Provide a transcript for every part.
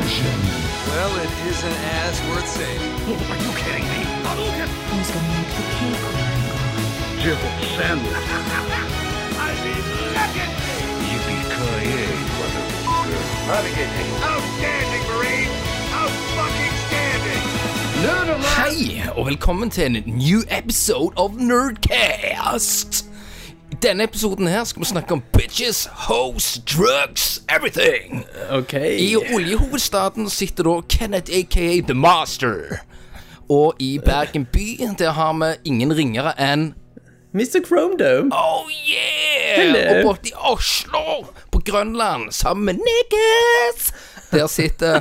Well, it is an ass worth saving. Who's gonna make the cake? Hei, og velkommen til en new episode of Nerdcast! I denne episoden her skal vi snakke om bitches, hoes, drugs, everything! Ok I oljehovedstaden sitter da Kenneth aka The Master. Og i Bergen by, der har vi ingen ringere enn Mr. Chrome Dome Oh yeah! Hello. Og borte i Oslo, på Grønland, sammen med niggas, der sitter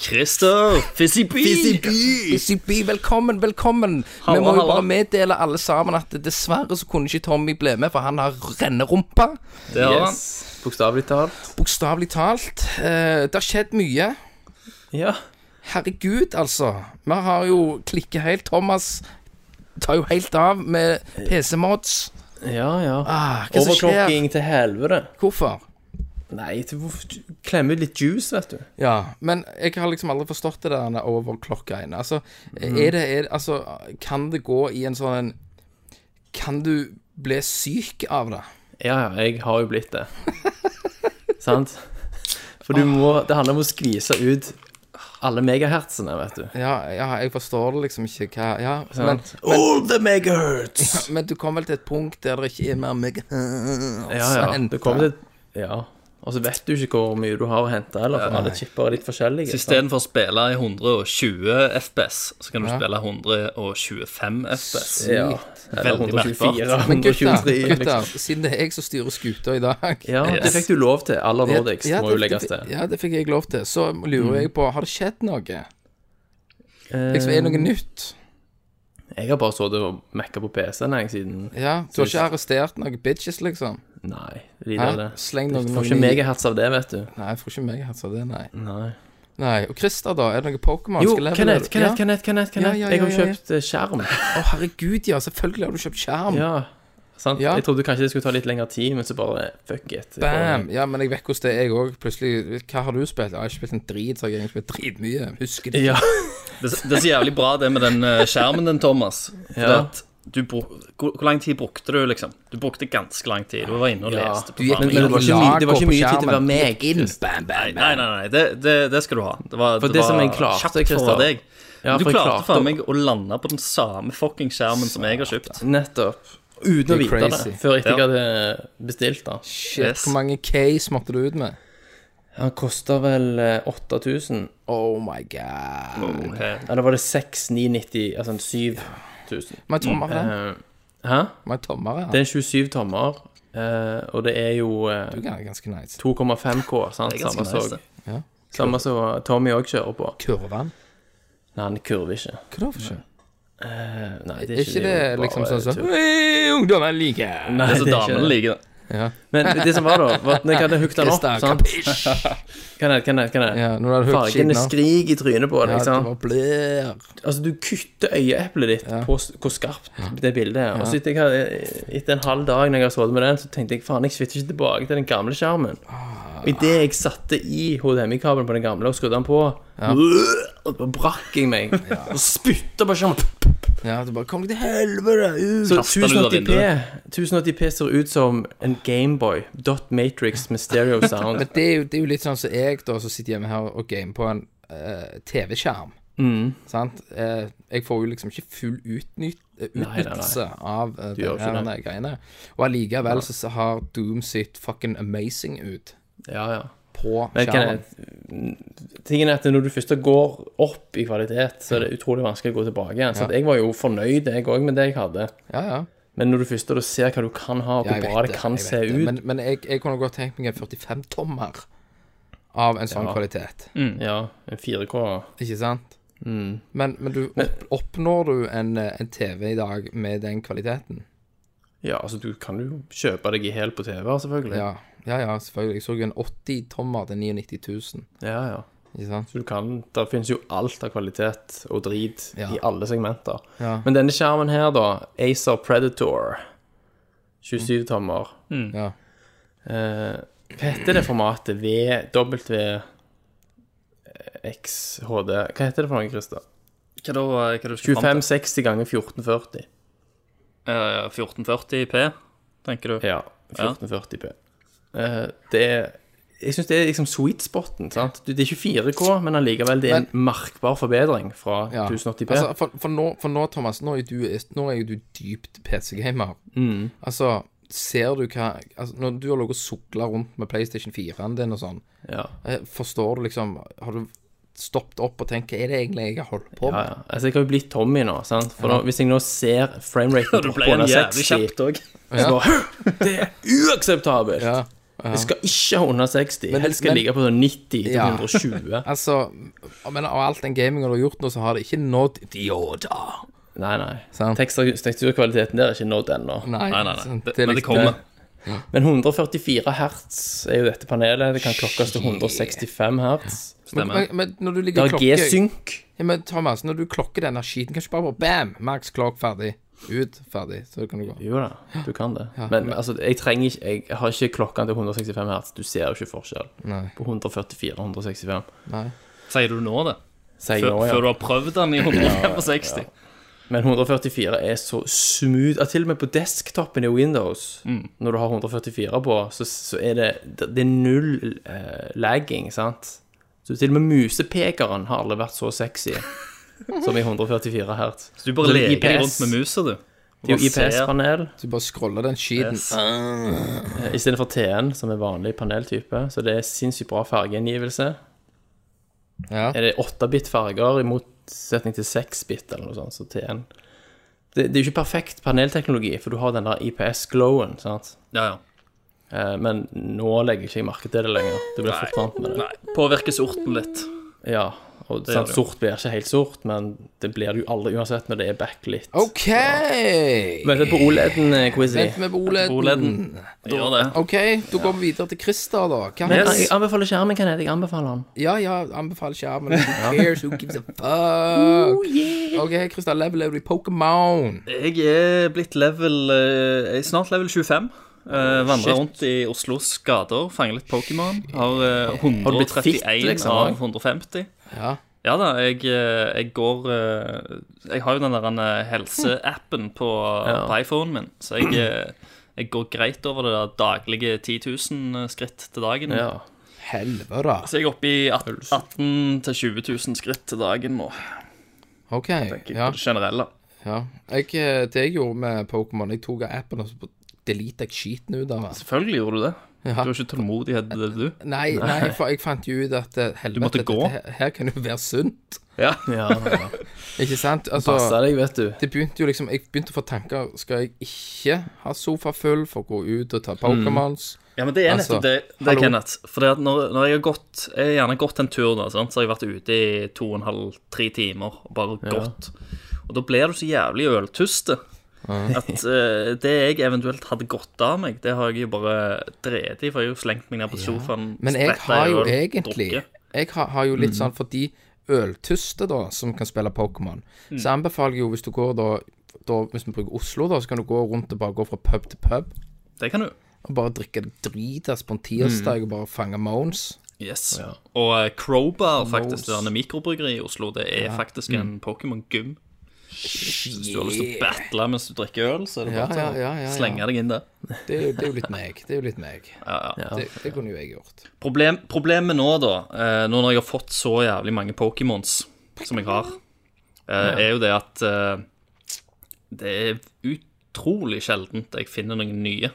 Christer Fizzy-Bee Isibi, velkommen, velkommen. Vi Halla, må jo halla. bare meddele alle sammen at dessverre så kunne ikke Tommy bli med, for han har rennerumpa. Det har han Bokstavlig talt Bokstavelig talt. Eh, det har skjedd mye. Ja Herregud, altså. Vi har jo klikket helt. Thomas tar jo helt av med PC-mods. Ja, ja Ah, hva som skjer? Overklokking til helvede Hvorfor? Nei, du må f- klemme ut litt juice, vet du Ja, men jeg har liksom aldri forstått det der overklokka-greiene. Altså, er det, er, det- altså, kan det gå i en sånn en Kan du bli syk av det? Ja, ja, jeg har jo blitt det Sant? For du må, det handler om å skvise ut alle megahertzene, vet du Ja, ja, jeg forstår det liksom ikke hva ja, men, Sant? All the megahertz men du kom vel til et punkt der det ikke er mer meg... Ja, ja, det kommer til Ja Og så vet du ikke hvor mye du har å hente, eller For alle chipper er litt forskjellige Så sant? istedenfor å spille i 120 FPS, så kan du spille 125 FPS. Ja, eller Veldig 124, merkbart. Men gutter, 123 liksom. gutter, siden det er jeg som styrer skuta i dag Ja, det Yes. fikk du lov til. Aller Nordics må jo det- legges det- til. Ja, det fikk jeg lov til. Så lurer Mm. jeg på, har det skjedd noe? Liksom, Um, er det noe nytt? Eh, Jeg har bare sittet og mekka på PC-en jeg siden Ja, Du har ikke arrestert noen bitches, liksom? Nei, de Hæ? der det. Sleng Du noen får ikke noen i- megahertz av det, vet du. Nei, jeg får ikke meg hatt av det, nei. Nei. Nei, Og Christer, da? Er det noe Pokémon? Jo, Skal level- Kenneth, Ja. Kenneth, Kenneth, Kenneth, Kenneth. Ja, ja, Jeg har ja, ja, kjøpt eh, skjerm. Å, herregud, ja. Selvfølgelig har du kjøpt skjerm. Ja, sant? Ja. Jeg trodde kanskje det skulle ta litt lengre tid, men så bare fuck it. Jeg bare- Bam! Ja, men jeg vet hvordan det er, jeg òg. Plutselig Hva har du spilt? Ja, Jeg har ikke spilt en drit, så jeg har egentlig spilt dritmye. Husker det. Ja, Det, det er så jævlig bra det med den eh, skjermen din, Thomas. For Ja. at du bruk, hvor, hvor lang tid brukte du, liksom? Du brukte ganske lang tid. Du var inne og Ja. leste. Du på gikk faen men meg. det var ikke lag mye- det var og ikke på mye tid til å være skjermen. meg, Gikk inn, Christer. bam, bam, bam. Nei, nei, nei, det, det, det skal du ha. Det var, For det som jeg klarte, kjapt Christer. fra deg. Ja, du for jeg klarte klarte å- faen meg å lande på den samme fucking skjermen som jeg har kjøpt. nettopp. Uten Det å er vite crazy. det, før jeg Ja. hadde bestilt det. Shit, Yes. hvor mange case måtte du ut med? Han kosta vel eh, 8000. Oh my god. Mm. Ok. Eller var det 6990, altså en 7000. Må jeg tommere det? Eh, hæ? Må jeg tommere Det det? er en 27 tommer, eh, og det er jo eh, Det er ganske nice. 2,5K, sant? Det er Samme ganske nice, som det. samme som Tommy òg kjører på. Kurven? Nei, han kurver ikke. Hva da for skjønn? Eh, Nei, Er ikke det jo bare liksom sånn som tull. «Hei, Ungdommen liker Nei, Det er det er så ikke damene det. liker det. Ja. Men det som var, da, var at når jeg hadde hooket den opp Christer, sant? Kan jeg, kan jeg, kan jeg? Ja, når du hadde hørt skitten Fargene opp. skrik i trynet på Ja, deg. det sant? var blær. Altså, du kutter øyeeplet ditt på s- hvor skarpt det bildet er. Og så etter, jeg har- etter en halv dag når jeg har sittet med den, så tenkte jeg faen, jeg svitter ikke tilbake til den gamle skjermen. Og idet jeg satte i HDMI-kabelen på den gamle og skrudde den på, og da brakk jeg meg. Og spytta på skjermen. Ja, du bare Kom deg til helvete ut! Så Kastet den ut av 1080p, 1080p ser ut som en Gameboy. Dot Matrix med stereo sound. Men det er, jo, det er jo litt sånn som jeg, da, som sitter hjemme her og gamer på en eh, TV-skjerm. Mm. Sant? Eh, jeg får jo liksom ikke full utnyt eh, nei, nei. utnyttelse av uh, gjør ikke denne greiene. Og allikevel så så har Doom sitt fucking amazing ut Ja, ja. på Men kan jeg, skjermen. tingen er at når du først går opp i kvalitet, så er det utrolig vanskelig å gå tilbake igjen. Så at jeg var jo fornøyd, jeg òg, med det jeg hadde. Ja, ja. Men når du først da ser hva du kan ha, og Ja, jeg hvor vet bra det kan jeg vet se det. ut Men, men jeg, jeg kunne godt tenkt meg en 45-tommer av en sånn Ja. Mm. kvalitet. Ja, en 4K. Ikke sant? Mm. Men, men du opp, oppnår du en, eh, en TV i dag med den kvaliteten? Ja, altså du kan jo kjøpe deg i hæl på TV, selvfølgelig. Ja, ja, ja selvfølgelig. Jeg så jo en 80-tommer til 99 000. ja. ja. Ikke sant? Så du kan, Der finnes jo alt av kvalitet og drit Ja. i alle segmenter. Ja. Men denne skjermen her, da. Acer Predator. 27 tommer. Ja. Eh, hva heter det formatet? V, W XHD Hva heter det for noe, Christer? Hva da? Hva du skal fram til? 2560 ganger 1440. Eh, 1440p, tenker du? Ja. 1440p. Eh, det er Jeg syns det er liksom sweet spoten. sant? Du, Det er ikke 4K, men allikevel det er en markbar forbedring fra Ja. 1080p. Altså, for, for, nå, for nå, Thomas, nå er, du, nå er jo du dypt PC-gamer. Mm. Altså, ser du hva altså, Når du har ligget og sukla rundt med PlayStation 4-en din og sånn, ja. eh, forstår du liksom Har du stoppet opp og tenkt hva er det egentlig jeg har holdt på Ja, med? ja. Altså, jeg har jo blitt Tommy nå, sant? For nå, hvis jeg nå ser Ja, frameraten Du droppe ble en under jævlig 60 kjapt òg. så bare, Det er uakseptabelt! Ja. Jeg skal ikke ha under 60. Men- Helst skal jeg men- ligge på sånn 90 Ja. 120. Altså, men av alt den gaminga du har gjort nå, så har det ikke nådd de åda. Nei, nei. Sant. Tekstur, teksturkvaliteten der er ikke nådd ennå. Nei, nei, nei. sant, Det, er men det liksom- kommer. Men 144 hertz er jo dette panelet. Det kan klokkes til 165 hertz. Men, Stemmer. men, men når du ligger Det og er klokker G-synk. Ja, men Thomas, når du klokker denne skiten, kan du ikke bare bare bam, maks klokk ferdig. Ut, ferdig. Så kan du gå. Jo da, du kan det. Men men altså, jeg trenger ikke Jeg har ikke klokka til 165 hertz. Du ser jo ikke forskjell Nei. på 144 og 165. Nei. Sier du nå det? Sier jeg Før, nå, ja. før du har prøvd den i 165? Men 144 er så smooth at til og med på desktopen i Windows, Mm. når du har 144 på, så, så er det, det er null eh, lagging, sant? Så til og med musepekeren har aldri vært så sexy som i 144 hertz. Så du bare Så det er leker deg IPS. rundt med musa, du. Det er Bare jo ser. IPS-panel Du bare scroller den skiten. Yes. eh, i stedet for TN, som er vanlig paneltype, så det er sinnssykt bra fargegjengivelse. Ja. Er det 8-bit farger i motsetning til 6-bit eller noe sånt, så TN. Det, det er jo ikke perfekt panelteknologi, for du har den der IPS-glowen, sant? Ja, ja. Eh, Men nå legger ikke jeg merke til det lenger. Du blir fort vant med det. Nei, påvirker sorten litt. Ja, og Det sant, gjør det. Sort blir ikke helt sort, men det blir det jo aldri uansett når det er backlit. OK! Møte på OLED-en, eh, Quizzy. Vent med boleden. OLED-en. Gjør det. OK, da går vi videre til Christer, da. Hva Men han, Yes. jeg anbefaler skjermen, Kenneth. Jeg anbefaler den. ja, ja, anbefaler skjermen. Who cares? Who gives a fuck? OK, Christer, level level i Pokémon. Jeg er blitt level eh, Jeg er snart level 25. Eh, vandrer rundt i Oslos gater, fanger litt Pokémon. Har eh, Har du blitt 131 fit, liksom, av også? 150. Ja. Ja da, jeg, eh, jeg går eh, Jeg har jo den der eh, helseappen på, Ja. på iPhonen min, så jeg, eh, jeg går greit over det der daglige 10 000 skritt til dagen. Ja. Helvete. Så jeg er oppe i 18 000-20 000 skritt til dagen nå, OK. tenker jeg, Ja. på det generelle. ja. Jeg, eh, det jeg gjorde med Pokémon, jeg tok av appen og så delete jeg skiten ut av den. Selvfølgelig gjorde du det. Ja. Du har ikke tålmodighet til det, du. Nei, nei, for jeg fant jo ut at eh, helvete, måtte dette gå? Her, her kan jo være sunt. Ja. ja, ja. Ikke sant? Altså, Passa deg, vet du. det begynte jo liksom Jeg begynte å få tanker Skal jeg ikke ha sofa full for å gå ut og Mm. ta Pokémons? Ja, men det er Altså, nettopp det, det hallo. Kenneth. For det at når, når jeg har gått Jeg har gjerne gått en tur, da, sant? så har jeg vært ute i to og en halv, tre timer og bare gått. Og da blir du så jævlig øltuste at eh, det jeg eventuelt hadde gått av meg, det har jeg jo bare drevet i, for jeg har jo slengt meg ned på sofaen, Men jeg spretta har i jo øl, egentlig drukket. Jeg har, har jo litt Mm. sånn for de øltuste da som kan spille Pokémon, Mm. så anbefaler jeg jo hvis du går da, da Hvis vi bruker Oslo, da, så kan du gå rundt og bare gå fra pub til pub Det kan du. og bare drikke det dritas på en Mm. tirsdag og bare fange moans. Yes. Og eh, Crowbar, faktisk, det der mikrobryggeriet i Oslo, det er faktisk Mm. en Pokémon-gym. Hvis du har lyst til å battle mens du drikker øl, så er det Ja, bare ja, å ja, ja, ja. slenge deg inn der. Det, er jo- det er jo litt meg. Det er jo litt meg. Det, det kunne jo jeg gjort. Problem, problemet nå, da, eh, nå når jeg har fått så jævlig mange Pokémons som jeg har, eh, er jo det at eh, det er utrolig sjeldent jeg finner noen nye.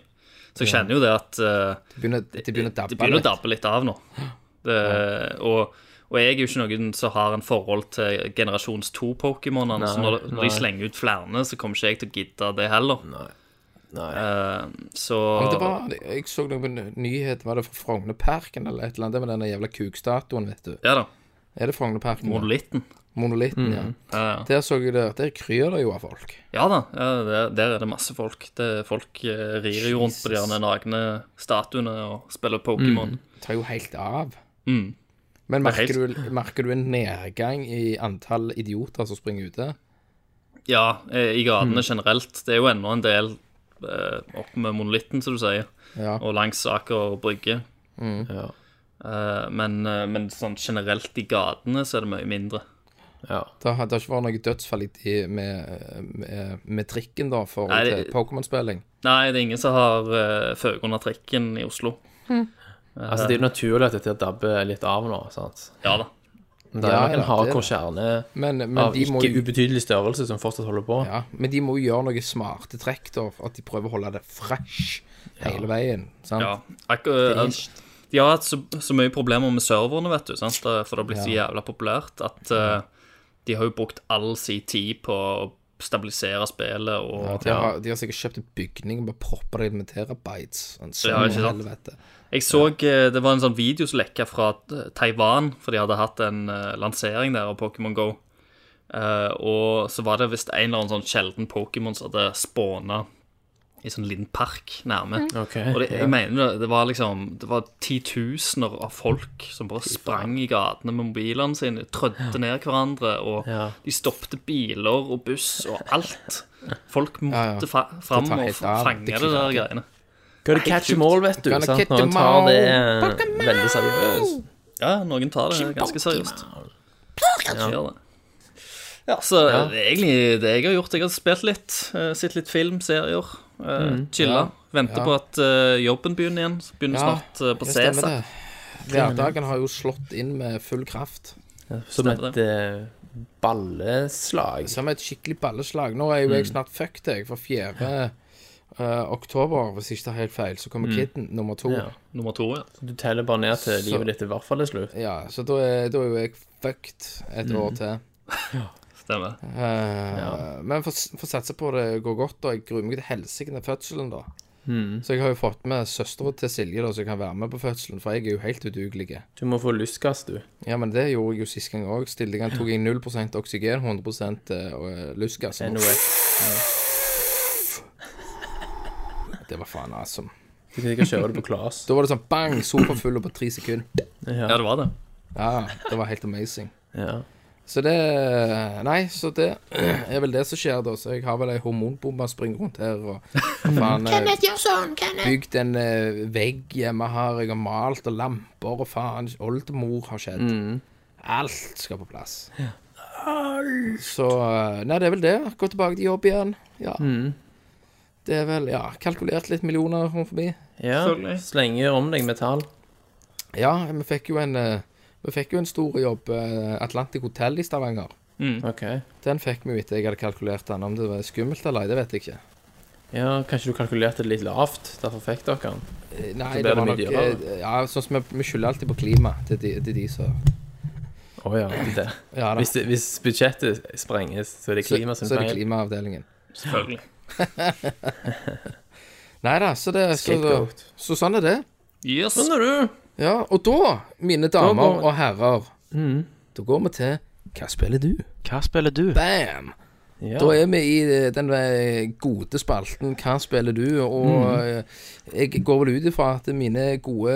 Så jeg kjenner jo det at eh, Det begynner, det begynner å det dabbe begynner å litt. dabbe litt av nå. Det, og, og jeg er jo ikke noen som har en forhold til generasjons 2-Pokémonene, så når, når nei. de slenger ut flere, så kommer ikke jeg til å gidde det heller. Nei. Eh, så Men det var, det- jeg så noen nyhet, var det fra Frognerparken eller et eller annet? Det var den jævla kukstatuen, vet du. Ja da. Er det Frognerparken? Monolitten. Monolitten, ja. Ja, ja. Der så jeg det, der kryr det jo av folk. Ja da, ja, der, der er det masse folk. Det, folk eh, rir jo rundt på de derne nagne statuene og spiller Pokémon. Det tar jo helt av. Mm. Men Det er merker du, merker du en nedgang i antall idioter som springer ute? Ja, eh, i Mm. gatene generelt. Det er jo ennå en del eh, oppe med monolitten, som du sier, Ja. Mm. og langs Aker og Brygge. Ja. Eh, men, eh, men sånn generelt i gatene så er det mye mindre. Ja. Det har, det har ikke vært noe dødsfall i- i- med, med, med trikken, da, for Nei, til det- Pokémon-spilling? Nei, det er ingen som har uh, føket under trikken i Oslo. Altså, det er jo naturlig at dette dabber litt av nå, sant. Ja da. Men det er Ja, nok ja, en hardcore det kjerne Men, men, av de må, ikke jo- ubetydelig størrelse som fortsatt holder på. ja, men de må jo gjøre noe smarte trekk, da, for at de prøver å holde det fresh hele veien. sant? Ja. eh, Akkur de har hatt så, så mye problemer med serverne, vet du, sant? Eh, for det har blitt så jævla populært at eh, de har jo brukt all sin tid på å stabilisere spillet og Ja, de, har, de har sikkert kjøpt en bygning og bare proppa det med terabytes. En sånn Ja, ikke sant? helvete. Jeg så eh, det var en sånn video som lekka fra eh, Taiwan, for de hadde hatt en eh, lansering der av Pokémon Go. Eh, og så var det visst en eller annen sånn sjelden Pokémon som hadde spåna i sånn liten park nærme. Ok. Og det, jeg mener det, det var liksom Det var titusener av folk som bare sprang i gatene med mobilene sine, trødde ned hverandre, og Ja. de stoppte biler og buss og alt. Folk Ja, ja. måtte fa fram tar og helt f- av. fange Det det er der klart. greiene. Gotta catch them all, vet du. Gotta Sant? catch Når 'em en tar det all. eh, veldig seriøst. Ja, noen tar det ganske seriøst. Ja. Gjør det. Ja, så det er egentlig det jeg har gjort. Jeg har spilt litt, eh, sett litt film, serier, uh, chilla. Venter Mm. Ja. på at eh, jobben begynner igjen. Så Begynner Ja, snart eh, på Det CESA. stemmer, det. Hverdagen har jo slått inn med full kraft. Som Stemmer et eh, balleslag. Som et skikkelig balleslag. Nå er jo Mm. jeg snart fucked, jeg. For 4. eh, oktober, hvis ikke det er helt feil, så kommer Kidden nummer to. Ja. Ja. Nummer to, Mm. ja. Du teller bare ned til Så- livet ditt i hvert fall er slutt. så da er, da er jo jeg fucked et Mm. år til. Stemmer. Eh, Men for, for å satse på det går godt, og jeg gruer meg til helsike til fødselen, da. Så jeg har jo fått med søstera til Silje, da, så jeg kan være med på fødselen, for jeg er jo helt udugelig. Du må få lystgass, du. Ja, men det gjorde jeg jo sist gang òg. Stilte jeg tok jeg 0 oksygen, 100 eh, og, eh, lystgass. og- Anyway. Det var faen awesome. Du kan ikke kjøre det på Klas. Da var det sånn bang, sofa full og på tre sekunder. Ja, det var det. Ja, det var helt amazing. Ja. Så det eh, Nei, så det er vel det som skjer, da. Så jeg har vel ei hormonbombe og springer rundt her og og faen eh, Bygd en eh, vegg hjemme her. Jeg har malt og lamper og faen. Oldemor har skjedd. Mm. Alt skal på plass. Så eh, Nei, det er vel det. Gå tilbake til jobb igjen. Ja. Mm. Det er vel Ja, kalkulert litt millioner rundt forbi. ja. Selvfølgelig. Slenge om deg med tall. Ja, vi fikk jo en eh, Vi fikk jo en stor jobb, eh, Atlantic Hotel i Stavanger. Mm. OK. Den fikk vi jo etter jeg hadde kalkulert den. Om det var skummelt eller ei, det vet jeg ikke. Ja, kanskje du kalkulerte det litt lavt. Derfor fikk dere den. Eh, Nei, Så ble det det var mye nok eh, Ja, sånn som vi, vi skylder alltid på klima. Det er de, det er de som Å ja. Det. Ja da. Hvis, det- hvis budsjettet sprenges, så er det Så, klima sin så er det feil. klimaavdelingen. Selvfølgelig. Nei Altså, da, så det så, Scapegoat. så sånn er det. Yes. Sånn er du. Ja, og da, mine damer går- og herrer, da går vi til Hva spiller du? Hva spiller du? Bam! Ja. Da er vi i eh, den eh, gode spalten Hva spiller du? Og eh, jeg går vel ut ifra at mine gode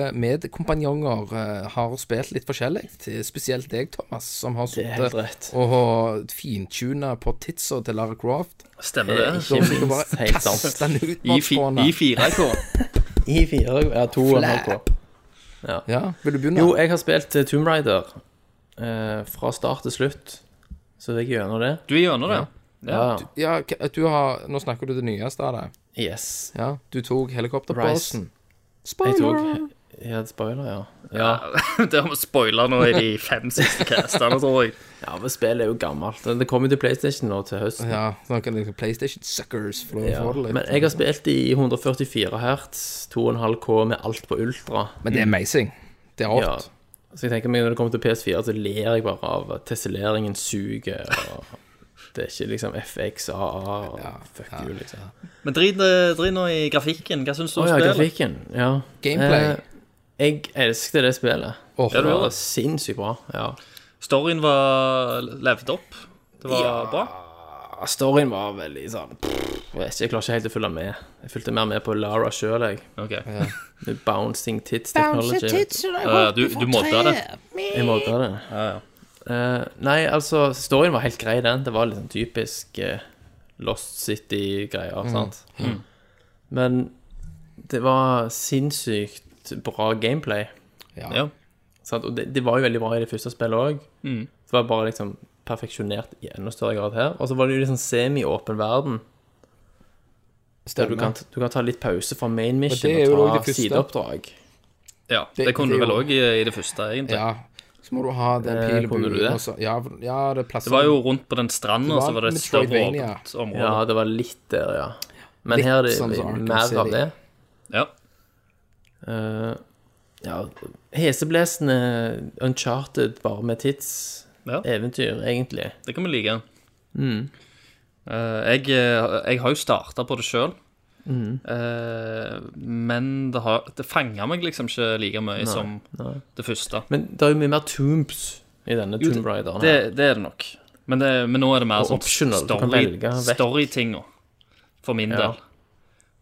medkompanjonger eh, har spilt litt forskjellig. Spesielt deg, Thomas, som har Det er helt sittet rett. og har fintunet på tidsa til Lara Croft. Stemmer det. Da må du minst, bare helt sant. kaste den ut I, på fi, henne. I 4K. I fire Ja, to og en halv Flap. K. Ja, vil du begynne? Jo, jeg har spilt eh, Tomb Raider eh, fra start til slutt, så jeg er gjennom det. Du er gjennom det. Ja. Ja, k- du har, nå snakker du det nyeste av det. Yes. Ja, du tok helikopterbasen. Jeg tok Ja, det spoiler, ja. Ja, det har vi spoila nå i de fem siste castene, tror jeg. ja men spillet er jo gammelt. Det kommer jo til PlayStation nå til høsten. Ja, sånn kan det PlayStation Suckers. For å Ja, få det litt. men jeg har spilt i 144 hertz, 2,5K med alt på ultra. Men det er amazing. Det er rått. Ja. Så jeg tenker meg når det kommer til PS4, så ler jeg bare av at tesseleringen suger. og Det er ikke liksom FX, AA og fuck you, liksom. Men drit drit nå i grafikken. Hva syns du Å om ja, spillet? grafikken. Ja. Gameplay. Eh, jeg elsket det spillet. Åh, Ja, du Det gjør var det. sinnssykt bra. Ja. Storyen var levd opp. Det var bra. Storyen var veldig sånn pff, Jeg vet ikke, jeg klarer ikke helt å følge med. Jeg fulgte mer med på Lara sjøl, jeg. Ok. Med bouncing tits technology. Eh, du, du modda det. Jeg målte det. Eh, nei, altså, storyen var helt grei, den. Det var liksom typisk eh, Lost City-greier, Mm. sant. Men det var sinnssykt bra gameplay. Ja. Sant? Og det, det var jo veldig bra i det første spillet òg. Mm. Det var bare liksom perfeksjonert i enda større grad her. Og så var det jo liksom semi-åpen verden. Der du Stemmer. kan, du kan ta litt pause fra main Og mission det er og, jo også ta det første. sideoppdrag. Ja, det, Det- kunne det du vel gjorde- òg i, i det første, egentlig. Ja. Så må du ha den Eh, kunne du pilebuen det? og så Ja, ja det plasser Det var jo rundt på den stranda, Det var så var det et større Metroidvania. åpent område. Ja, det var litt der, ja. Men Litt her er det sånn som Arkham mer City. av det. Ja. Eh, ja, heseblesende Uncharted bare med tidseventyr, Ja. egentlig. Det kan vi like. Mm. Eh, jeg, eh, jeg har jo starta på det sjøl. Mm. men det, har- det fanga meg liksom ikke like mye som det første. Men det er jo mye mer tombs i denne Jo, det- Tomb Raideren. her. Det, det er det nok. Men, det, men nå er det mer Og sånn optional, du kan story- velge vekk. storytinga, for min Ja. del.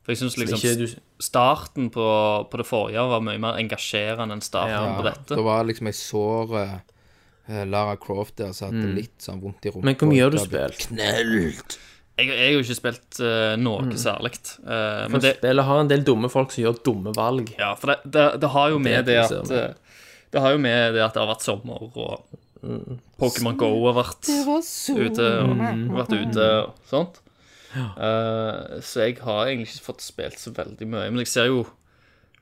For jeg syns liksom ikke du- starten på, på det forrige var mye mer engasjerende enn starten Ja. på dette. Det var liksom ei sår eh, Lara Croft der som hadde litt sånn vondt i rumpa. Mm. Men hvor mye har du Da ble- spilt? Knelt! Jeg, jeg har jo ikke spilt eh, noe Mm. særlig. eh, men det, Spillet har en del dumme folk som gjør dumme valg. Ja, for det, det, det har jo med det, interesserer at meg. eh, Det har jo med det at det har vært sommer, og Pokémon Go har vært ute og vært ute og sånt. Eh, så jeg har egentlig ikke fått spilt så veldig mye. Men jeg ser jo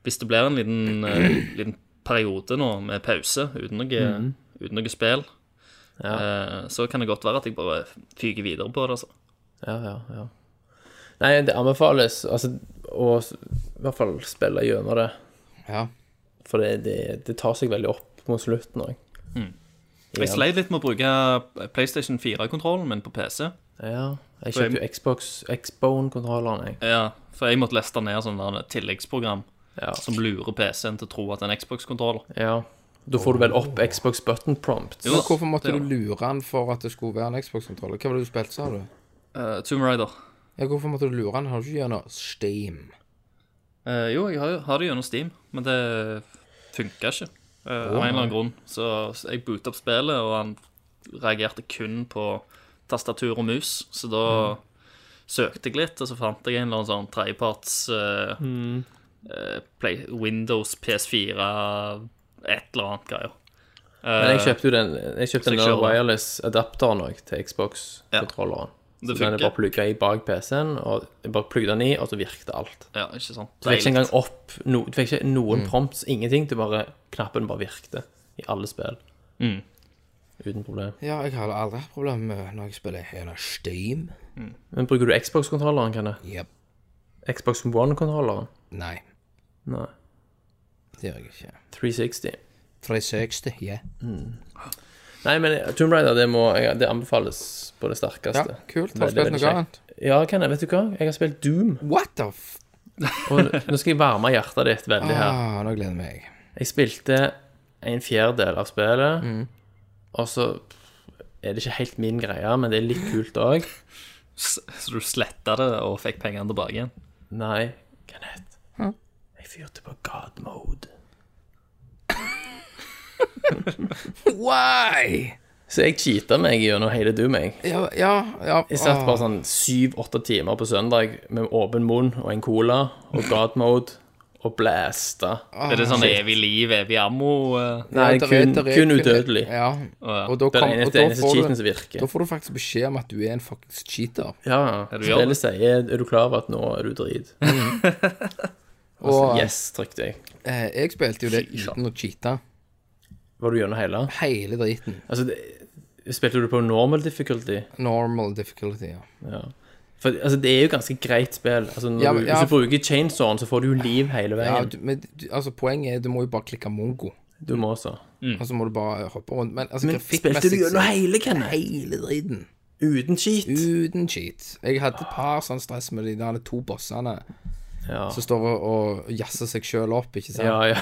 Hvis det blir en liten, eh, liten periode nå med pause uten noe, uten noe spill, eh, så kan det godt være at jeg bare fyker videre på det, altså. Ja, ja, ja. Nei, det anbefales altså, å s- i hvert fall spille gjennom det. Ja. For det, det, det tar seg veldig opp mot slutten òg. Jeg sleit litt med å bruke PlayStation 4-kontrollen min på PC. Ja. Jeg For jeg- kjøpte jo Xbox Xbone-kontrolleren, jeg. Ja, for jeg måtte leste ned sånn der tilleggsprogram Ja. som lurer PC-en til å tro at det er en Xbox-kontroller. Ja. Da får du vel opp Xbox button prompts. Jo. Men hvorfor måtte Det du var- lure han for at det skulle være en Xbox-kontroller? Hva var det du spilte, sa du? Eh, Uh, Tomb Raider. Ja, hvorfor måtte du lure han? Har du ikke gjennom Steam? Eh, jo, jeg har, har det gjennom Steam, men det funka ikke. eh, av en eller annen grunn. Så, så jeg boota opp spillet, og han reagerte kun på tastatur og mus. Så da Mm. søkte jeg litt, og så fant jeg en eller annen sånn tredjeparts eh, Mm. eh, Play- Windows PS4 et eller annet greier. Men jeg Eh, kjøpte jo den Jeg kjøpte den der Seksjon. wireless adapteren òg til Xbox-kontrolleren. Det Så den er funker. bare plugga i bak PC-en, og jeg bare plugga den i, og så virket alt. Eh, Ja, ikke sant. Du fikk ikke engang opp no, Du fikk ikke Mm. noen prompts, ingenting. Du bare Knappen bare virkte i alle spill. Mm. Uten problem. Ja, jeg har aldri hatt problem med når jeg spiller gjennom Steam. Men bruker du Xbox-kontrolleren, kan jeg? Jepp. Xbox One-kontrolleren? Nei, Nei. det gjør jeg ikke. 360. 360, ja. Nei, men Tomb Raider, det, må, jeg- det anbefales på det Ja, sterkeste. kult. Har Veldig, du spilt veldig noe kjekt. annet? Ja, Kenneth, vet du hva? Jeg har spilt Doom. What the f... Og nå skal jeg varme hjertet ditt veldig her. Ah, nå gleder jeg meg. Jeg spilte en fjerdedel av spillet, og så er det ikke helt min greie, men det er litt kult òg. Så du sletta det og fikk pengene tilbake igjen? Nei, Kenneth. Jeg fyrte på god mode. Why? Så jeg cheata meg gjennom hele Doom, jeg. Ja, ja, ja. Jeg satt ah. bare sånn syv-åtte timer på søndag med åpen munn og en cola og god mode og blasta. Ah, Er det sånn evig liv, evig ammo? eh? Nei, Ja, der er- kun, der er- kun udødelig. Ja. ja. Og da, Det er kom, den og eneste, da, eneste får cheaten du, som virker. da får du faktisk beskjed om at du er en fuckings cheater. Ja, du gjør det. Spillet sier er du klar over at nå er du drit. Og Yes, trykte jeg. eh, jeg spilte jo det uten å cheate. Var du gjennom hele? Hele driten. Altså, det, spilte du på normal difficulty? Normal difficulty, ja. Ja. For altså, det er jo ganske greit spill. Altså, når Ja, du, men- ja. Hvis du bruker chainsawen, så får du jo liv hele ja veien. du, men du, altså, poenget er du må jo bare klikke mongo, du, må også. og så må du bare hoppe rundt. Men, altså, Mm. Men grafikkmessig spilte du så- gjennom hele, Kenneth? hele driten? Uten cheat? Uten cheat. Jeg hadde et par sånn stress med de der to bossene Ja. som står og- og jazzer seg sjøl opp, ikke sant. ja, ja.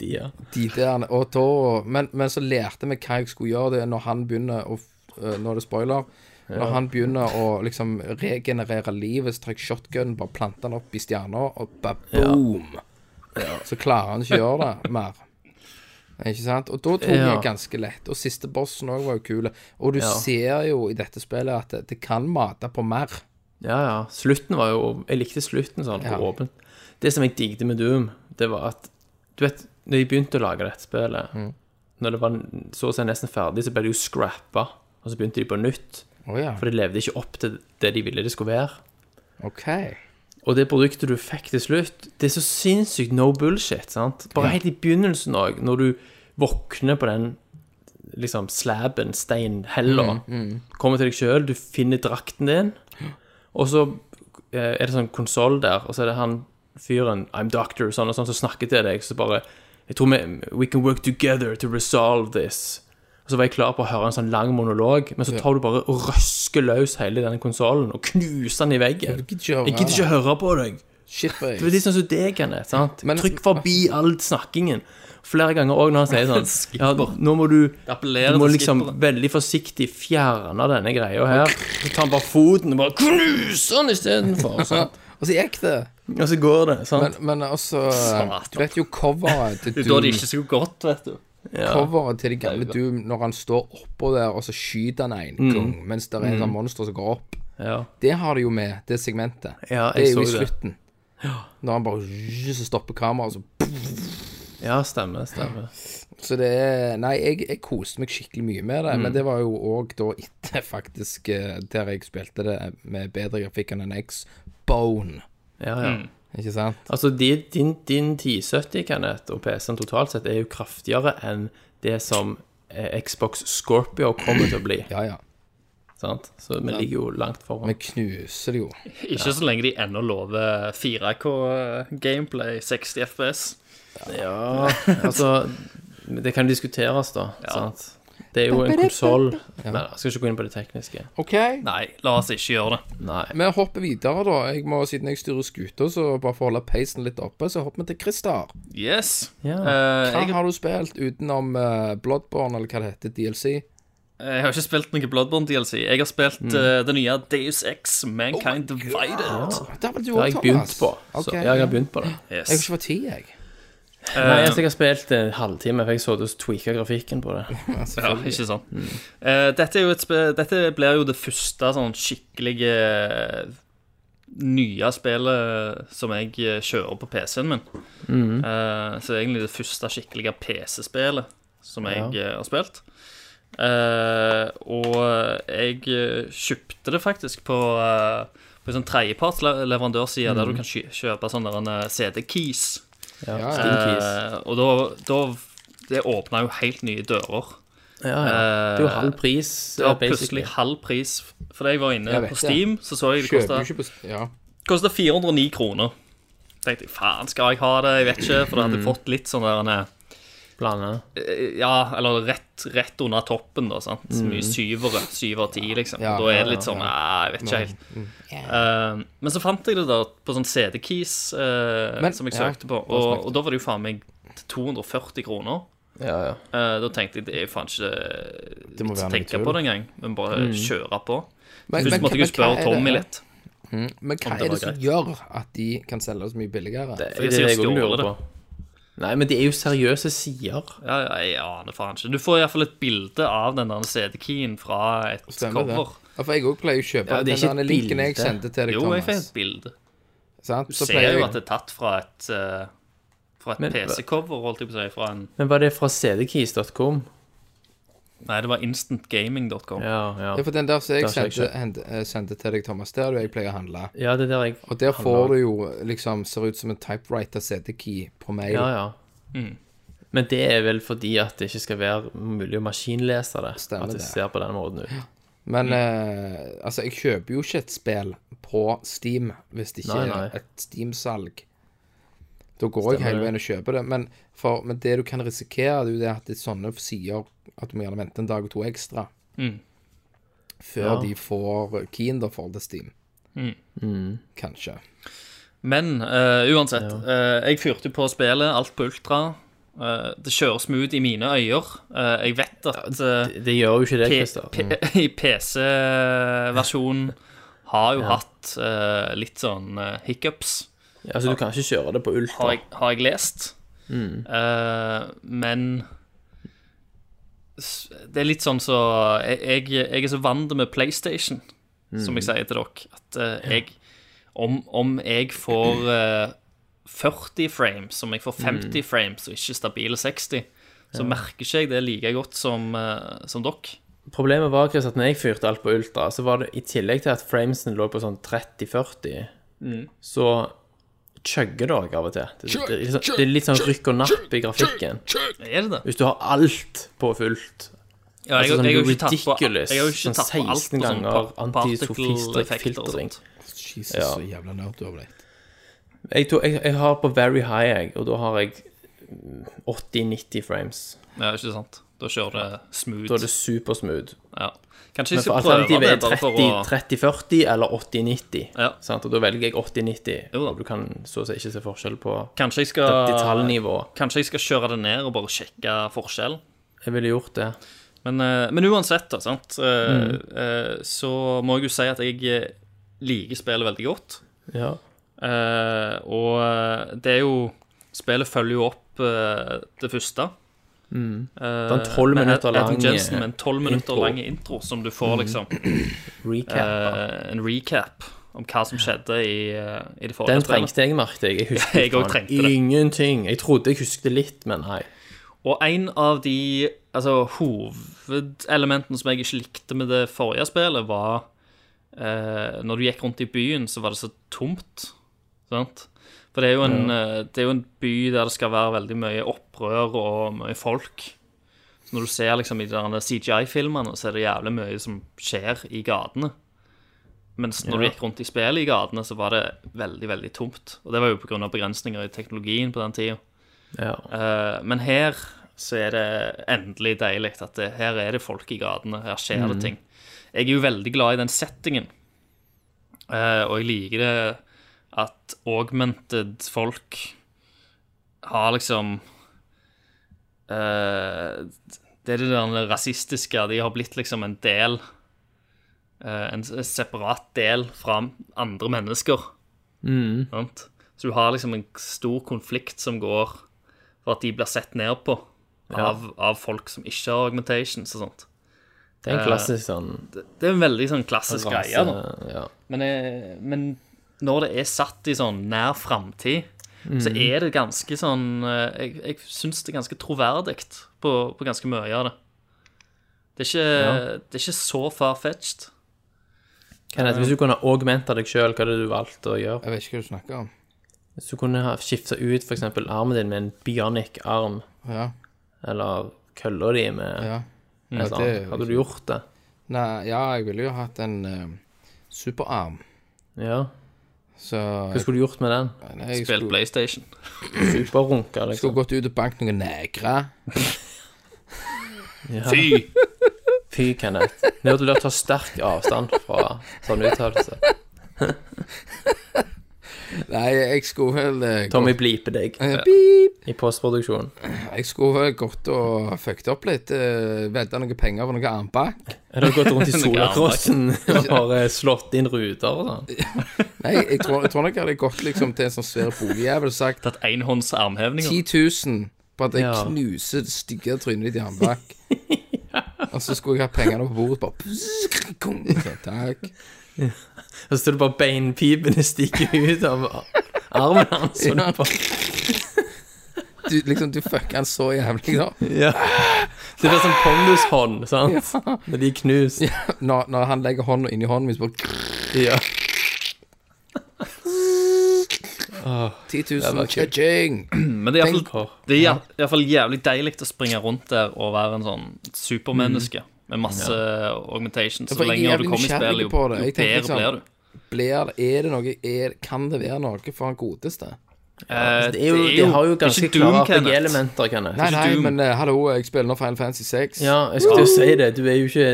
De, ja. De der, og da, men, men så lærte vi hva jeg skulle gjøre det er når han begynner å f- eh, Nå er det spoiler. Når han begynner å liksom regenerere livet, så tar jeg shotgun, bare planter den opp i stjerna, og ba boom! Så klarer han ikke å gjøre det mer. Ikke sant? Og da tok Ja. jeg ganske lett. Og siste bossen òg var jo kul. Og du Ja. ser jo i dette spillet at det, det kan mate på mer. ja, ja. Slutten var jo Jeg likte slutten sånn, Ja. på Mm. åpent. Det som jeg digget med Doom, det var at Du vet, når jeg begynte å lage dette spillet, når det var så å si nesten ferdig, så ble det jo scrappa. Og så begynte de på nytt. Å ja. For det levde ikke opp til det de ville det skulle være. OK. Og det produktet du fikk til slutt, det er så sinnssykt no bullshit. sant? Bare helt i begynnelsen òg, når du våkner på den liksom slaben, steinhella, Mm, kommer til deg sjøl, du finner drakten din, og så eh, er det sånn konsoll der, og så er det han fyren, I'm doctor, sånn og sånn, som snakker til deg, så bare Jeg tror vi We can work together to resolve this. Og så var jeg klar på å høre en sånn lang monolog, men så tar du bare og røsker løs hele denne konsollen og knuser den i veggen. Du gidder ikke høre Jeg gidder ikke høre på deg. Shit, Det er boy. litt sånn som deg, Kenneth. sant? Men- Trykk forbi all snakkingen. Flere ganger òg når han sier sånn ja, Nå må du appellerer Du må til liksom skipperen. veldig forsiktig fjerne denne greia her. Så tar han bare foten og bare knuser den istedenfor. sant? Og så gikk det. Og så går det. Men, sant? men også Satan. Du vet jo coveret til Da er Doom. det ikke så godt, vet du. Coveret til de gamle Doom når han står oppå der, og så skyter han en Mm. gang, mens det er en sånn monster som går opp. Ja. Det har de jo med, det segmentet. Ja, det jeg er jo i så det. slutten. Når han bare Så stopper kameraet, og så ja, stemmer. stemmer. Så det er Nei, jeg, jeg koste meg skikkelig mye med Mm. det, men det var jo òg da etter faktisk eh, der jeg spilte det med bedre grafikk enn en X-Bone, Ja, ja. ikke sant? Altså, de, din, din 1070, Kenneth, og PC-en totalt sett er jo kraftigere enn det som eh, Xbox Scorpio kommer til å bli. Ja, ja. sant? Så vi ligger jo langt foran. Vi knuser det jo. Ikke så lenge de ennå lover eh, 4K-gameplay, 60 FPS. Ja, altså Det kan diskuteres, da. Sant? Det er jo en konsoll Nei, jeg skal ikke gå inn på det tekniske. OK, Nei, la oss ikke gjøre det. Nei. vi hopper videre, da. Jeg må, siden jeg styrer skuta, så bare for å holde peisen litt oppe, så hopper vi til Christer. Yes. Ja. Eh, Hva jeg, har du spilt utenom eh, Bloodborne, eller hva det heter, DLC? jeg har ikke spilt noe Bloodborne DLC. Jeg har spilt eh, det nye Deus X Mankind Oh Det Divided. har vel du Det har òg, jeg Thomas? begynt på. Så, Ok. ja, jeg har begynt på det. Yes. Jeg har ikke fått tid, jeg. Nei, altså, jeg har spilt en halvtime, for jeg så du tweaka grafikken på det. Ja, ikke sant. Eh, dette, er jo et spe- dette blir jo det første sånn skikkelige nye spillet som jeg eh, kjører på PC-en min. Eh, så det er egentlig det første skikkelige PC-spillet som jeg eh, har spilt. Eh, og jeg eh, kjøpte det faktisk på eh, På en sånn tredjepartsleverandørside der du kan kjø- kjøpe sånn sånne CD-keys. Ja, Ja, Steam Keys. Eh, og da, da Det åpna jo helt nye dører. ja, ja. Det er jo halv pris, Eh, Det var basically. plutselig halv pris. For da jeg var inne Jeg vet på det. Steam, så så jeg det Kjøper kosta jo ikke på Ja. kosta 409 kroner. tenkte jeg, faen, skal jeg ha det? Jeg vet ikke. For da hadde jeg Mm. fått litt sånn der nei, Blande. eh, Ja, eller rett, rett under toppen, da. sant? Så mye syvere. Syv av ti, liksom. Mm. Ja, da er ja, det litt sånn ja. Mm. nei, jeg vet ikke helt. Eh, men så fant jeg det der på sånn CD-keys eh, Men- som jeg ja, søkte på, det var og, smart. og da var det jo faen meg 240 kroner. Ja, ja. Eh, da tenkte jeg det er jo faen ikke må vits å være noe tenke tull. Mm. på det engang, men bare kjøre på. Men- Først men- måtte jeg men jo spørre hva er det- Tommy litt. Men hva Om det er det var som greit. gjør at de kan selge så mye billigere? Det For er de sier det jeg også stjåler lurer på. Nei, men det er jo seriøse sider. Ja, ja, jeg aner faen ikke. Du får iallfall et bilde av den der CD-keyen fra et Stemmer det. cover. Ja, for jeg òg pleier å kjøpe Ja, det er ikke den der et linken jeg bilde. sendte til deg, Jo, jeg fikk Thomas. et bilde. Sant? Du Så ser pleier jo jeg- at det er tatt fra et eh, Fra et Men- PC-cover, holdt jeg på å si. Fra en Men var det fra cdkeys.com? Nei, det var instantgaming.com. Ja, ja. Ja, for den der som jeg Der ser jeg sendte, hend- eh, sendte til deg, Thomas, der er det jeg pleier å handle. Ja, det er der jeg Og der handler. får du jo liksom Ser ut som en typewriter CD-key på mail. Ja, ja. Mm. Men det er vel fordi at det ikke skal være mulig å maskinlese det. Stemmer at det, det. ser på den måten ut. Men Mm. eh, altså, jeg kjøper jo ikke et spill på Steam hvis det ikke Nei, nei. er et Steam-salg. Da går jeg hele veien og kjøper det. Men, for, men det du kan risikere, det er jo det at det er sånne sider at du må gjerne vente en dag og to ekstra før Mm. Ja. Mm. de får keyen da for det Steam. Kanskje. Men eh, uansett, eh, jeg fyrte på spillet, alt på ultra. Eh, det kjører smooth i mine øyer. Eh, jeg vet at eh, Det, det gjør jo ikke det, P- Christer. Mm. P- I PC-versjonen har jo hatt eh, litt sånn eh, hiccups, Altså, du kan ikke kjøre det på ultra. har jeg, har jeg lest. Mm. Eh, men s- det er litt sånn så Jeg, jeg jeg er så vant med PlayStation, som Mm. jeg sier til dere, at eh, jeg om, om jeg Mm. får eh, 40 frames, om jeg får 50 frames og ikke stabile 60, så merker ikke jeg det like godt som, eh, som dere. Problemet var Chris, at når jeg fyrte alt på ultra, så var det i tillegg til at framesen lå på sånn 30-40, Mm. så chugger det òg av og til. Det, det, det, er sånn- det er litt sånn rykk og napp i grafikken. Er det det? Hvis du har alt på fullt, Ja, jeg, altså sånn jeg, har jo ikke tatt på, ridiculous, jeg har jo ikke sånn tatt på alt 16 på sånn ganger par- particle-effekter og antisofistrikk-filtering. sånt. Jesus, Ja. så jævla nerd du har blitt. Jeg, tror- jeg, jeg har på very high, jeg, og da har jeg 80-90 frames. Ja, ikke sant. Da kjører det smooth. Da er det supersmooth. Ja. Kanskje Men jeg for skal prøve alternativet det er bare for å 30 30-40 eller 80-90. Ja. sant? Og da velger jeg 80-90, Jo da. og du kan så å si ikke se forskjell på Kanskje jeg skal detaljnivå. Kanskje jeg skal kjøre det ned og bare sjekke forskjell. Jeg ville gjort det. Men, eh, men uansett, da, sant? eh, Mm. eh, så må jeg jo si at jeg eh, liker spillet veldig godt. Ja. Eh, og eh, det er jo Spillet følger jo opp eh, det første. Eh, Mm. Den 12 med minutter Adam lange Jensen med en 12 minutter intro. Mm. lang intro som du får, liksom. Recap. eh, en recap om hva som skjedde i, eh, i det forrige Den spillet. trengte jeg, merket jeg. Jeg husker Jeg også faen trengte det. ingenting. Jeg trodde jeg husket litt, men nei. Og en av de altså, hovedelementene som jeg ikke likte med det forrige spillet, var eh, Når du gikk rundt i byen, så var det så tomt. Sant? For det er, jo en, eh, det er jo en by der det skal være veldig mye opprør og mye folk. Så når du ser liksom i de der CGI-filmene, så er det jævlig mye som skjer i gatene. Mens når du gikk rundt i spillet i gatene, så var det veldig, veldig tomt. Og det var jo pga. begrensninger i teknologien på den tida. Ja. Eh, men her så er det endelig deilig at det, her er det folk i gatene, her skjer det ting. Jeg er jo veldig glad i den settingen, Eh, og jeg liker det at augmented folk har liksom eh, Det er det der rasistiske. De har blitt liksom en del eh, En s- separat del fra andre mennesker. Sant? Så du har liksom en stor konflikt som går for at de blir sett ned på av, av folk som ikke har augmentations og sånt. Det er en klassisk sånn Eh, Det er en veldig sånn klassisk greie. da. Ja. Men, eh, men når det er satt i sånn nær framtid, så er det ganske sånn eh, Jeg, jeg syns det er ganske troverdig på, på ganske mye av det. Det er ikke, det er ikke så far-fetched. Kenneth, hvis du kunne augmenta deg sjøl, hva hadde du valgt å gjøre? Jeg vet ikke hva du snakker om. Hvis du kunne ha skifta ut f.eks. armen din med en bionic arm, Ja. eller kølla di med ja. et Ja, det eller er annet, jo hadde du gjort det? Nei, ja, jeg ville jo hatt en eh, superarm, Ja. så Hva skulle du gjort med den? Nei, jeg Spilt skulle, PlayStation. Superrunka, liksom? skulle gått ut og banket noen negre. Fy! Fy, Kenneth. Nå har du lov til å ta sterk avstand fra sånn uttalelse. Nei, jeg skulle vel eh, Tommy bliper deg gått- Beep. i postproduksjon. Jeg skulle gått og fucket opp litt. Uh, Vedda noen penger på noe armbakk. Har du gått rundt i solakrossen og bare slått inn ruter og sånn? Nei, jeg tror, jeg tror nok jeg hadde gått liksom, til en sånn svær boligjævel og sagt Tatt enhånds armhevinger. 10 000 på at jeg Ja. knuser det stygge trynet ditt i armbakk. Og så skulle jeg ha pengene på bordet, bare pss, kong, så, Takk. Og så står det bare beinpipene stikker ut av armen hans. Og du bare Du, liksom, du fucker han så jævlig, da. Ja. Det blir sånn pondushånd, sant? Når de er knust. Når, når han legger hånda inni hånden min, så bare Ja. 10 Det 000, var kult. cha-ching! Men det er iallfall Tenk. Det er i hvert fall jævlig deilig å springe rundt der og være en sånn supermenneske Mm. med masse augmentation. for jeg Så er lenger du jævlig kommer i nysgjerrig spillet, jo, på jo det. bedre Jeg tenker sånn- liksom- blir du. Blir det, er det noe er, Kan det være noe for han godeste? Eh, altså, Det, er jo, de har jo det er ganske ikke Doom, klare Kenneth. RPG-elementer, Kenneth. Nei, nei, Doom. men eh, hallo, jeg spiller nå Final Fantasy 6. Ja, jeg skulle jo si det. Du er jo ikke,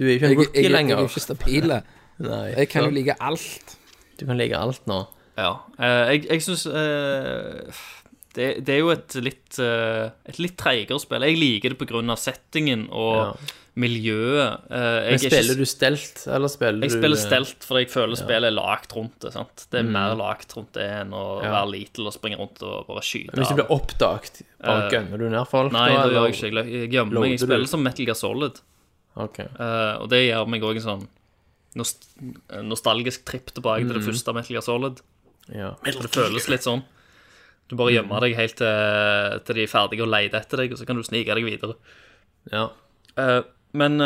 du er jo ikke en jeg, jeg, rookie jeg, jeg er jo lenger. ikke stabil. Nei, Jeg kan jo sant? like alt. Du kan like alt nå. Ja. Eh, jeg jeg syns eh, det, det er jo et litt eh, Et litt treigere spill. Jeg liker det pga. settingen og Ja. miljøet. Eh, jeg Men er ikke- spiller du stelt, eller spiller du eh, Jeg spiller stelt fordi jeg føler spillet er lagt rundt det. sant? Det er Mm. mer lagt rundt det enn å være little og springe rundt og bare skyte. Hvis du av. blir oppdaget, bare gønner du ned folk? Nei, da, det gjør eller? jeg ikke. Jeg- Jeg gjemmer meg. Jeg Loader du? spiller som Metal Gear Solid. Ok. eh, og det gjør meg òg en sånn nost eh, Mm. nostalgisk tripp tilbake til det første Metal Gear Solid. Ja. Det føles litt sånn. Du bare Mm. gjemmer deg helt til, til de er ferdige og leter etter deg, og så kan du snike deg videre. Ja. Eh, men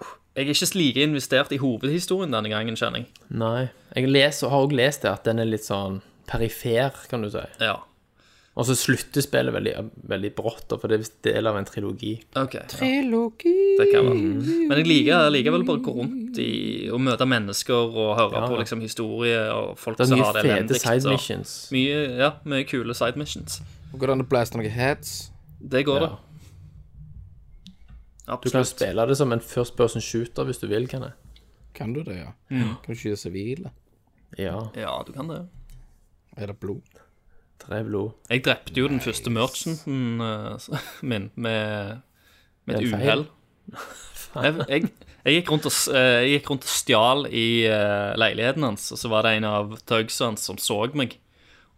eh, jeg er ikke like investert i hovedhistorien denne gangen, kjenner jeg. Nei. Jeg leser, har også lest det at den er litt sånn perifer, kan du si. Ja, Og så slutter spillet veldig, veldig brått, da, for det er visst del av en trilogi. ok. Ja, Trilogi det kan være. Men jeg liker jeg liker vel bare å gå rundt i, og møte mennesker og høre på liksom, historie og folk Det er som mye har det fete elendig. side og- missions. Mye, ja, mye kule side missions. Går det an å blaste noen heads? Det Ja. går det. Du kan Absolutt. spille det som en first person shooter hvis du vil, kan jeg. Kan du det, ja? Kan du skyte sivile? Ja. Ja, du kan det. Er det blod? Tre blod. Jeg drepte jo den første merchanten eh, s- min med, med et Det er en uhell. Jeg, jeg, jeg, gikk rundt og, s- eh, jeg gikk rundt og stjal i eh, leiligheten hans, og så var det en av thugsene hans som så meg.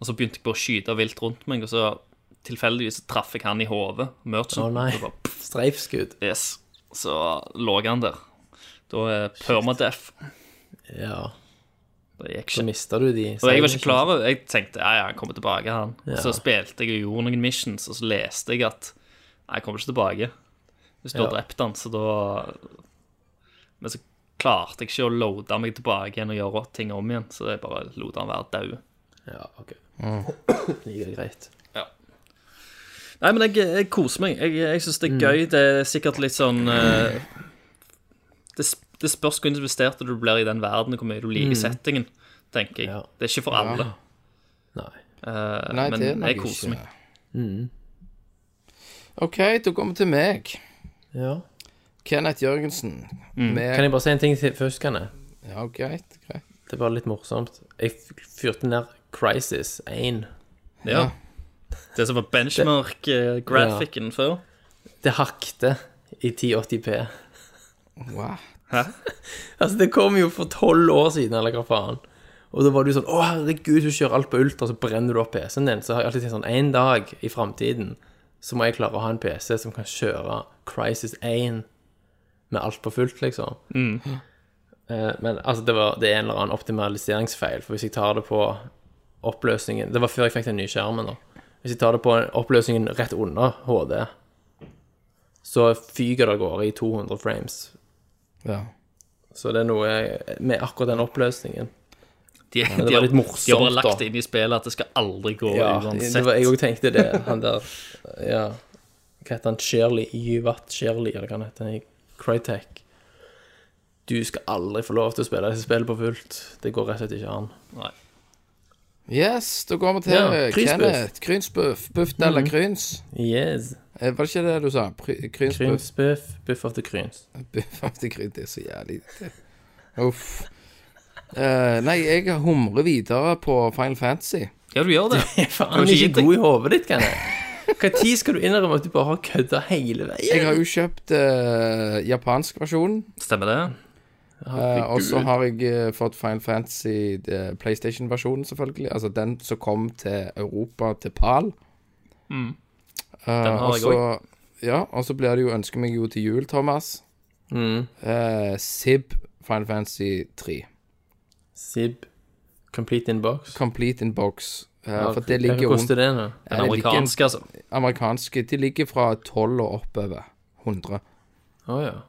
Og så begynte jeg bare å skyte vilt rundt meg, og så tilfeldigvis traff jeg han i hodet. Å, Merchanten. nei. og bare, pff, Streifskudd. yes. Så lå han der. Da er permadeath. Ja. Det gikk Så ikke. mister du de. Og jeg var ikke klar over Jeg tenkte ja, ja, han kommer tilbake, han. Ja. Så spilte jeg og gjorde noen missions, og så leste jeg at Nei, jeg kommer ikke tilbake. Hvis du har Ja. drept han, så da Men så klarte jeg ikke å loade meg tilbake igjen og gjøre ting om igjen, så jeg bare lot han være død. Ja, ok. Like greit. Nei, men jeg, jeg koser meg. Jeg, jeg syns det er gøy. Det er sikkert litt sånn eh, det, sp- det spørs hvor investert du blir i den verden, og hvor mye du liker settingen, tenker jeg. Ja. Det er ikke for alle, Nei. eh, Nei, men det er nok jeg koser meg. ikke. Mm. OK, da kommer vi til meg. Ja. Kenneth Jørgensen. Mm. Kan Med jeg bare si en ting til først, kan jeg? Ja, greit. greit. Det er bare litt morsomt. Jeg f- fyrte ned Crisis 1. Ja. Det som var benchmark-graphicen før. Det hakte i 1080p. Wow. Altså, det kom jo for tolv år siden, eller hva faen. Og da var du sånn Å, herregud, du kjører alt på ultra, så brenner du opp PC-en din. Så har jeg alltid tenkt sånn En dag i framtiden så må jeg klare å ha en PC som kan kjøre Crisis 1 med alt på fullt, liksom. Eh, men altså, det, var, det er en eller annen optimaliseringsfeil, for hvis jeg tar det på oppløsningen Det var før jeg fikk den nye skjermen, da. Hvis jeg tar det på oppløsningen rett under HD, så fyker det av gårde i 200 frames. Ja. Så det er noe med akkurat den oppløsningen. De, det de, var har, litt morsomt, de har bare lagt da. det inn i spillet at det skal aldri gå det uansett. var, jeg òg tenkte det. Han der ja, Hva heter han? Shirley Yvat Shirley, eller hva han heter han? Crytek. Du skal aldri få lov til å spille disse spillene på fullt. Det går rett og slett ikke an. Nei. Yes, da går vi til Ja, eh, krynsbuff. Mm. Kenneth. Krynsbuff. Buft eller kryns? Yes. Eh, Var det ikke det du sa? Pry- Krynsbuff. Krynsbuff. Buff of the Kryns. Buff av de kryns, det er så jævlig Uff. Eh, nei, jeg humrer videre på Final Fantasy. Ja, du gjør det. Faen, du er ikke god i hodet ditt, kan jeg. Når skal du innrømme at du bare har kødda hele Jeg veien? har jo kjøpt eh, japansk versjon, Stemmer det? eh, og så har jeg eh, fått Final Fantasy eh, PlayStation-versjonen, selvfølgelig. Altså den som kom til Europa, til PAL. Eh, Den har og jeg så- Ja, og så blir det jo ønsker meg jo til jul, Thomas. Mm. Eh, Sib Final Fantasy 3. Sib. Complete Inbox. Complete in box. Eh, for det ligger jo Hva koster det nå? Ja, Den det ligger- amerikanske, altså. amerikanske De ligger fra 12 og oppover 100 Å ja.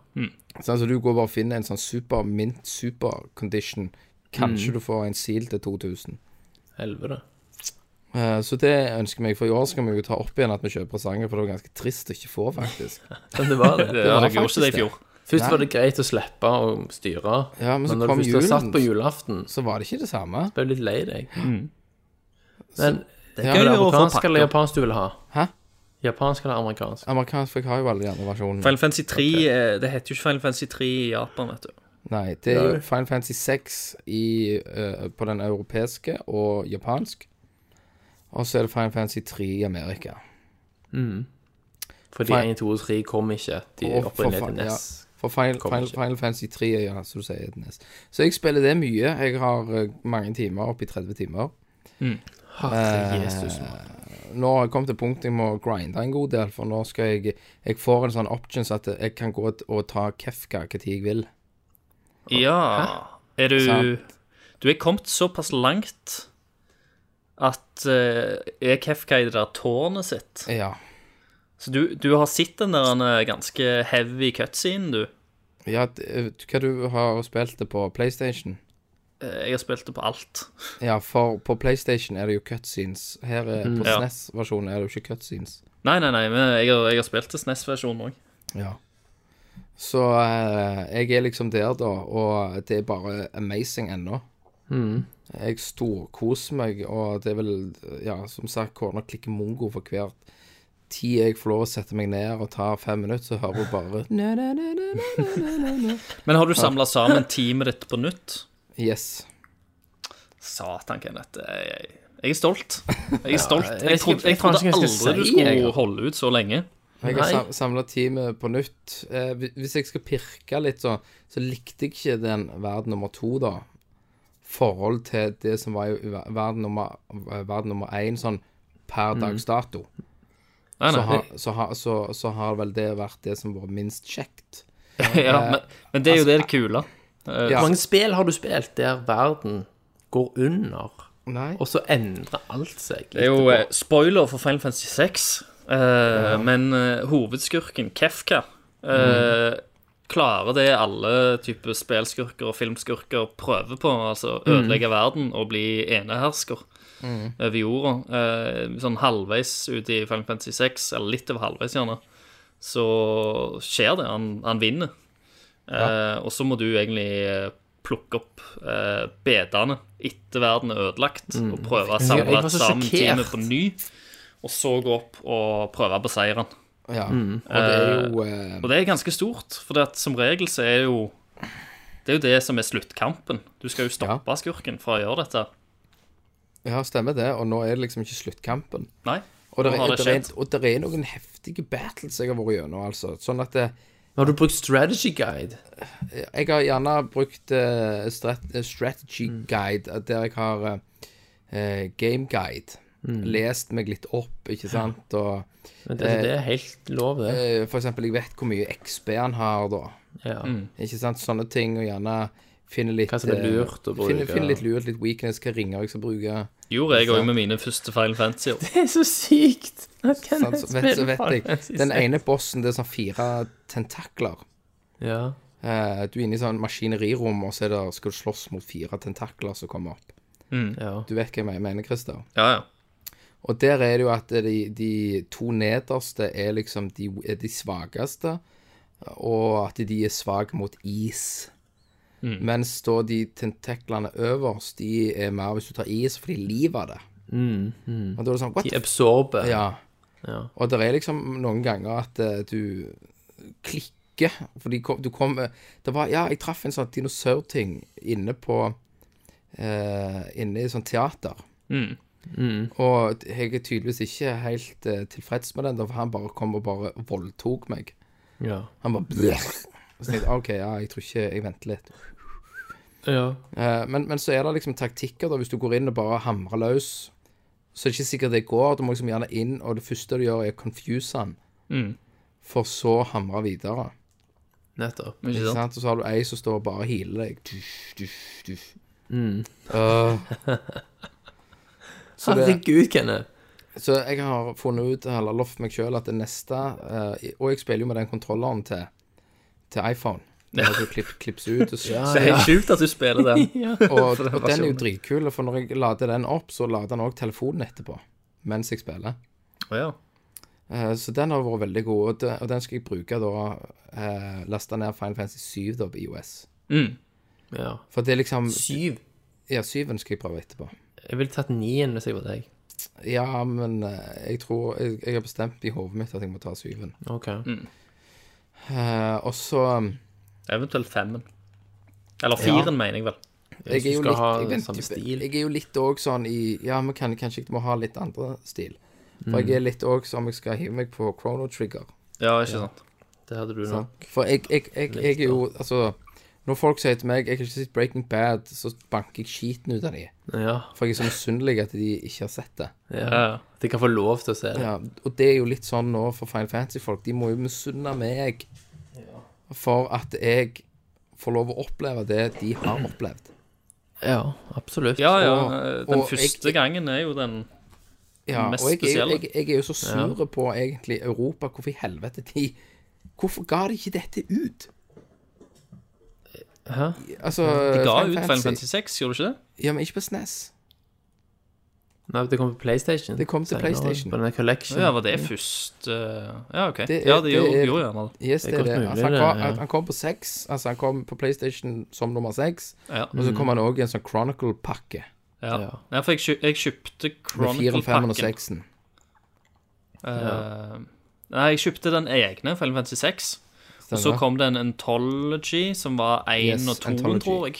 Så altså, du går bare og finner en sånn super mint super condition Kanskje du får en seal til 2000 Helvete. Eh, Så det ønsker meg For i år skal vi jo ta opp igjen at vi kjøper presanger For det var ganske trist å ikke få faktisk Men det var det. Det, ja, var det gjorde faktisk ikke det i det. fjor. Først Nei. var det greit å slippe å styre, Ja, men så når kom du først har satt julen. på julaften, så Så var det ikke det samme ble du litt lei deg. Mm. Men det Ja. er Gøy det å få amerikansk pakker. eller japansk du vil ha? Hæ? Japansk eller amerikansk? Amerikansk, for jeg har jo alle de andre versjonene Final Fantasy 3 eh, Det heter jo ikke Final Fantasy 3 i Japan, vet du. Nei, det er jo Final Fantasy 6 i, eh, på den europeiske og japansk Og så er det Final Fantasy 3 i Amerika Fordi Fine. 1, 2 og 3 kom ikke. De Å, for opprinnelige faen, til E NES. For Final, Kommer Final, ikke. Final Fantasy 3 er ja, som du sier, Nes. Så jeg spiller det mye. Jeg har eh, mange timer, oppi 30 timer. Eh, Herre Jesus. mann. Nå har jeg kommet til punktet jeg må grinde en god del, for nå skal jeg Jeg får en sånn options at jeg kan gå ut og ta Kefka når jeg vil. Ja. Er du Sant. Du er kommet såpass langt at eh, er Kefka i det der tårnet sitt. Ja. Så du, du har sett den der eh, ganske heavy cutscene, du. ja det- hva du har spilt det på PlayStation? Eh, Jeg har spilt det på alt. Ja, for på PlayStation er det jo cutscenes. Her er, Mhm. på Ja. SNES-versjonen er det jo ikke cutscenes. Nei, nei, nei, men jeg har, jeg har spilt det E SNES-versjonen òg. Ja. Så eh, jeg er liksom der, da, og det er bare amazing ennå. Jeg storkoser meg, og det er vel, ja, som sagt, kona klikker mongo for hvert tid jeg får lov å sette meg ned og ta fem minutter, så hører hun bare na, na, na, na, na. Men har du samla sammen teamet ditt på nytt? Yes. Satan, Kenneth. Jeg, jeg, jeg er stolt. Jeg er stolt. Jeg, vet ikke- trodde, jeg jeg faen trodde ikke hva jeg skal aldri du si, skulle jeg. holde ut så lenge. Jeg har samla teamet på nytt. Eh, hvi- hvis jeg skal pirke litt, så, så likte jeg ikke den verden nummer to, da. Forhold til det som var i ver- verden nummer, eh, verden nummer én, sånn per dags dato. Nei, Så nei. har, så, har, så, så har vel det vært det som var minst kjekt. ja, Eh, men, men det er jo altså, det kule. Eh, Ja. Hvor mange spill har du spilt der verden går under, Nei. og så endrer alt seg? Det er jo eh, etterpå? spoiler for Final Fantasy 6, men eh, hovedskurken Kefka eh, klarer det alle typer spillskurker og filmskurker prøver på. Altså ødelegge verden og bli enehersker over jorda. Eh, sånn halvveis ut i Final Fantasy 6, eller litt over halvveis gjerne, så skjer det. Han, han vinner. Eh, og så må du egentlig eh, plukke opp eh, bedene etter verden er ødelagt, og prøve å Mm. Jeg- jeg samle var så sammen sjokkert. teamet på ny. Og så gå opp og prøve å beseire han. Ja. Og det er jo eh, Og det er ganske stort, for det at som regel så er jo Det er jo det som er sluttkampen. Du skal jo stoppe skurken fra å gjøre dette. Ja, stemmer det. Og nå er det liksom ikke sluttkampen. Nei. Og det, nå er, har det det er, skjedd. og det er noen heftige battles jeg har vært gjennom, altså. Sånn at det, Har du brukt strategy guide? jeg har gjerne brukt eh, strat eh, strategy guide, eh, der jeg har eh, eh, game guide. Lest meg litt opp, ikke sant. Og Men Det, det er helt lov, det. eh, for eksempel, jeg vet hvor mye XB han har, da. Ja. mm. Ikke sant. Sånne ting. Og gjerne finne litt Hva som er eh, lurt å bruke. Finne, finne litt lurt, litt weakness, hva ringer jeg skal bruke. Gjorde jeg òg med mine første Final Fantasy. Det er så sykt! At kan Sant, så vet, så vet jeg. Den ene bossen, det er sånn fire tentakler. Ja. Eh, du er inne i sånn maskinerirom, og så er det, skal du slåss mot fire tentakler som kommer opp. ja. Du vet hva jeg mener, Christer? Ja, ja. Og der er det jo at de, de to nederste er liksom de, er de svakeste, og at de er svake mot is. Mens da de tentaklene øverst, de er mer hvis du tar is, for de livet av det. Og da er det sånn, what De the f... absorber. Ja. Ja. Og det er liksom noen ganger at eh, du klikker, for de kom, du kommer Det var Ja, jeg traff en sånn dinosaurting inne på eh, Inne i sånn teater. Og jeg er tydeligvis ikke helt eh, tilfreds med den, da, for han bare kom og bare voldtok meg. Ja. Han bare bleh. Og Så tenkte jeg OK, ja, jeg tror ikke Jeg venter litt. ja. Eh, men, men så er det liksom taktikker, da. Hvis du går inn og bare hamrer løs, så er det ikke sikkert det går. Du må liksom gjerne inn, og det første du gjør, er å confuse han. Mm. For så hamre videre. Nettopp. Ikke Ikke sant? sant? Og så har du ei som står og bare healer deg. Dusj, dusj, dusj. Så det- Herregud, Kenneth. Så jeg har funnet ut, eller lovt meg sjøl, at det neste eh, Og jeg spiller jo med den kontrolleren til, til iPhone. Den har du klipp, klipps ut. Og, Ja, Det er helt sjukt at du spiller den. og, for den og den er jo versjonen. dritkul, for når jeg lader den opp, så lader den òg telefonen etterpå. Mens jeg spiller. Ja. Eh, Så den har vært veldig god, og det- og den skal jeg bruke da eh, Laste ned Final Fantasy 7 da på IOS. Ja. For det er liksom Syv. Ja, 7 skal jeg prøve etterpå. Jeg ville tatt nien hvis jeg var deg. Ja, men eh, jeg tror Jeg, jeg har bestemt i hodet mitt at jeg må ta 7. Ok. Mm. Eh, og så um, Eventuelt femmen. Eller firen, mener jeg vel. Jeg er jo du skal litt ha jeg, vet samme ikke, stil. jeg er jo litt òg sånn i Ja, men kan, kanskje jeg må ha litt andre stil. For Mm. jeg er litt òg som om jeg skal hive meg på Chrono Trigger. Ja, ikke sant. Det hadde du nå. sant? For jeg, jeg, jeg, jeg, er jo Altså, når folk sier til meg Jeg har ikke sett Breaking Bad, så banker jeg skiten ut av dem. Ja. For jeg er så misunnelig at de ikke har sett det. ja. De kan få lov til å se det. Ja, og det er jo litt sånn nå for Final Fantasy-folk. De må jo misunne meg for at jeg får lov å oppleve det de har opplevd. Ja, absolutt. Ja, ja. Og- eh, Den og første jeg- gangen er jo den Ja, mest og jeg, er jo- spesielle. jeg, jeg er jo så sur på egentlig Europa. Hvorfor i helvete de Hvorfor ga de ikke dette ut? Hæ? Altså, De ga Final ut Final Fantasy. Fantasy 6, gjorde de ikke det? Ja, men ikke på E SNES. Nei, det kom på PlayStation. Det kom til senere, PlayStation. På denne collection. Ja, var det første Ja, OK. Mm. Det er- ja, de det gjorde, er- gjorde gjerne det. Yes, Det det er er godt det. mulig, Altså, han, det, kom, ja. at han kom på seks. Altså, han kom på PlayStation som nummer seks. Ja. Og Mm. så kom han òg i en sånn Chronicle-pakke. Ja. ja, for jeg, kjø- jeg kjøpte Med fireren, femmeren og Chronicle-pakken. seksen. Eh, Nei, jeg kjøpte den egne Final Fantasy 6. Og så kom det en Anthology som var 1 Yes, og 2, Anthology. tror jeg.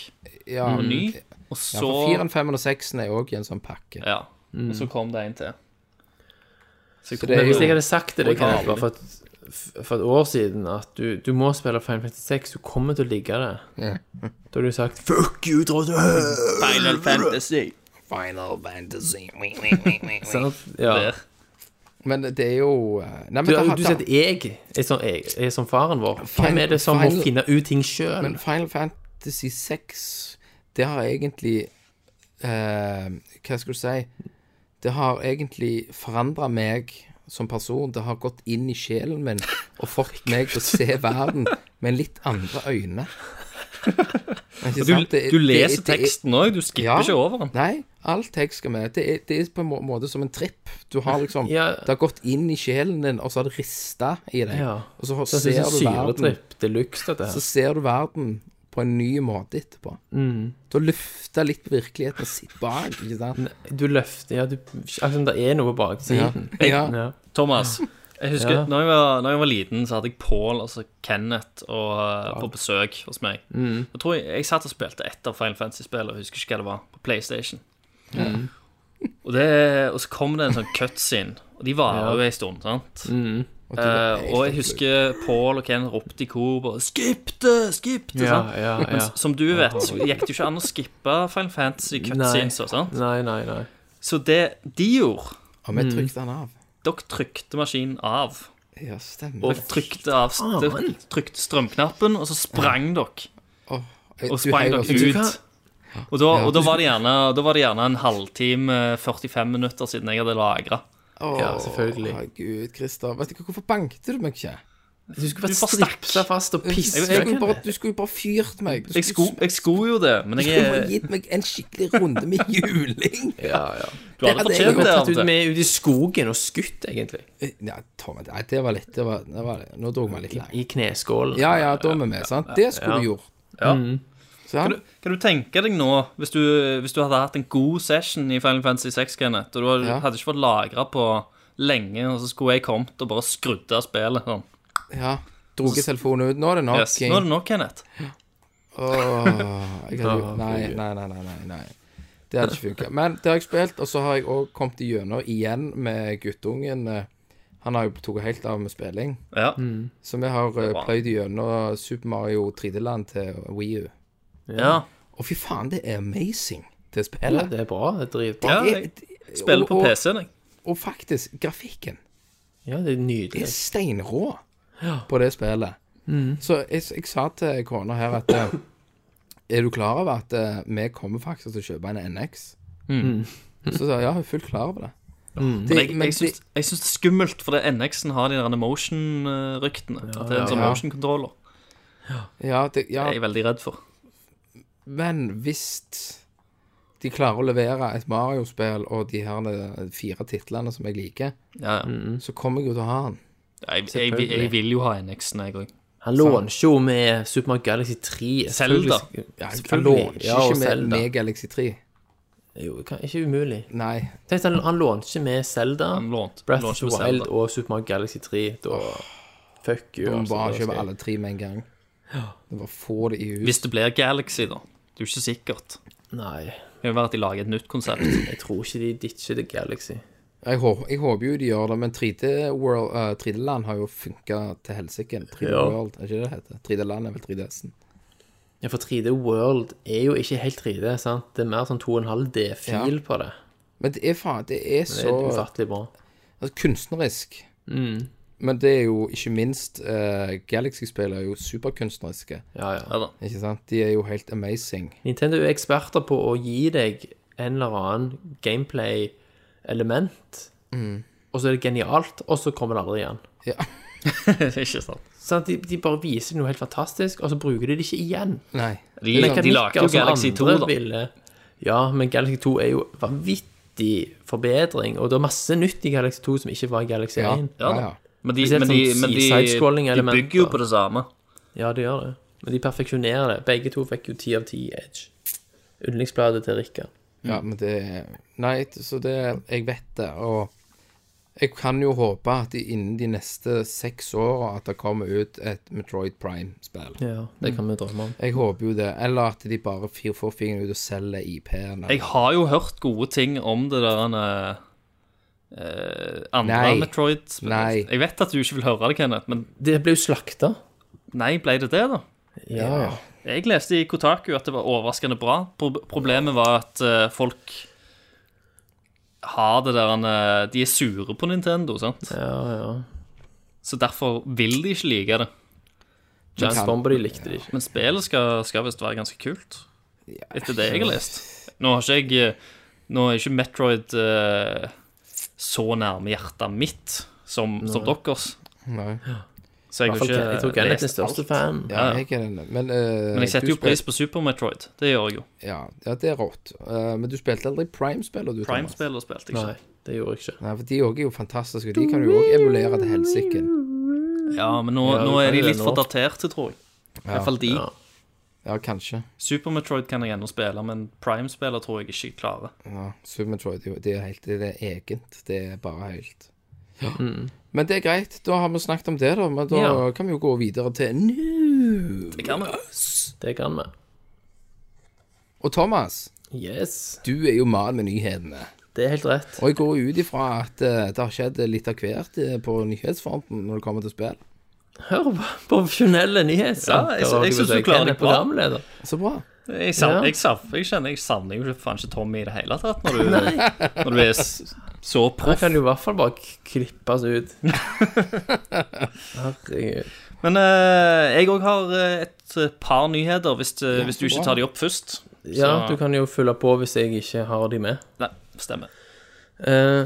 ja, Og Mm. ny. ja, Og så for fireren, femmeren og seksen er òg i en sånn pakke. Ja. Og Mm. så kom det en til. Så jeg Så kom, det er Men hvis jeg jo hadde sagt til deg Kenneth, bare for, et- for et år siden at du, du må spille Final Fantasy 6, du kommer til å like det, Ja. da hadde du sagt Fuck you, drodde! Final Fantasy Final Fantasy. Sant? Ja. der. Men det er jo eh, Nei, Du, men, da, du da, sier at jeg er som, jeg, er som faren vår. Final- Hvem er det som Final- må finne ut ting sjøl? men Final Fantasy 6, det har egentlig eh, Hva skal du si Det har egentlig forandra meg som person. Det har gått inn i sjelen min og fått meg til å se verden med litt andre øyne. Ikke Du, sant? Det- du det- leser det- det- teksten òg, du skipper Ja. ikke over den. Nei, all tekst skal med. Det er, det er på en må- måte som en tripp. Du har liksom Ja. Det har gått inn i sjelen din, og så har det rista i deg. Ja. Og så har- Så ser du verden syretripp de luxe, dette Så her. ser du verden på en ny måte etterpå. Mm. Du har løfta litt på virkeligheten og sitt bak, ikke sant? Du løfter Ja, du, akkurat som det er noe på baksiden. Ja. Ja. Thomas, jeg husker Ja. når, jeg var, når jeg var liten, så hadde jeg Pål, altså Kenneth, og, eh, på besøk hos meg. Mm. Jeg tror jeg, jeg satt og spilte ett av Final Fantasy-spillene, og husker ikke hva det var, på PlayStation. Mm. Og, det, og så kom det en sånn cutscene, og de varer jo ei stund, sant? du- Eh, og jeg husker Pål og Kenneth ropte i kor bare 'Skip det! Skip det!' ja, sant? ja, ja. Som du vet, så gikk det jo ikke an å skippe Final Fantasy cutscenes og sånt. Nei, nei, nei. Så det de gjorde Og vi mm. trykte den av. Dere trykte maskinen av. Ja, stemmer. Og trykte, av, dere trykte strømknappen, og så sprang dere. Du altså. Og sprang heiv dere oss du ut. Og da, Ja. og da, var, det gjerne, da var det gjerne en halvtime, 45 minutter siden jeg hadde lagra. Å, Ja, selvfølgelig. Herregud, Christer. Vet du hva, hvorfor banket du meg ikke? Du skulle Du vært bare stakk. stripsa fast og Du piska. skulle jo bare, du skulle jo bare fyrt meg. Du Jeg skulle, jeg skulle jo det, men du jeg skulle bare er- gitt meg en skikkelig runde med juling. Ja, ja. du det hadde hadde jeg fortjent Vi det. har tatt ut Ante. med ut i skogen og skutt, egentlig. Eh, Ja, Thomas, nei, det var litt det var, det var, Nå dro vi litt langt. I kneskålen. Ja, ja, da er vi med, sant? Det skulle du gjort. Ja. Kan, Sant? du- kan du tenke deg nå, hvis du, hvis du hadde hatt en god session i Final Fantasy 6, Kenneth, og du hadde, Ja. hadde ikke fått lagra på lenge, og så skulle jeg kommet og bare skrudd av spillet sånn. Ja. Droget telefonen ut. Nå er det nok. Yes. Nå er det nå, Kenneth. Åh, jeg hadde jo- Åh, nei, fy. nei, nei, nei, nei, nei. Det hadde ikke funka. Men det har jeg spilt, og så har jeg òg kommet igjennom igjen med guttungen. eh, Han har jo tatt helt av med spilling. Ja. Så vi har eh, bra. pløyd igjennom Super Mario 3D-land til Wii U ja. Og fy faen, det er amazing, det Ja, spillet. det er bra. Det er dritbra. Ja, jeg Spiller på og- og- PC-en, jeg. Og faktisk, grafikken. Ja, det er Det er nydelig. steinrå på det spillet. Mm. Så jeg, jeg sa til kona her at eh, Er du klar over at eh, vi kommer faktisk til å kjøpe en NX? Mm. Så sa jeg ja, hun er fullt klar over det. det Men jeg, jeg, syns, jeg syns det er skummelt, for NX-en har de der motion-ryktene. At det er en sånn ja. motion-controller. det- ja, det, ja, Jeg er veldig redd for. men hvis de klarer å levere et Mario-spill og de her eh, fire titlene som jeg liker, Ja, ja. så kommer jeg jo til å ha den. Jeg, jeg, jeg, jeg vil jo ha NX-en, jeg òg. Han launcher jo med Super Mario Galaxy 3. Zelda. Ja, Han launcher Ja, og ikke med, Zelda. med Galaxy 3. Jo, det kan- ikke umulig. Nei. Tenk, han, han launcher med Zelda, Han lånt- Breath of launcher the med Wild Zelda. og Super Mario Galaxy 3. Da Fuck you. Om altså, bare da skal kjøper jeg- alle tre med en gang. Det bare få det i huset. Hvis det blir Galaxy, da. Det er jo ikke sikkert. Nei. Det kan jo være at de lager et nytt konsept. Jeg tror ikke de ditcher The Galaxy. Jeg, hå- jeg håper jo de gjør det, men 3D-land 3D -land har jo funka til helsike. 3D Ja. World, er ikke det det heter? 3D-land er vel 3DS-en? Ja, for 3D World er jo ikke helt 3D, sant? Det er mer sånn 2,5D-fil på det. Men det er faen, det er Det er så ufattelig bra. altså, kunstnerisk. men det er jo ikke minst eh, Galaxy-spill er jo superkunstneriske. Ja, ja. Ja da. Ikke sant? De er jo helt amazing. Nintendo er eksperter på å gi deg en eller annen gameplay-element, og så er det genialt, og så kommer det aldri igjen. Ikke sant. Sant? de, de bare viser noe helt fantastisk, og så bruker de det ikke igjen. Nei. De, de lagde jo som Galaxy 2, andre da. ville. Ja, men Galaxy 2 er jo vanvittig forbedring, og det er masse nytt i Galaxy 2 som ikke var i Galaxy Ja, 1. ja. da. ja. Men de, Spesielt men de, sånn men de, de side-scrolling-elementer. bygger jo på det samme. Ja, det gjør det. Men de perfeksjonerer det. Begge to fikk jo 10 av 10 i Edge. Yndlingsbladet til Rikka. Ja, men det Nei, så det Jeg vet det, og jeg kan jo håpe at i- innen de neste seks åra at det kommer ut et Metroid Prime-spill. Ja, det kan vi drømme om. Jeg håper jo det. Eller at de bare fyr- får fingeren ut og selger IP-ene. Jeg har jo hørt gode ting om det der eh, eh, andre Nei. Metroid. Nei. Jeg vet at du ikke vil høre det, Kenneth, men Det ble jo slakta. nei, ble det det, da? Ja. Jeg leste i Kotaku at det var overraskende bra. Pro problemet var at eh, folk har det der eh, De er sure på Nintendo, sant? ja, ja. Så derfor vil de ikke like det. James Bomber de likte det ikke. Men spillet skal, skal visst være ganske kult, etter det jeg har lest. Nå har ikke jeg eh, Nå er ikke Metroid eh, så nærme hjertet mitt som, som deres, Nei. så I jeg hvert har fall, ikke jeg tror Kenneth er den lest alt. største fan. Ja, Ja, ja. jeg er den. Men, eh, Men jeg setter du jo pris på Super Metroid. Det gjør jeg jo. spil- Ja, ja, det er rått. Eh, men du spilte aldri Prime-spiller, du, Thomas? Prime-spiller spilte jeg Nei, ikke. det gjorde jeg ikke. Nei, for de òg er jo fantastiske. De kan du jo òg emulere til helsike. Ja, men nå, Ja, nå du er kan de jo litt det for nå. daterte, tror jeg. I Ja. hvert fall de. Ja. Ja, kanskje. Super Metroid kan jeg ennå spille, men Prime-spiller tror jeg ikke jeg klarer. Ja, Super Metroid det er jo- det er helt det er egent. Det er bare helt Mm. Men det er greit. Da har vi snakket om det, da. Men da Ja. kan vi jo gå videre til news. Det kan jeg. Det kan vi. Og Thomas, Yes. du er jo mannen med nyhetene. Det er helt rett. Og jeg går jo ut ifra at eh, det har skjedd litt av hvert eh, på nyhetsfronten når det kommer til spill. Hør på profesjonelle nyhetssaker. Ja, jeg- jeg synes du klarer det bra. Programleder. Så bra. Jeg, savner, Ja. jeg, savner, jeg kjenner jeg savner jo ikke- faen ikke Tommy i det hele tatt, når du, når du er s- så Han proff. kan jo i hvert fall bare k- klippes ut. Herregud. Men eh, jeg òg har eh, et par nyheter, hvis, eh, hvis du bra. ikke tar de opp først. Ja, Så- du kan jo fylle på hvis jeg ikke har de med. Nei, stemmer. Eh,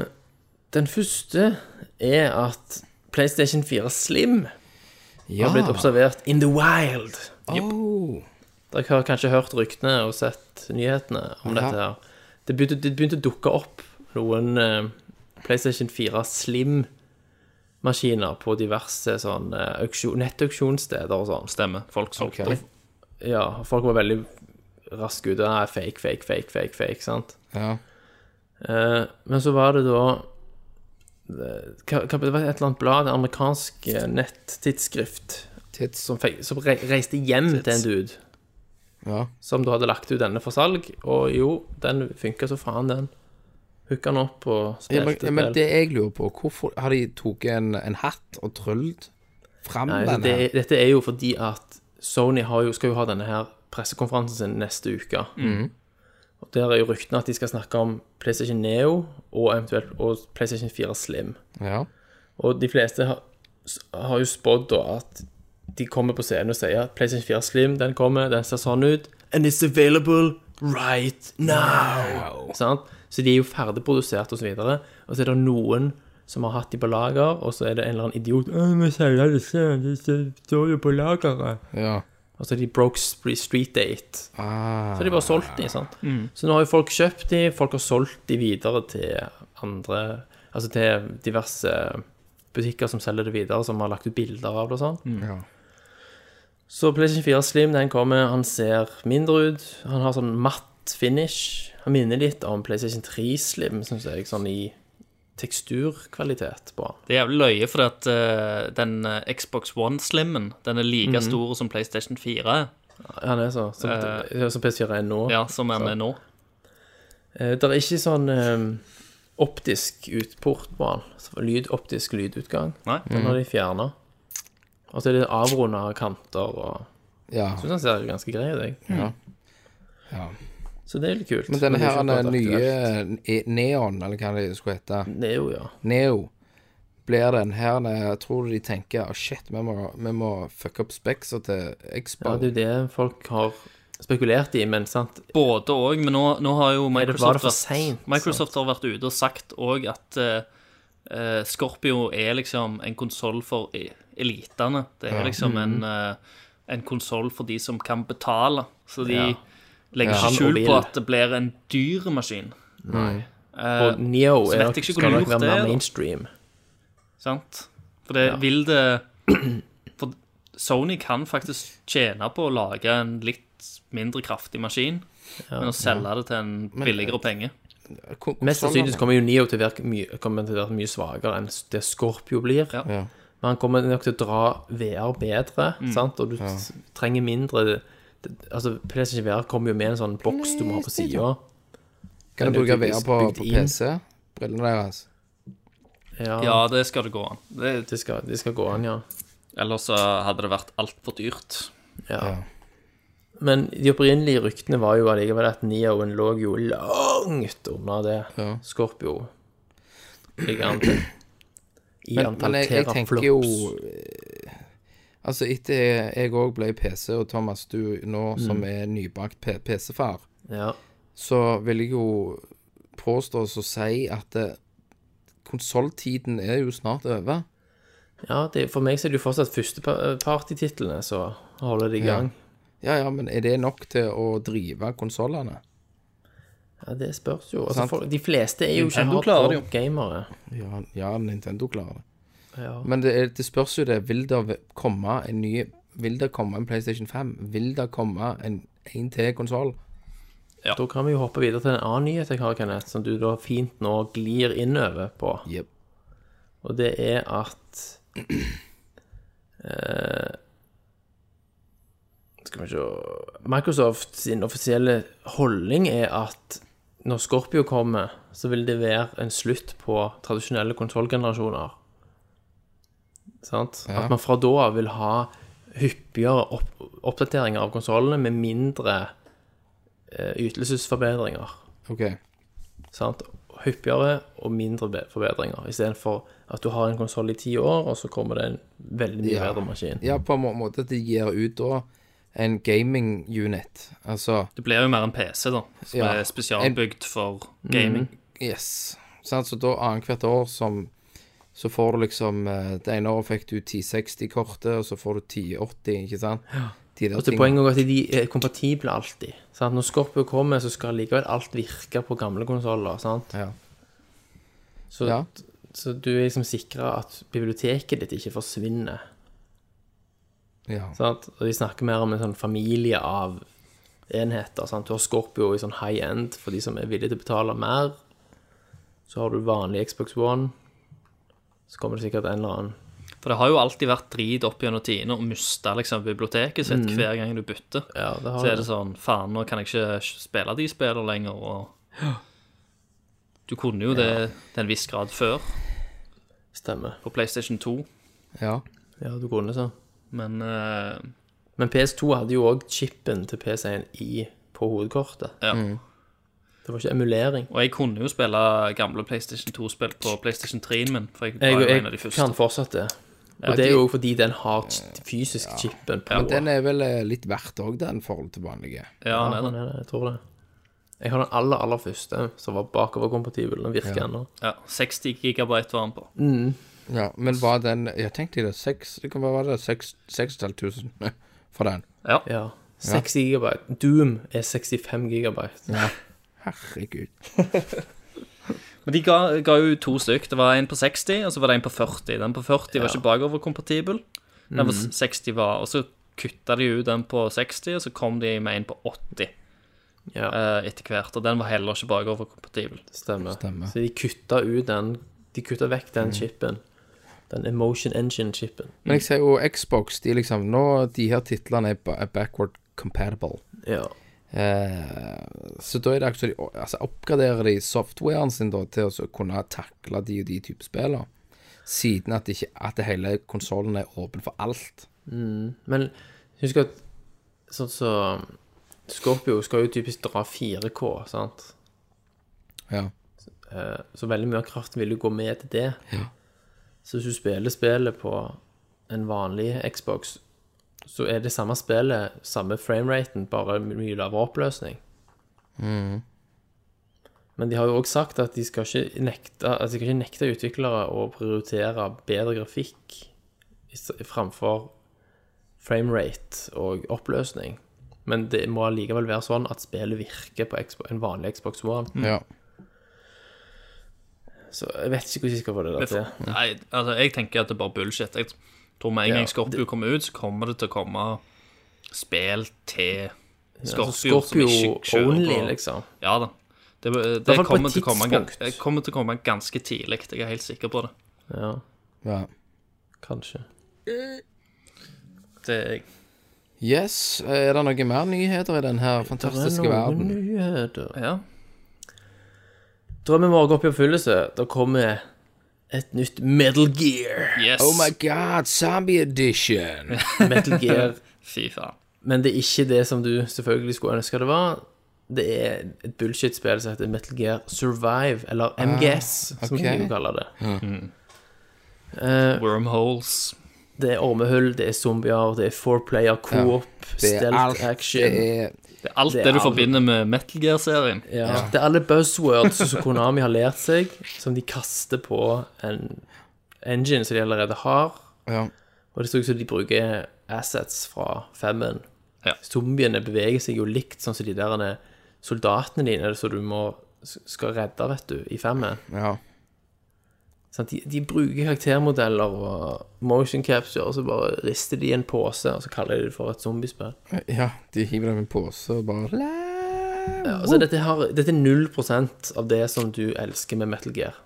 den første er at PlayStation 4 Slim Ja. har blitt observert in the wild. Oh. Dere har kanskje hørt ryktene og sett nyhetene om Ja. dette her. Det begynte, det begynte å dukke opp noen eh, PlayStation 4 Slim-maskiner på diverse sånn eh, auksjon, nettauksjonssteder og sånn. Stemmer. Folk solgte. Ok. Ja, folk var veldig raske ute. Nei, fake, fake, fake, fake, fake, sant? Ja. Eh, men så var det da det- hva, hva, Det var et eller annet blad, et amerikansk eh, nettidsskrift, Tits. som, fek- som re, reiste hjem til en dude. Ja. som du hadde lagt ut denne for salg, og jo, den funka så faen, den. Hooka den opp og Ja, men, spilte ja, et men del. det jeg lurer på, hvorfor har de tatt en, en hatt og tryllet fram Nei, den? det, her? Dette er jo fordi at Sony har jo, skal jo ha denne her pressekonferansen sin neste uke. Og Der er jo ryktene at de skal snakke om PlayStation Neo og eventuelt og PlayStation 4 Slim. Ja. Og de fleste har, har jo spådd da at de kommer på scenen og sier at PlayStation 4 Slim, den kommer, den ser sånn ut. And it's available right now. Sant? Så de er jo ferdigprodusert og så videre. Og så er det noen som har hatt de på lager, og så er det en eller annen idiot «Å, vi selger disse, disse står jo på lageret. ja. Og så er de broke sp- street date. Ah. Så har de bare solgt de, sant. Så nå har jo folk kjøpt de, folk har solgt de videre til andre Altså til diverse butikker som selger det videre, som har lagt ut bilder av det og sånn. Ja. Så PlayStation 4 Slim, den kommer, han ser mindre ut. Han har sånn matt finish. Han minner litt om PlayStation 3 Slim, syns jeg, sånn i teksturkvalitet på han. Det er jævlig løye, for at eh, den eh, Xbox One-slimmen Den er like Mhm. stor som PlayStation 4 er, Han er så, som, som PS4 er nå. ja, som den er nå. Eh, Det er ikke sånn eh, optisk utport på den. Så Lyd, optisk lydutgang. Nei? Den har de fjerna. Og så er det avrunda kanter og ja. Jeg syns den ser ganske grei ut, jeg. Ja. Ja. Så det er litt kult. Men denne det her ikke den akkurat nye aktuelt. e- Neon, eller hva det skulle hete, Neo, ja. Neo, blir den her når jeg tror de tenker oh, shit, vi må, vi må fucke opp speksa til Ja, Expo. det er jo det folk har spekulert i, men sant Både òg, men nå, nå har jo det- var det Microsoft, for vært- sent, Microsoft har vært ute og sagt òg at eh, eh, Scorpio er liksom en konsoll for e- elitene. Det er liksom en, Mhm. uh, en konsoll for de som kan betale. Så de Ja. legger Ja. ikke skjul Han og på vil. at det blir en dyr maskin. Eh, Og Neo så er vet nok, jeg ikke skal hvor nok lurt være det er, mer da. mainstream. sant? For det Ja. vil det For Sony kan faktisk tjene på å lage en litt mindre kraftig maskin, men å selge det til en eh, billigere penge. Kon- Mest Sånn konsollene. sannsynlig så kommer jo Neo til å virke mye, kommer til å være mye svakere enn det Scorpio blir. Ja. Ja. Men han kommer nok til å dra VR bedre, sant? og du s- trenger mindre det- Altså, PlayStation VR kommer jo med en sånn boks du må ha på sida. Kan Den du bruke er VR typisk på, bygd på inn. PC? Brillene deres? Ja, Ja, det skal det gå an. Det, Det, skal, det skal gå an, ja. Ellers så hadde det vært altfor dyrt. ja. Ja. Men de opprinnelige ryktene var jo allikevel at Neoen lå jo langt unna det Ja. Scorpio ligger an til. I Men, antall men jeg, jeg tenker jo teraflops. eh, Altså, etter jeg- jeg òg ble PC, og Thomas, du Mm. nå som er nybakt P- PC-far, Ja. så vil jeg jo påstå og si at eh, konsolltiden er jo snart over. Ja, det, for meg så er det jo fortsatt førstepartititlene som holder det i gang. Ja ja, men er det nok til å drive konsollene? Ja, det spørs jo. Altså, Sant. for, de fleste er jo ikke Nintendo klarer det jo. hardcore-gamere. Ja, ja, Nintendo klarer det. Ja. Men det, er- det spørs jo det. Vil det v- komme en ny Vil det komme en PlayStation 5? Vil det komme en en til konsoll? Da kan vi jo hoppe videre til en annen nyhet jeg har, Kenneth, som du da fint nå glir innover på. Jep. Og det er at eh, Skal vi se Microsoft sin offisielle holdning er at når Scorpio kommer, så vil det være en slutt på tradisjonelle konsollgenerasjoner. Sant? At man fra da av vil ha hyppigere opp oppdateringer av konsollene med mindre eh, ytelsesforbedringer OK. sant? hyppigere og mindre be- forbedringer. Istedenfor at du har en konsoll i ti år, og så kommer det en veldig mye Ja. bedre maskin. Ja, på en må- måte at de gir ut da en gaming unit. Altså Det blir jo mer en PC, da, som Ja. er spesialbygd for Mm. gaming. Yes. Sant? Så da annethvert år som så får du liksom eh, Det ene året fikk du 1060-kortet, og så får du 1080, ikke sant? De der Og tingene. til Altså, poenget er at de er kompatible alltid. Sant? Når Scorpio kommer, så skal likevel alt virke på gamle konsoller. sant? Ja. Så, Ja. så du er liksom sikra at biblioteket ditt ikke forsvinner. ja. Sant? Og de snakker mer om en sånn familie av enheter. Sant? Du har Scorpio i sånn high end for de som er villige til å betale mer. Så har du vanlig Xbox One. Så kommer det sikkert en eller annen For det har jo alltid vært drit opp gjennom tidene å miste liksom, biblioteket sitt Mm. hver gang du bytter. Ja, det har Så er det det. sånn Faen, nå kan jeg ikke spille de spillene lenger, og Du kunne jo det til en viss grad før, Stemmer. på PlayStation 2, ja. Ja, du kunne sånn. men eh, Men PS2 hadde jo òg chipen til PS1 i på hovedkortet. Ja. Det var ikke emulering. Og jeg kunne jo spille gamle PlayStation 2-spill på PlayStation 3-en min, for jeg var Jeg, jo en av de jeg første. kan fortsatt det. Og det er jo fordi den har ch- fysisk chipen på. Men den er vel eh, litt verdt òg, den forhold til vanlige. Ja, Ja, nei, den da. er det, jeg tror det. Jeg har den aller, aller første som var bakoverkompatibel. Den virker ennå. ja, 60 gigabyte var han på. Ja, men var den Jeg tenkte det, seks, det kan være var det seks- 6500 for den. Ja. Ja. 60 gigabyte. Doom er 65 gigabyte. Herregud. Men de ga, ga jo to stykk. Det var en på 60, og så var det en på 40. Den på 40 var ikke bakoverkompatibel. Den Mhm. på 60 var Og så kutta de ut den på 60, og så kom de med en på 80 Ja, eh, etter hvert. Og den var heller ikke bakoverkompatibel. det stemmer. stemmer. Så de kutta ut den De kutta vekk den chipen. Den Emotion Engine-chipen. Men jeg ser jo Xbox, de liksom Nå, de her titlene er ba- er backward compatible. Ja. Eh, så da er det akkurat de altså, oppgraderer de softwaren sin da til å så kunne takle de og de type spillene. Siden at, det ikke, at det hele konsollen er åpen for alt. Men husk at sånn så Scorpio skal jo typisk dra 4K, sant? Eh, Ja. Så veldig mye av kraften vil jo gå med til det. Så hvis du spiller spillet på en vanlig Xbox, så er det samme spillet, samme frameraten, bare mye lavere oppløsning. Men de har jo òg sagt at de skal ikke nekte at de skal ikke nekte utviklere å prioritere bedre grafikk i s- framfor framerate og oppløsning. Men det må allikevel være sånn at spillet virker på Xbox, en vanlig Xbox One. Ja. Så jeg vet ikke hvordan de skal få det der til. Nei, altså, jeg tenker at det er bare bullshit. Jeg tror med en Ja, gang Scorpio kommer ut, så kommer det til å komme spill til Altså, Scorpio, som Scorpio ikke kjører only, på liksom. Ja da. Det, det, hvert fall på kommer, et til å komme, tidspunkt. det kommer til å komme ganske tidlig. Jeg er helt sikker på det. Ja, ja. kanskje. det er jeg. Yes. Er det noen mer nyheter i denne her fantastiske verden? nyheter. Ja. Drømmen vår går opp i oppfyllelse. Da kommer et nytt Metal Gear. Yes! Oh my god, zombie edition! Metal Gear. Fy faen. Men det er ikke det som du selvfølgelig skulle ønske det var. Det er et bullshit-spill som heter Metal Gear Survive, eller MGS, som ok. de jo kaller det. Mm. Eh, Wormholes. Det er ormehull, det er zombier, det er four-player co-op, Det er alt. stealth action. Det er Det er alt Det det, er du alt. forbinder med Metal Gear-serien. Ja. Det er alle buzzwords som Konami har lært seg, som de kaster på en engine som de allerede har. Ja. Og det ser ut som de bruker assets fra femmen. Ja. Zombiene beveger seg jo likt sånn som de der soldatene dine som du må, skal redde, vet du, i femmen. Ja. Sant? de, de bruker karaktermodeller og motion capture, og så bare rister de i en pose, og så kaller de det for et zombiespill. ja. De hiver dem i en pose og bare Ja, altså, dette, har, dette er 0 av det som du elsker med Metal Gear.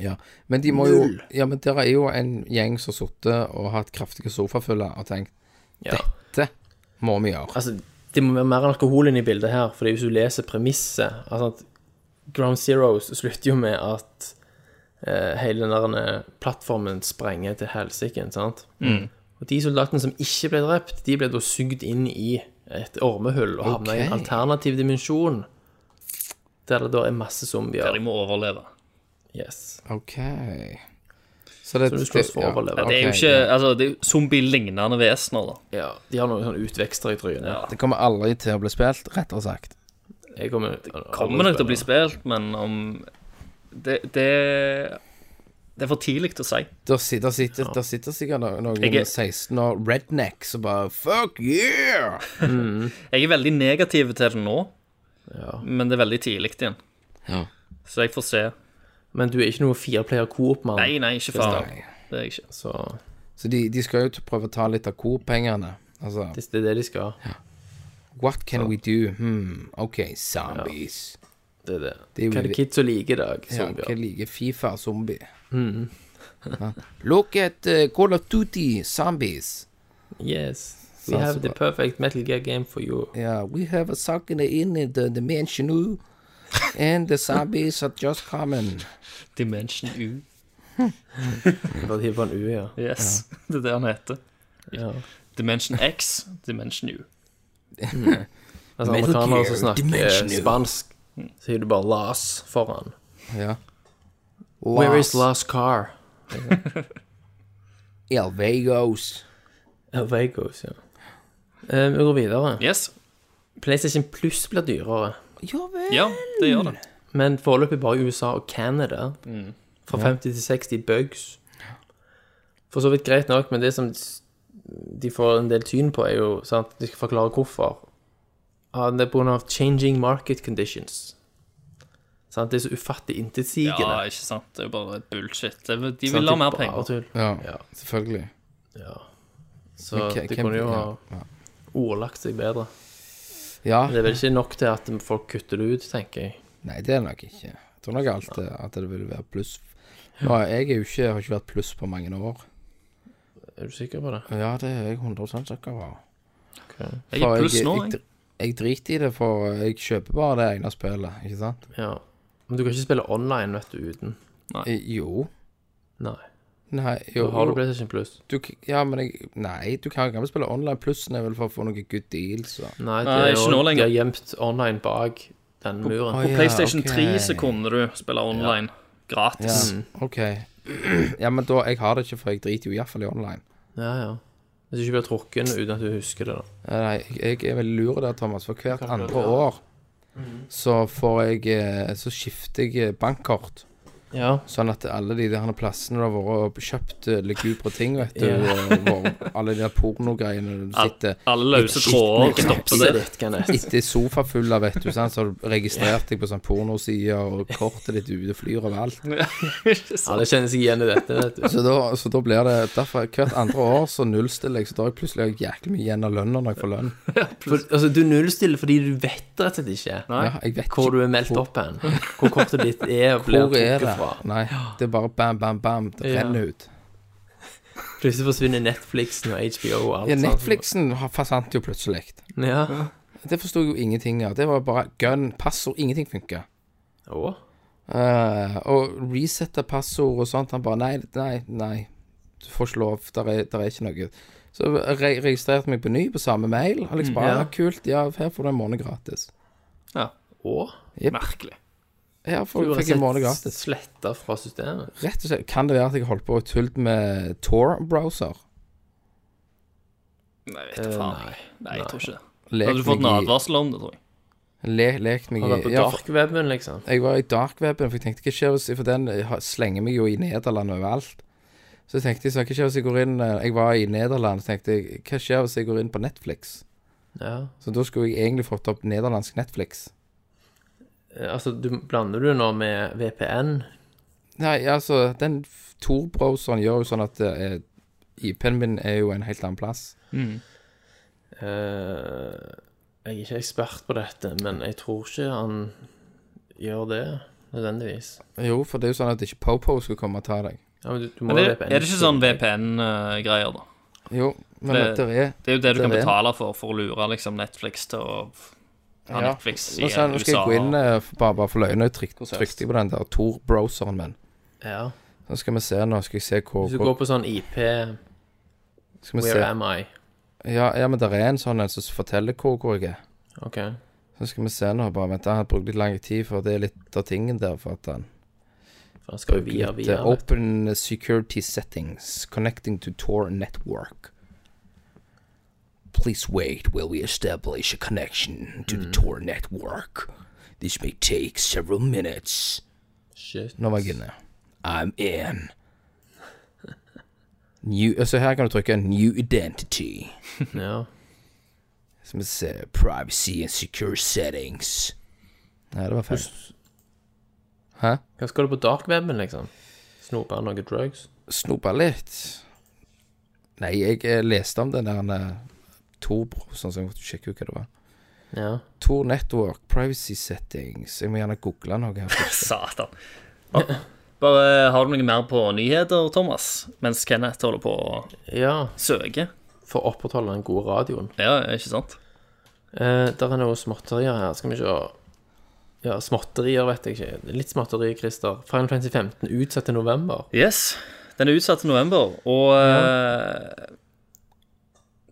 Ja, men de må jo Ja, men der er jo en gjeng som sittet og hatt kraftige sofafølger og tenkt Ja. Dette må vi gjøre. Altså, det må være mer alkohol inne i bildet her, fordi hvis du leser premisset altså at Ground Zeroes slutter jo med at eh, hele den der eh, plattformen sprenger til helsike, sant? Mm. Og de soldatene som ikke ble drept, de ble da sugd inn i et ormehull og havna i en Ok. alternativ dimensjon, der det da er masse Der zombier. de må overleve. Yes. OK. Så det Så du slåss for å overleve. Det er jo ok, ikke ja. altså, det er jo zombie-lignende vesener, da. Ja, de har noen sånne utvekster i trynet. Det kommer aldri til å bli spilt, rettere sagt. Jeg kommer, Kommer nok til å bli spilt, men om Det, det, det er for tidlig å si. Der sitter, der sitter, der sitter sikkert no- noen Jeg er- 16 år rednecks og bare Fuck yeah! Jeg er veldig negativ til det nå, men det er veldig tidlig igjen. Ja. Så jeg får se. Men du er ikke noe fireplayer coop-mann. Nei, nei, ikke faen. Det er jeg ikke. Så Så de, de skal jo til å prøve å ta litt av Coop-pengene. Altså det det er det de skal. What can we do? Hmm, OK, zombies. Det er det. Det er jo Hva er det vi- kids som liker i dag? Ja, Zombier. hva liker Fifa zombie? Hmm. Ja. Look at uh, Call of Duty zombies. Yes. We Så- have så the bra. perfect Metal Gear game for you. Yeah, we have a sucker in the dimension ooh, and the zombies are just coming. Dimension U. For å hive en U, ja. Yes, det er det han heter. ja. Dimension X, Dimension U. Altså Metal amerikanere som Gear snakker Dimension eh, U. spansk, så sier du bare Las foran. Ja. Where Las is Las car? El Vagos. El Vagos, ja. Eh, vi går videre. Yes. PlayStation Plus blir dyrere, Ja vel. Ja, det gjør det. men foreløpig bare i USA og Canada. Mm. Fra 50 til 60 bugs. For så vidt greit nok, men det som s- de får en del tyn på, er jo sant, De skal forklare hvorfor. Ja, det er pga. changing market conditions. Sant, det er så ufattelig intetsigende. Ja, ikke sant. Det er jo bare bullshit. Det er- De Sant, vil det ha er mer bare penger. tull. Ja, Ja. selvfølgelig. Ja. Så Men hva- de hvem- kunne jo ha ja, ja. Ah. ordlagt seg bedre. Men Ja, Det er vel ikke nok til at folk kutter det ut, tenker jeg. nei, det er nok ikke. Jeg tror nok alltid at det vil være pluss. Nå, jeg er jo ikke, har ikke vært pluss på mange år. Er du sikker på det? Ja, det er jeg 100 sikker på. Ok. Jeg er For i pluss nå, jeg, jeg. jeg driter i det, for jeg kjøper bare det egne spillet, ikke sant? Ja. Men du kan ikke spille online, vet du, uten. Eh, Jo. Nei. Nei, Da jo. har du PlayStation Plus. du k- ja, men jeg Nei, du kan jo spille online. Plussen er vel for å få noe good deals og Nei, Nei, de er jo- ikke nå lenger. De har gjemt online bak den muren. Oi. På PlayStation Ja, ok. 3 så kunne du spille online. Gratis. Mm, OK. Ja, men da Jeg har det ikke, for jeg driter jo iallfall i online. Ja, ja. Hvis du ikke blir trukken uten at du husker det, da. Eh, Nei, jeg jeg er veldig lur der, Thomas, for hvert andre år så får jeg eh, Så skifter jeg eh, bankkort. Ja. Sånn at alle de der plassene du har vært og kjøpt eh, lugubre ting, vet du, Ja. og hvor alle de der pornogreiene du Al- sitter Alle løse tråder stopper det. Ditt kan jeg. etter sofafulla, vet du, sant? så har du registrert deg på sånn pornoside, og kortet ditt ute flyr overalt. Alle kjenner seg igjen i dette, vet du. Så da, så da blir det Derfor, hvert andre år så nullstiller jeg, så da har jeg plutselig jæklig mye igjen av lønna når jeg får lønn. For, altså, du nullstiller fordi du vet rett og slett ikke Ja, jeg vet hvor ikke du er meldt opp hen. Hvor kortet ditt er og blir hvor er trukket det? fra. Nei, det er bare bam, bam, bam. Det Ja. renner ut. Plutselig forsvinner Netflixen og HBO og alt Ja, sånt. Netflixen har- forsvant jo plutselig. Ja. Det forsto jeg jo ingenting av. Det var bare gun, passord, ingenting funka. Å? Eh, og resette passord og sånt. Han bare nei, nei, nei. Du får ikke lov. Der er, der er ikke noe. Så re registrerte meg på ny på samme mail. Og liksom bare Mm, ja. ja. Kult, ja, her får du en måned gratis. Å? Merkelig. Her Du får, har fikk jeg en måned sett gratis. sletta fra systemet. Rett og slett. Kan det være at jeg har holdt på å tulle med Tor-browser? Nei, vet Eh, du faen. nei. Nei, jeg tror ikke det. Lekt Hadde du fått en meg i- advarsel om det, tror jeg. Le, lekt meg Har vært på i ja, for- darkweben, liksom. Jeg var i darkweben, for jeg tenkte hva skjer hvis For den har- slenger meg jo i Nederland overalt. Så jeg tenkte jeg sånn, hva skjer hvis jeg går inn eh, Jeg var i Nederland, så tenkte jeg hva skjer hvis jeg går inn på Netflix? Ja. Så da skulle jeg egentlig fått opp nederlandsk Netflix. Eh, Altså, du blander du nå med VPN? Nei, altså, den f- Tor-browseren gjør jo sånn at eh, IP-en min er jo en helt annen plass. Eh, jeg er ikke ekspert på dette, men jeg tror ikke han gjør det nødvendigvis. Jo, for det er jo sånn at ikke Popo skal komme og ta deg. Ja, men du, du må Men det, jo VPN. er det ikke sånn VPN-greier, da? Jo, men det, Det- er Det er jo det Det du kan er det. betale for, for å lure liksom Netflix til å ha Ja. Netflix i Nå skal, nå skal USA. jeg gå inn eh, for- bare, bare for løgnet. Tryk, Prosess. trykte jeg på den der Tor-browseren min. Ja. Så skal vi se nå. Skal jeg se hvor, Hvis du hvor går på sånn IP skal vi Where se. am I? Ja, ja, men det er en sånn en som forteller hvor, hvor jeg er. OK. Så skal vi se nå. Bare vent, jeg har brukt litt lang tid, for det er litt av tingen der. For at den For han skal jo via, Litt, via. eh, vet Open security settings connecting to Tor network. Please wait while we establish a connection to Mm. the Tor network. This may take several minutes. du. Shit. Nå var jeg inne. I'm in. New, altså her kan du trykke 'New identity'. Ja. Skal vi se Privacy and secure settings. Nei, det var feil. Hæ? Hva skal du på darkweben, liksom? Snope han noe drugs? snopa litt. Nei, jeg eh, leste om den der Tor-bro, sånn som jeg måtte sjekke ut hva det var. Ja. Tor Network, privacy settings. Jeg må gjerne google noe her. Satan. Ja. Bare eh, Har du noe mer på nyheter, Thomas? Mens Kenneth holder på å ja. søke? For å opprettholde den gode radioen. Ja, ikke sant? Eh, der er noe småtterier her. Skal vi se. Ja, småtterier vet jeg ikke. Litt småtteri, Christer. Final Fantasy 15 utsatt til november. Yes. Den er utsatt til november, og eh,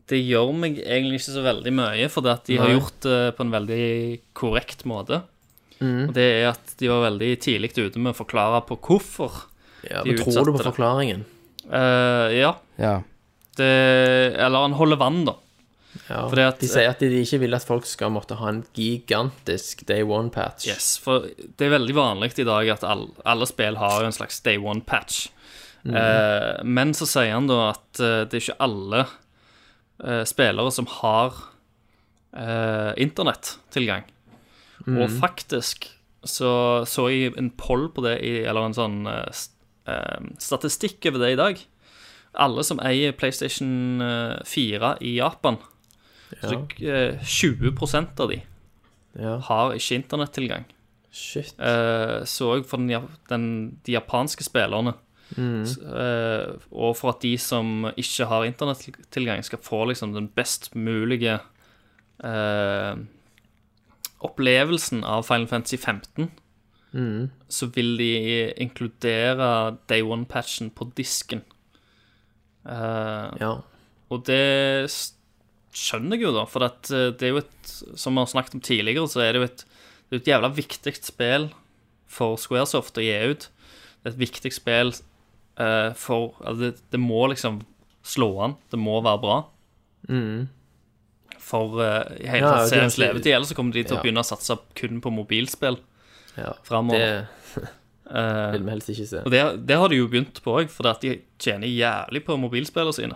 det gjør meg egentlig ikke så veldig mye, for det at de har Nei. gjort det på en veldig korrekt måte. Og det er at de var veldig tidlig ute med å forklare på hvorfor. Ja, De men tror du på utsatte det. forklaringen? Eh, ja. Ja. Det, eller han holder vann, da. Ja, Fordi at- de sier at de ikke vil at folk skal måtte ha en gigantisk day one-patch. Yes, for det er veldig vanlig i dag at all, alle spill har jo en slags day one-patch. Eh, men så sier han da at eh, det er ikke alle eh, spillere som har eh, internettilgang. Og faktisk så så jeg en poll på det, i, eller en sånn eh, s- eh, statistikk over det i dag. Alle som eier PlayStation eh, 4 i Japan, så eh, 20 av de Ja, har ikke internettilgang. shit. Eh, så jeg for den, ja- den, de japanske spillerne. S- eh, og for at de som ikke har internettilgang, skal få liksom den best mulige eh, opplevelsen av Final Fantasy 15, så vil de inkludere Day One-patchen på disken. Eh, Ja. og det s- skjønner jeg jo, da. For at eh, det er jo et Som vi har snakket om tidligere, så er det jo et, det er jo et jævla viktig spill for Squaresoft å gi ut. et viktig spill eh, for altså det, det må liksom slå an. Det må være bra. Mm. For eh, i hele Ja, tatt det er seriens egentlig- levetid. Ellers så kommer de til Ja. å begynne å satse kun på mobilspill. Ja, Fremover. Det Eh, vil vi helst ikke se. og det, det har de jo begynt på òg, for at de tjener jævlig på mobilspillene sine.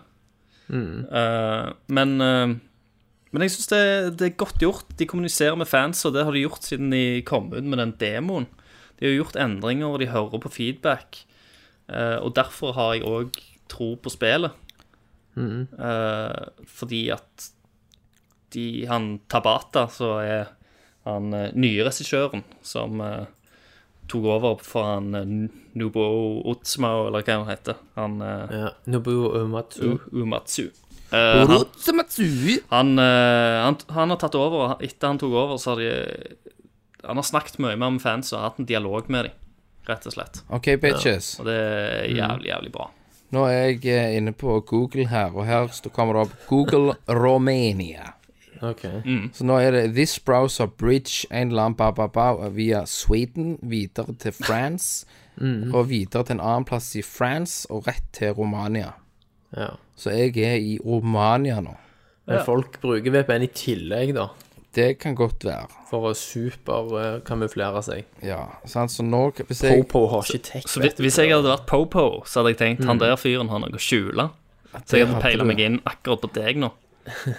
Eh, men, eh, men jeg syns det, det er godt gjort. De kommuniserer med fans, og det har de gjort siden de kom ut med den demoen. De har gjort endringer, og de hører på feedback. Eh, og derfor har jeg òg tro på spillet. Eh, fordi at de, han Tabata, så er han eh, nye regissøren som eh, tok over for han eh, Nubo Otsmao, eller hva han heter. Han eh, Ja. Nobuo Umatsu. U- Umatsu. Eh, han, Rotematsui. han, eh, han, han har tatt over, og etter han tok over, så har de Han har snakket mye mer med fans og hatt en dialog med dem, rett og slett. OK, bitches. Og det er jævlig, jævlig bra. Nå er jeg eh, inne på Google her, og her står- kommer det opp Google Romania. Ok. Mm. Så nå er det This browser bridge en eller annen ba, ba, ba, via Sweden, videre til France, og videre til en annen plass i France, og rett til Romania. Ja. Så jeg er i Romania nå. Men folk bruker VPN i tillegg, da, Det kan godt være. for å superkamuflere seg. Ja, sant? Så nå hvis jeg, Popo har ikke tech, Så vet hvis, du. hvis jeg hadde vært Popo, så hadde jeg tenkt han der fyren har noe å skjule. Så jeg hadde Mm. hadde du. peila meg inn akkurat på deg nå.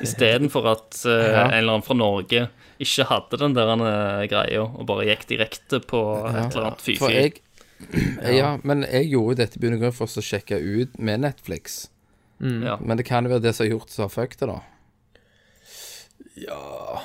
Istedenfor at eh, Ja. en eller annen fra Norge ikke hadde den der eh, greia og bare gikk direkte på et eller annet For fy-fy. jeg Ja, men jeg gjorde jo dette i bunn og grunn for å sjekke ut med Netflix. Ja. Men det kan jo være det som har gjort så fuck det, da. Ja,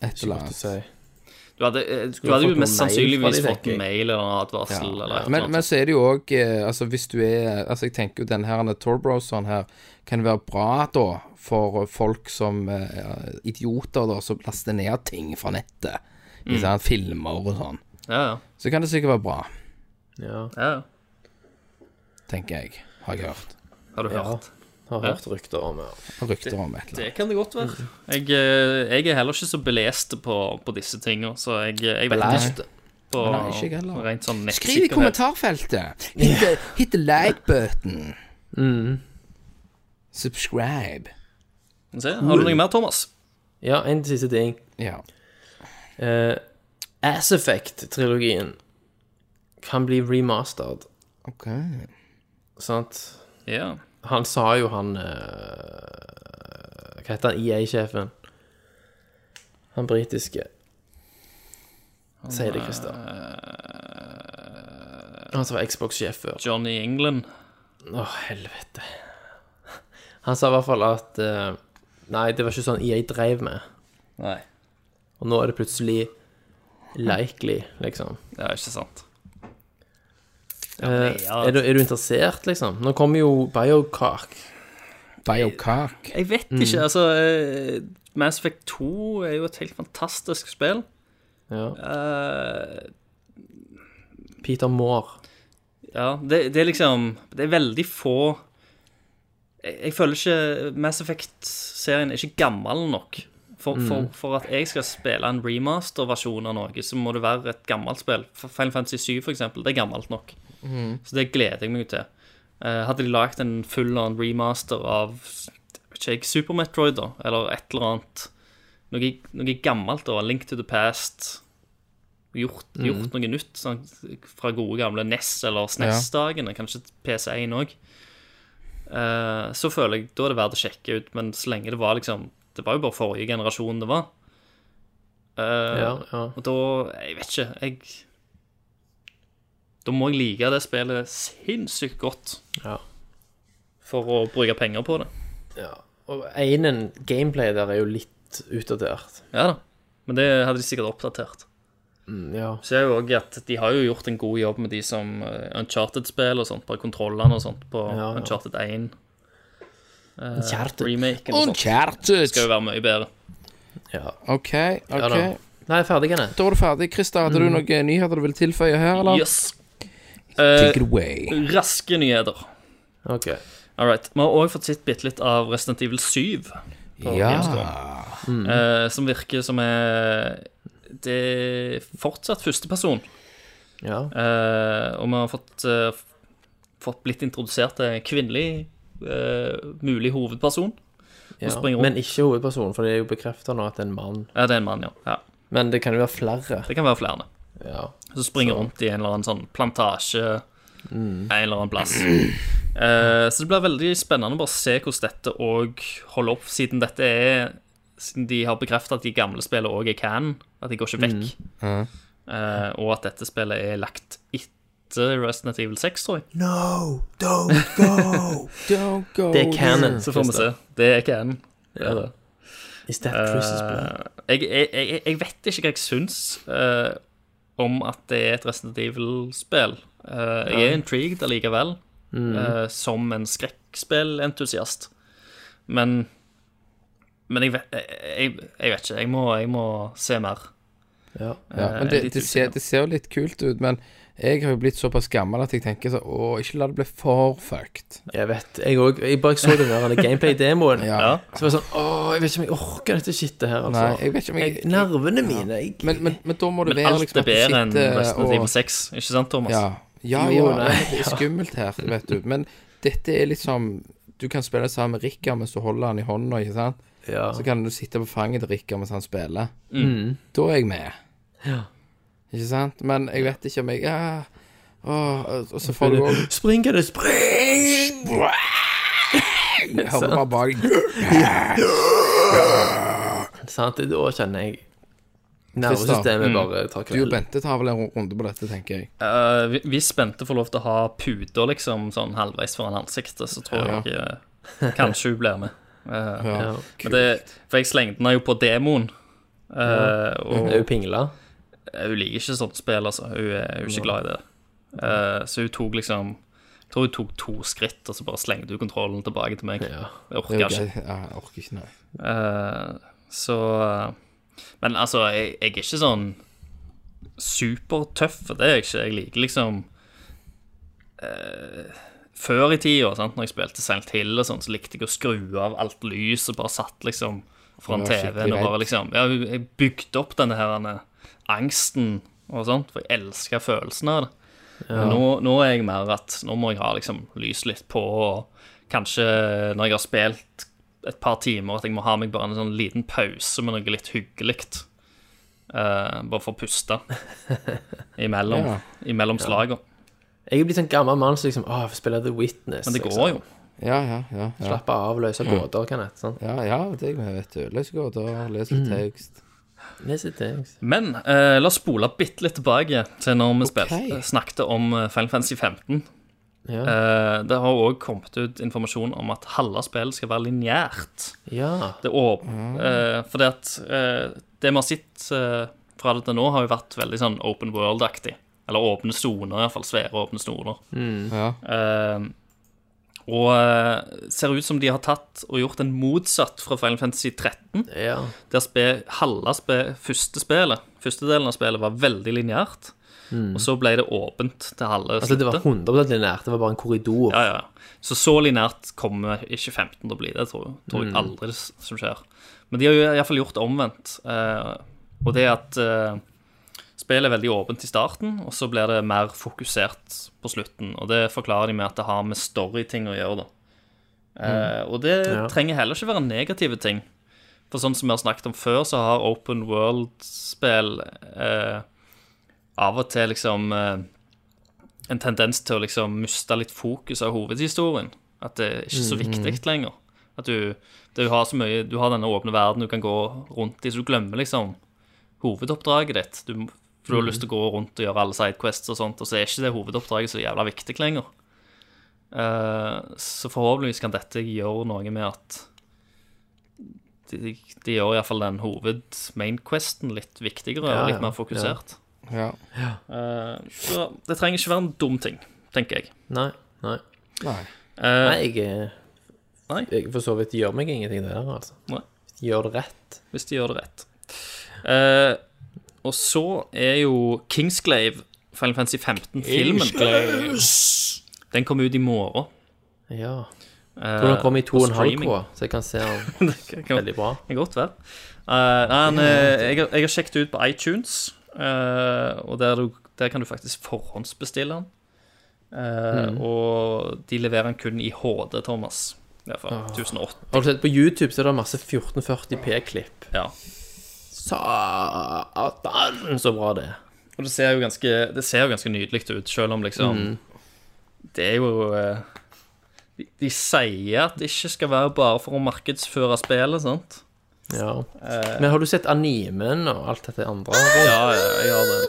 Et ikke eller godt å annet. si. Du hadde, eh, du fått hadde noen mail fra jo mest de, sannsynligvis tenker fått jeg. en mail eller en advarsel eller et eller Men, men annet. så er det jo òg Altså, hvis du er Altså, jeg tenker jo denne her denne Torbrowseren her kan være bra, da, for folk som eh, er Idioter, da, som laster ned ting fra nettet. I Mm. sånne filmer og sånn. Ja, ja. Så kan det sikkert være bra, Ja, ja, ja. tenker jeg. Har jeg hørt. Har du Ja. hørt? har hørt rykter om det. Og Rykter om et eller annet. Det kan det godt være. Jeg, eh, jeg er heller ikke så belest på, på disse tinga, så jeg, eh, jeg vet Belest? ikke. På, Nei, ikke jeg heller. Rent Skriv sånn i nettsikkerhet. kommentarfeltet. Hit the, hit the like button. Mm. Subscribe. Se, Har du noe mer, Thomas? Ja, en siste ting. Ja. Eh, Ass Effect-trilogien kan bli remastered, OK. sant? Ja. Han sa jo han eh, Hva heter han EA-sjefen? Han britiske. Si det, Christer. Han som var Xbox-sjef før. Johnny England. Å, helvete. Han sa i hvert fall at eh, Nei, det var ikke sånn EA drev med. Nei. Og nå er det plutselig likely, liksom. Det er ikke sant. Eh, ja. er, du, er du interessert, liksom? Nå kommer jo Biocark. Biocark. Jeg vet ikke, altså eh, Mass Effect 2 er jo et helt fantastisk spill. Ja. Eh, Peter Moore. ja, det, det er liksom Det er veldig få Jeg, jeg føler ikke Mass Effect-serien er ikke gammel nok. For, for, for at jeg skal spille en remaster-versjon av noe, så må det være et gammelt spill. For Final Fantasy 7, for eksempel, det er gammelt nok. Så det gleder jeg meg til. Eh, hadde de lagd en full-on remaster av vet ikke jeg, Super Metroid, da, eller et eller annet Noe, noe gammelt, da. Link to the past. Gjort, gjort noe nytt sånn, fra gode gamle NES eller SNES-dagene. Kanskje PC1 òg. Eh, så føler jeg da er det verdt å sjekke ut, men så lenge det var liksom Det var jo bare forrige generasjon det var. Eh, Ja, ja. og da Jeg vet ikke. Jeg Da må jeg like det spillet sinnssykt godt ja. for å bruke penger på det. ja. Og einen gameplay der er jo litt utdatert. Ja da. Men det hadde de sikkert oppdatert. Mm, ja. Ser jo også at De har jo gjort en god jobb med de som eh, Uncharted-spill og sånt, bare kontrollene og sånt på Ja, ja. Uncharted 1. eh, Uncharted. Remaken og sånt. Uncharted. Skal jo være mye bedre. ja. OK. Ja OK. da. Nei, ferdig er det. Da er du ferdig. Christer, hadde du noen nyheter du ville tilføye her, eller? Yes. Eh, Take it away. raske nyheter. Ok. All right. Vi har òg fått sett bitte litt av Resident Evil 7. Ja. eh, som virker som er Det er fortsatt førsteperson. Ja. Eh, og vi har fått, eh, f- fått blitt introdusert til en kvinnelig eh, mulig hovedperson. ja. springer rundt. Men ikke hovedpersonen, for det er jo bekrefta nå at det er en mann. Ja, det er en mann, ja. ja. Men det kan jo være flere. Det kan være flere. Ja. Som springer rundt i en eller annen sånn plantasje en eller annen plass. Eh, så det blir veldig spennende å bare se hvordan dette òg holder opp, siden dette er Siden de har bekrefta at de gamle spillene òg er canon, at de går ikke vekk. Eh, og at dette spillet er lagt etter Resident Evil 6, tror jeg. Don't go Det er canon. Så får vi se. Det er canon. Det er det. Is that Chris's blood? Eh, jeg, jeg, jeg, jeg vet ikke hva jeg syns eh, om at det er et Resident Evil-spill. Eh, jeg er intrigued allikevel, Mm. eh, som en skrekkspillentusiast. Men men jeg vet, jeg, jeg, jeg vet ikke. Jeg må, jeg må se mer. Ja. Ja, men jeg er det, litt det, ser, usikker. det ser jo litt kult ut, men jeg har jo blitt såpass gammel at jeg tenker sånn Å, ikke la det bli for fucked. Jeg vet. Jeg òg. Jeg bare så den der gameplay-demoen. Ja. Ja. Så var det sånn Å, jeg vet ikke om jeg orker dette shitet her, altså. Nei, jeg vet ikke om jeg, Jeg- Nervene mine jeg, men, men, men da må det Men være alt liksom er bedre enn sitter Resident og- Evil 6, ikke sant, Thomas? Ja, ja, Jo, ja nei, det er skummelt her, vet du. Men dette er liksom Du kan spille sammen med Rikard mens du holder han i hånda, ikke sant? ja. Mm. Så kan du sitte på fanget til Rikard mens han spiller. Da er jeg med. Ikke sant? Men jeg vet ikke om jeg ja, åh, Og så får du òg Spring, kan du spring! høre bare bak Sant, da kjenner jeg Nervesystemet bare Mm. tar Du og kvelden. Bente tar vel en runde på dette, tenker jeg. Eh, vi- hvis Bente får lov til å ha puter liksom, sånn halvveis foran ansiktet, så tror Ja. jeg eh, kanskje hun blir med. Eh, Ja. Ja. men det, for jeg slengte henne jo på demoen. eh, Mm. og Er hun pingla? hun liker ikke sånt spill, altså. Hun er, hun er ikke glad i det. Eh, så hun tok liksom Jeg tror hun tok to skritt, og så bare slengte hun kontrollen tilbake til meg. Ja. Jeg Det er orker jo ikke. greit. Ja, jeg orker ikke, nei. Eh, så eh, Men altså, jeg, jeg er ikke sånn supertøff, for det er jeg ikke. Jeg liker liksom eh, Før i tida, sant, når jeg spilte Silent Hill og sånn, så likte jeg å skru av alt lys og bare satt liksom foran Du var skikkelig TV-en og bare redd. liksom Ja, jeg bygde opp denne her denne angsten og sånt, for jeg elska følelsen av det. Men Nå, nå er jeg mer at nå må jeg ha liksom lys litt på, og kanskje når jeg har spilt et par timer, at jeg må ha meg bare en sånn liten pause med noe litt hyggelig. Eh, bare for å puste imellom, Ja. imellom slagene. Jeg er blitt sånn gammel mann som liksom Å, jeg får spille The Witness. Men det liksom. går jo. Ja, ja, ja. Ja, Slappe av, løse gåter, kan jeg. Sånn. ja, ja det er jeg med, vet du. Les gåter, les litt tekst. Lese things. Men eh, la oss spole bitte litt tilbake til når vi spilte, Ok. snakket om eh, Final Fantasy 15. Ja. Eh, det har òg kommet ut informasjon om at halve spillet skal være lineært. ja. Det åp Mm. eh, fordi at eh, det vi har sett eh, fra det til nå, har jo vært veldig sånn open world-aktig. Eller åpne soner, iallfall. Svære åpne soner. Ja. Eh, og eh, ser ut som de har tatt og gjort en motsatt fra Final Fantasy 13, ja. der spe, halve spe, første spillet, første delen av spillet, var veldig lineært. Og så ble det åpent til halve Mm. Altså, det var sluttet. 100 linært. Det var bare en korridor. Ja, ja. Så så linært kommer ikke 15 til å bli. Det tror, jeg- tror jeg aldri s- som skjer. Men de har jo iallfall gjort det omvendt. eh, og det er at eh, spillet er veldig åpent i starten, og så blir det mer fokusert på slutten. Og det forklarer de med at det har med storyting å gjøre, da. Eh, og det Ja. trenger heller ikke være negative ting. For sånn som vi har snakket om før, så har open world-spill eh, av og til liksom eh, en tendens til å liksom miste litt fokus av hovedhistorien. At det er ikke så Mm. viktig lenger. At du, du har så mye Du har denne åpne verden du kan gå rundt i, så du glemmer liksom hovedoppdraget ditt. Du, m- for du Mm. har lyst til å gå rundt og gjøre alle sidequests og sånt, og så er ikke det hovedoppdraget så jævla viktig lenger. Eh, så forhåpentligvis kan dette gjøre noe med at de, de, de gjør iallfall den hoved-mainquesten litt viktigere Ja, og ja, litt mer ja. fokusert. ja. Eh, så det trenger ikke være en dum ting, tenker jeg. Nei. Nei. Nei. Eh, Nei, jeg, eh, Nei. jeg for så vidt gjør meg ingenting der, altså. Nei. Gjør det rett. Hvis de gjør det rett. Eh, og så er jo Kingsglaive, Final Fantasy 15-filmen Den kommer ut i morgen. Ja. eh, Tror den kom i på 2,5K, streaming. så jeg kan se den Det kan- veldig bra. kan godt være. Eh, nei, men, eh, jeg, har- jeg har sjekket ut på iTunes, eh, og der, du- Der kan du faktisk forhåndsbestille den. Eh, Mm. Og de leverer den kun i HD, Thomas. I hvert Ah. fall 1008. Har du sett på YouTube, så er det masse 1440p-klipp. Ja. Satan, så bra det er. Og det ser jo ganske, det ser jo ganske nydelig ut, selv om liksom Det er jo eh, de, de sier at det ikke skal være bare for å markedsføre spillet, sant? Eh, Ja. Men har du sett animen og alt dette andre? Ja, ja, jeg gjør det.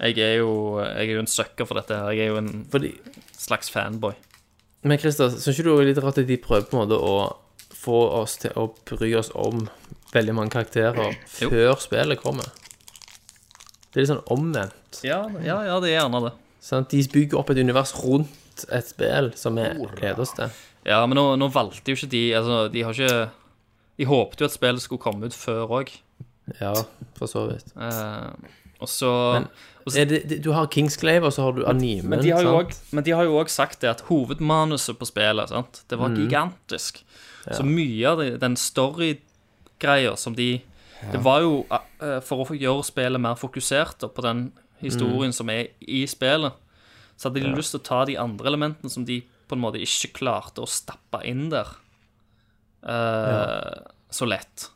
Jeg er jo, jeg er jo en sucker for dette her. Jeg er jo en Fordi slags fanboy. Men Christer, syns ikke du det er litt rart at de prøver på en måte å få oss til å bry oss om veldig mange karakterer Jo. før spillet kommer? Det er litt sånn omvendt. Ja, ja, ja det er gjerne det. Sant? De bygger opp et univers rundt et spill som vi gleder oss til. Ja, men nå, nå valgte jo ikke de Altså, de har ikke De håpte jo at spillet skulle komme ut før òg. Ja, for så vidt. og så Er det, det- du har Kingsglaive, og så har du animen. Altså- Men de har jo sant? også- men de har jo òg sagt det at hovedmanuset på spillet sant? Det var gigantisk. Så mye av det, den storygreia som de Det var jo eh, for å gjøre spillet mer fokusert da, på den historien som er i spillet, så hadde de lyst til å ta de andre elementene som de på en måte ikke klarte å stappe inn der eh, så lett.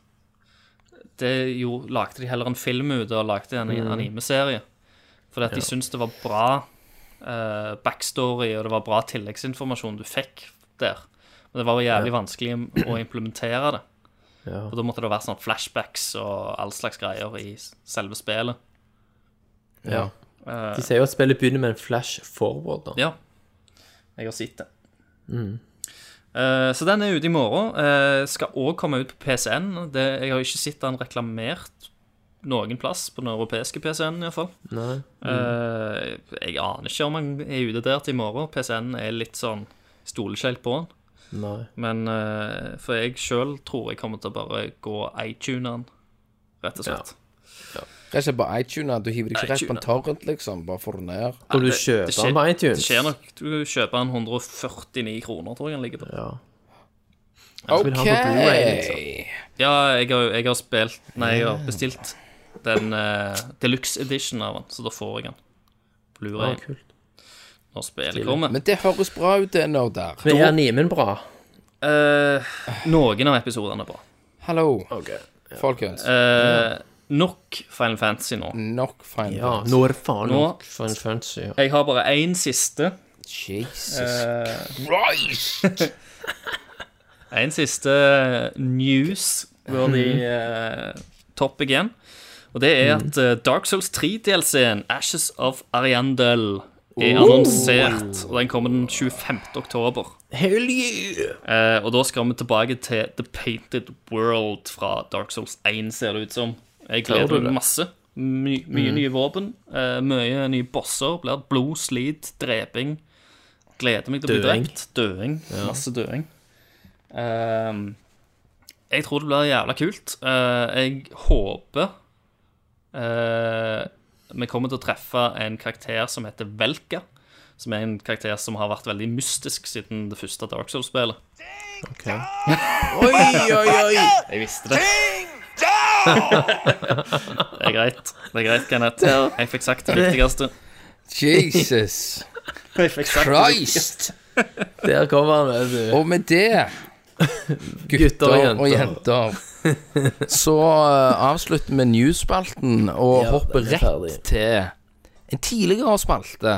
Det jo, lagde de heller en film ut og lagde en anime-serie. Fordi at de syntes det var bra eh, backstory, og det var bra tilleggsinformasjon du fikk der. Men det var jo jævlig vanskelig im- å implementere det. Ja. Og da måtte det være sånn flashbacks og all slags greier i s- selve spillet. Ja. De sier jo at spillet begynner med en flash forward. Da. Ja. Jeg har sett det. Eh, så den er ute i morgen. Eh, skal òg komme ut på PCN. Det, jeg har ikke sett den reklamert noen plass, på den europeiske PCN iallfall. Nei. Uh, jeg aner ikke om han er ute der til i morgen. PCN er litt sånn Stoler ikke helt på han. Nei. Men eh, for jeg sjøl tror jeg kommer til å bare gå iTunen, rett og slett. Det er ikke bare iTunes. Du hiver det ikke rett på en iTunes. torrent, liksom. Bare får det ned. Kan du det- kjøpe det skjer- den på Det iTunes? skjer nok Du kjøper en 149 kroner, tror jeg han ligger på. Ja. vil ha OK. på Blu-ray, liksom. Ja, jeg har, jeg har spilt Nei, jeg har bestilt den uh, deluxe edition av den, så da får jeg den. Ja, Blu-ray Ah, kult. når spillet kommer. Men det høres bra ut, det nerder. Men er animen bra? Eh, noen av episodene er bra. Hallo, folkens. Eh, nok Final Fantasy nå. Nok fine Ja, ja. nå er det faen Nå- nok for en fancy. Ja. Jeg har bare én siste. Eh. Jesus En siste eh, news hvor de eh, topp igjen. Og det er at eh, Dark Souls 3-DLC-en, Ashes of Ariandel, er annonsert. Og den kommer den 25. oktober. Hell yeah! Eh, og da skal vi tilbake til The Painted World fra Dark Souls 1, ser det ut som. Jeg Klarer du det? Mm. gleder meg masse. My, mye nye våpen, eh, mye nye bosser. Blir blod, slit, dreping. Gleder meg til å bli Døing. drept. Døing. Masse døing. Ehm, jeg tror det blir jævla kult. Eh, jeg håper eh, vi kommer til å treffe en karakter som heter Velka. Som er en karakter som har vært veldig mystisk siden det første Dark Souls-spillet. Ok. Oi, oi, oi! Jeg visste det. det er greit, det er greit, Kenneth. Jeg fikk sagt det viktigste. Jesus Jeg fikk sagt Christ! Der kommer han, vet du. Og med det, gutter og jenter, så eh, avslutter vi news-spalten og Ja, hopper den er ferdig. rett til en tidligere spalte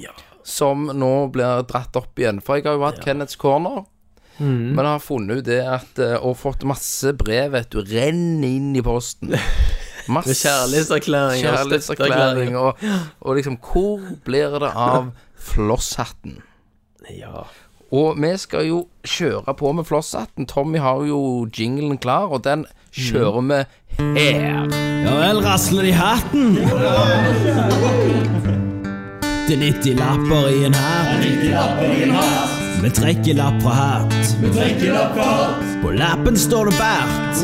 Ja. som nå blir dratt opp igjen. For jeg har jo hatt Kenneths Corner, Mm. men har funnet ut det at eh, Og fått masse brev, vet du. Renner inn i posten. Masse Kjærlighetserklæring. og kjærlighetserklæring. støtteerklæring. Og, og liksom Hvor blir det av flosshatten? Ja. Og vi skal jo kjøre på med flosshatten. Tommy har jo jinglen klar, og den kjører Mm. vi her. Ja vel, rasler de hatten? Det er 90 lapper i en hatt. Vi trekker lapp fra hatt. På lappen står det bært.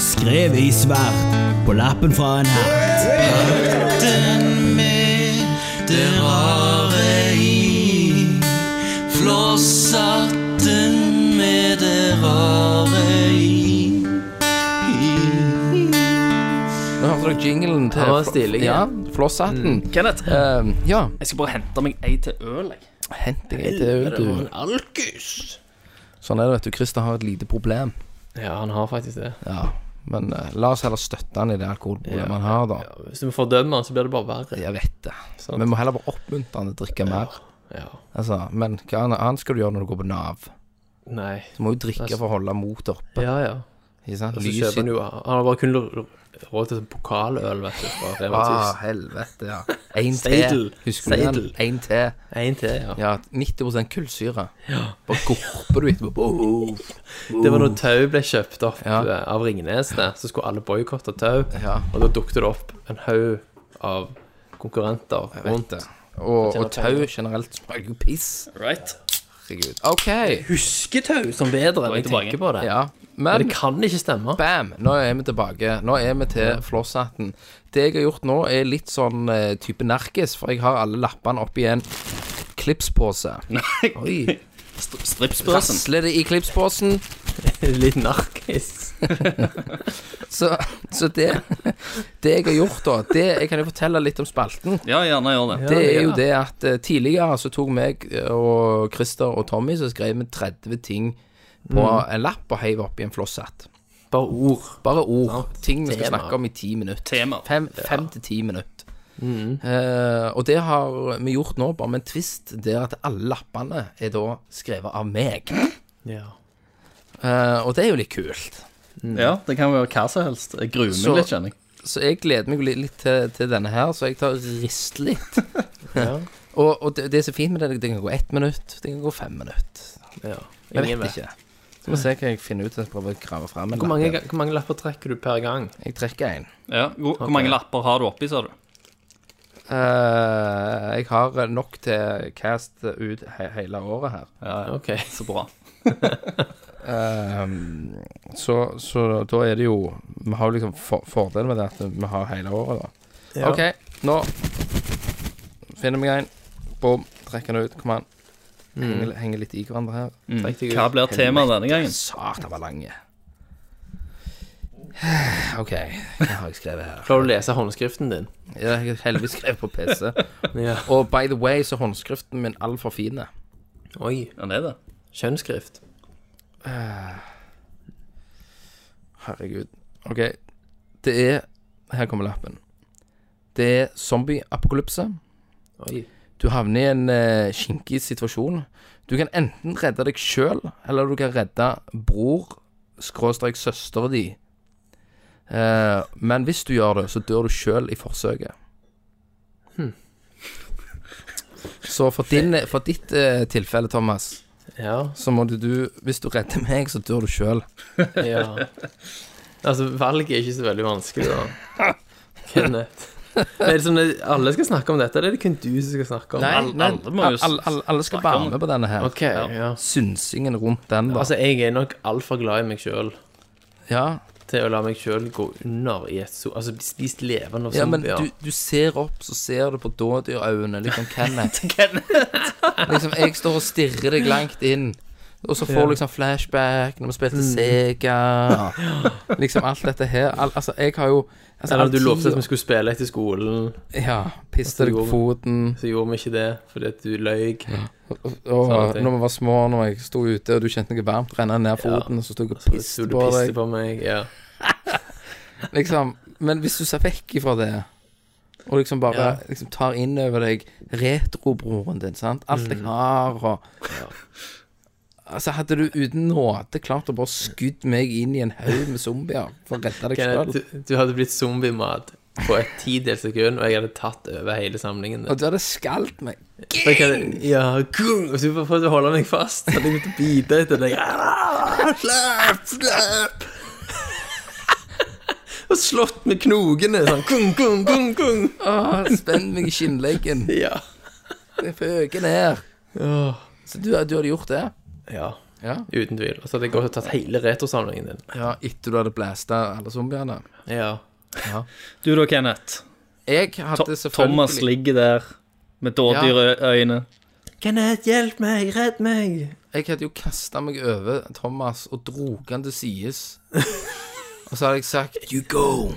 Skrevet i svart på lappen fra en hatt. Barten med det rare i. Flosshatten med det rare i. Nå hørte dere jinglen til Han var stilig, Mm. ja, ja. flosshatten. Kenneth, Eh, ja, jeg skal bare hente meg ei til øl, jeg. hent deg til du. Sånn er det, vet du. Christer har et lite problem. Ja, han har faktisk det. Ja, men eh, la oss heller støtte han i det alkoholproblemet han har, da. Hvis vi fordømmer han, så blir det bare verre. Jeg vet det. Sant. Vi må heller bare oppmuntre han til å drikke mer. Ja. Altså, men hva annet annet skal du gjøre når du går på Nav? Nei. Du må jo drikke for å holde motet oppe. Ja, ja. Ikke sant? Og så Lyset- Altså, kjøper han jo Han har bare kun lo- råd til sånn pokaløl, vet du, fra Rema Ah, 1000. helvete, ja. Én Seidel. te. Husker du den? Seidel. Én te. En til, Ah. ja. Ja, 90 kullsyre. Bare gorper du etterpå. Boom. Det var når Tau ble kjøpt opp Ja. eh, av Ringnes, der, så skulle alle boikotte Tau. Ja. Og da dukket det opp en haug av konkurrenter rundt. Vondt. Og, og Fortjener tau penger. generelt smaker jo piss. Right? Herregud. OK. Husketau som bedre enn jeg tilbake. tenker på det. Ja. Men Men det kan ikke stemme. bam, nå er vi tilbake. Nå er vi til flosshatten. Det jeg har gjort nå, er litt sånn eh, type nerkis, for jeg har alle lappene oppi en klipspose. Oi. Stri- Stripsbørsen. Rasler det i klipsposen. Litt narkis. Så, så det, det jeg har gjort, da det, Jeg kan jo fortelle litt om spalten. Ja, gjerne gjør det. Det er jo det at eh, tidligere så tok meg og Christer og Tommy så skrev vi 30 ting på en lapp og heiv oppi en flosshatt. Bare ord. Bare ord. ting vi skal Tema. snakke om i ti minutter. Tema. Fem, fem til ti minutter. Eh, og det har vi gjort nå, bare med en twist, der at alle lappene er da skrevet av meg. Ja. Eh, og det er jo litt kult. Ja, det kan være hva som helst. Jeg gruer Så- meg litt, kjenner jeg. Så jeg gleder meg jo litt, litt til, til denne her, så jeg tar og rister litt. Ja. Og, og det, det er så fint med det, det kan gå ett minutt, det kan gå fem minutter. ja. Jeg Ingen vet vet. ikke. Så må vi se hva jeg finner ut. Jeg prøver å grave frem en Hvor mange, lapp. hvor mange lapper trekker du per gang? Jeg trekker en. Ja. Hvor, hvor mange lapper har du oppi, sa du? Eh, jeg har nok til cast ut he hele året her. Ja, ja. Ok. Så bra. Ehm, så, så da er det jo Vi har jo liksom for fordelen med det at vi har hele året, da. Ja. OK, nå finner vi en. Bom, trekker den ut. Kom an. Henger, henger litt i hverandre her. Trekk deg ut. Hva blir temaet denne gangen? Satan, var lange. OK, hva har jeg skrevet her? Klarer du å lese håndskriften din? Jeg har heldigvis skrevet på PC. Ja. Og by the way, så er håndskriften min altfor fin. Oi. Ja, det er det. Kjønnsskrift. Herregud. OK. Det er Her kommer lappen. Det er zombieapokalypse. Oi. Du havner i en eh, skinkig situasjon. Du kan enten redde deg sjøl, eller du kan redde bror, skråstrek søster di. Eh, men hvis du gjør det, så dør du sjøl i forsøket. Så for, din, for ditt eh, tilfelle, Thomas, Ja. så må du, du Hvis du redder meg, så dør du sjøl. ja. Altså, valget er ikke så veldig vanskelig, da. Kenneth. Er det sånn at alle skal snakke om dette, eller er det kun du som skal snakke om det? Alle- alle må jo alle, alle, alle skal snakke om være med det. på denne her. Ok, ja. Synsingen rundt den, da. Altså, jeg er nok altfor glad i meg sjøl Ja, til å la meg sjøl gå under i et so... Altså, bli spist levende av ja men zombier. du, du ser opp, så ser du på dådyrøyne, liksom Kenneth. Kenneth. Liksom, jeg står og stirrer deg langt inn. Og så får du liksom flashback når vi spilte Sega. Liksom alt dette her. Al altså, jeg har jo altså, Eller all du tid- lovte at vi skulle spille etter skolen, Ja. Piste deg på foten. så gjorde vi ikke det fordi at du løy. Og Sånne ting. når vi var små, når jeg sto ute, og du kjente noe varmt renne ned foten, og så sto jeg og Så sto piste du på og piste deg. på meg. Ja. Liksom. Men hvis du ser vekk ifra det, og liksom bare Ja. liksom tar inn over deg retrobroren din, sant. Alt jeg har, og Altså, hadde du uten nåde klart å bare skutt meg inn i en haug med zombier for å redde deg sjøl? Kenneth, du, du hadde blitt zombiemat på et tidels sekund, og jeg hadde tatt over hele samlingen. Og du hadde skalt meg. Så jeg hadde, ja, gung, og så prøvde du å holde meg fast, så hadde jeg begynt å bite etter deg. Slapp, slapp. Og slått med knogene, sånn gung, gung, gung, gung. Åh, spenn meg i skinnleggen. Ja. Jeg føker ned. Åh. Så du, du hadde gjort det? ja. Ja. Uten tvil. Og så hadde jeg gått og tatt hele retrosamlingen din. ja etter du hadde blæsta alle zombiene? Ja. Du da, Kenneth. Jeg To hadde selvfølgelig Thomas ligger der med dådyrøyne. Kenneth, hjelp meg, redd meg. Jeg hadde jo kasta meg over Thomas og drog han til sides. Og Og så hadde jeg sagt You go.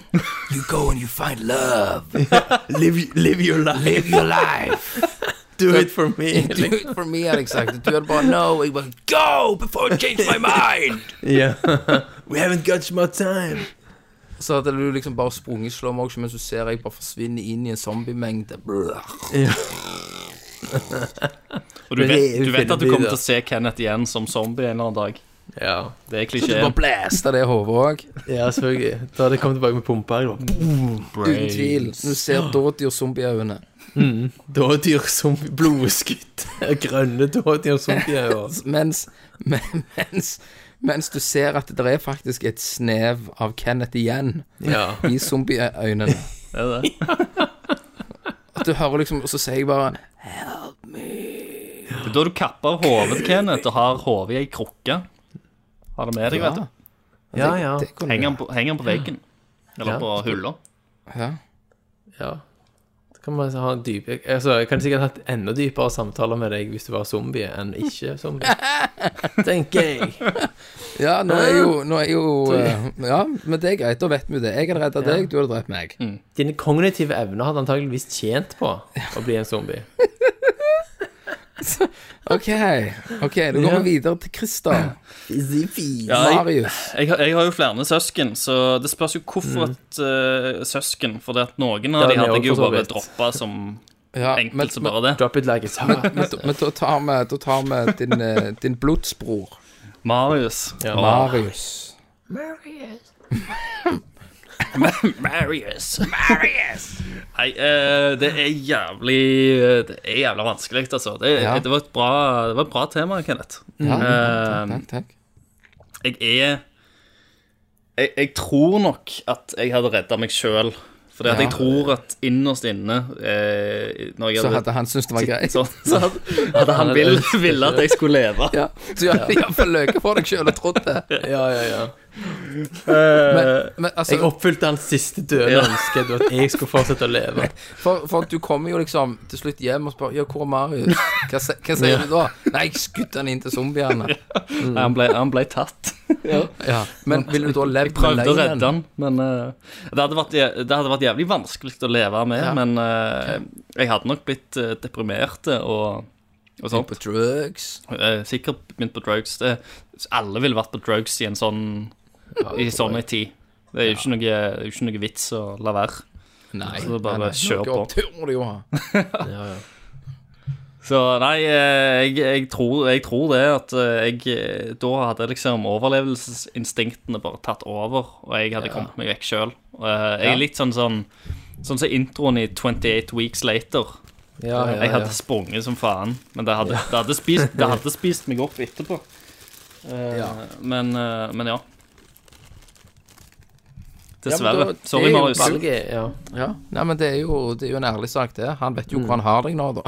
You go and you find love. live, live your life. Live your life. Do it for me. Do it for me, hadde jeg sagt. Du hadde bare No. Jeg bare Go before I change my mind. Ja. We haven't got much time. Så hadde du liksom bare sprunget i slow motion mens du ser jeg bare forsvinner inn i en zombiemengde. Brrr. Og du Men det er vet, jo du vet at du filmbil, kommer da. til å se Kenneth igjen som zombie en eller annen dag. ja. Det er Du bare klisjeen. blæsta det hodet òg. ja, selvfølgelig. Da hadde jeg kommet tilbake med pumpa. jeg da. Uten tvil. Du ser dådyr zombieøyne. Dådyr som blodskutt. Grønne dådyr som de er. jo. Mens, men- mens, mens du ser at det er faktisk et snev av Kenneth igjen Ja. i zombieøynene. Er det? At du hører liksom Og så sier jeg bare Det er Da du kapper av hodet til Kenneth og har hodet i ei krukke. Har det med deg, vet du. Ja, ja. det kunne Henger den på, henger den på veggen. Eller Ja. på hylla. ja. Ja. Så kan man ha en dyp... Altså, jeg kan sikkert hatt enda dypere samtaler med deg hvis du var zombie enn ikke zombie. Tenker jeg. ja, nå er jo, nå er jo eh, Ja, men det er greit, da vet vi det. Jeg hadde redda deg, du hadde drept meg. Mm. Dine kognitive evner hadde antageligvis tjent på å bli en zombie. OK, ok, da går vi videre til Christer. Ja, jeg, Marius. jeg, har- jeg har jo flere søsken, så det spørs jo hvorfor Mm. et eh, søsken. For det at noen av Ja, de hadde vi jeg jo også, så bare vidt. droppa som Ja, men, enkelt som men, bare det. Drop it like it's hot. men, da- men da tar vi, da tar vi din, eh, din blodsbror, Marius. Ja. Åh, Marius. Marius. Marius. Nei, eh, det er jævlig eh, Det er jævla vanskelig, altså. Det, Ja. det, var et bra, det var et bra tema, Kenneth. Ja, Eh, takk, takk. jeg er jeg, jeg tror nok at jeg hadde redda meg sjøl. Fordi at Ja. jeg tror at innerst inne eh, når jeg Så hadde han syntes det var greit. så, så hadde, hadde han ville ville at jeg skulle leve. Ja, du hadde iallfall løket for deg sjøl og trodd det. Ja, ja, ja. Men, Eh, men Jeg altså, oppfylte hans siste døende ønske, det var at jeg skulle fortsette å leve. for, for du kommer jo liksom til slutt hjem og spør Ja, hvor er Marius? Hva, se- hva sier du da? Nei, jeg skjøt han inn til zombiene. Nei, han, ble, han ble tatt. Ja, men ville du da levd med Prøvde å redde løgnen? han, men eh, det, hadde vært, jæ- det hadde vært jævlig vanskelig å leve med. Men eh, jeg hadde nok blitt eh, deprimert og, og sånt. På drugs? Eh, sikkert begynt på drugs. Det, alle ville vært på drugs i en sånn I sånn en tid. Det er jo ikke, noe, det er jo ikke noe vits å la være. Nei. Så det er bare nei, nei. kjør Noe på. opptur må du jo ha. Så nei, eh, jeg, jeg, tror, jeg tror det at eh, jeg eh, Da hadde liksom overlevelsesinstinktene bare tatt over, og jeg hadde kommet meg vekk sjøl. Jeg er litt sånn sånn Sånn som introen i 28 Weeks Later. Ja, ja, jeg ja. hadde sprunget som faen, men det hadde, det hadde, spist, det hadde spist meg opp etterpå. Eh, Men, eh, men ja. Ja, Dessverre. men da- Sorry, det er jo Marius. valget, Ja. Ja. Nei, men det er, jo, det er jo en ærlig sak, det. Han vet jo hvor han Mm. har deg nå, da.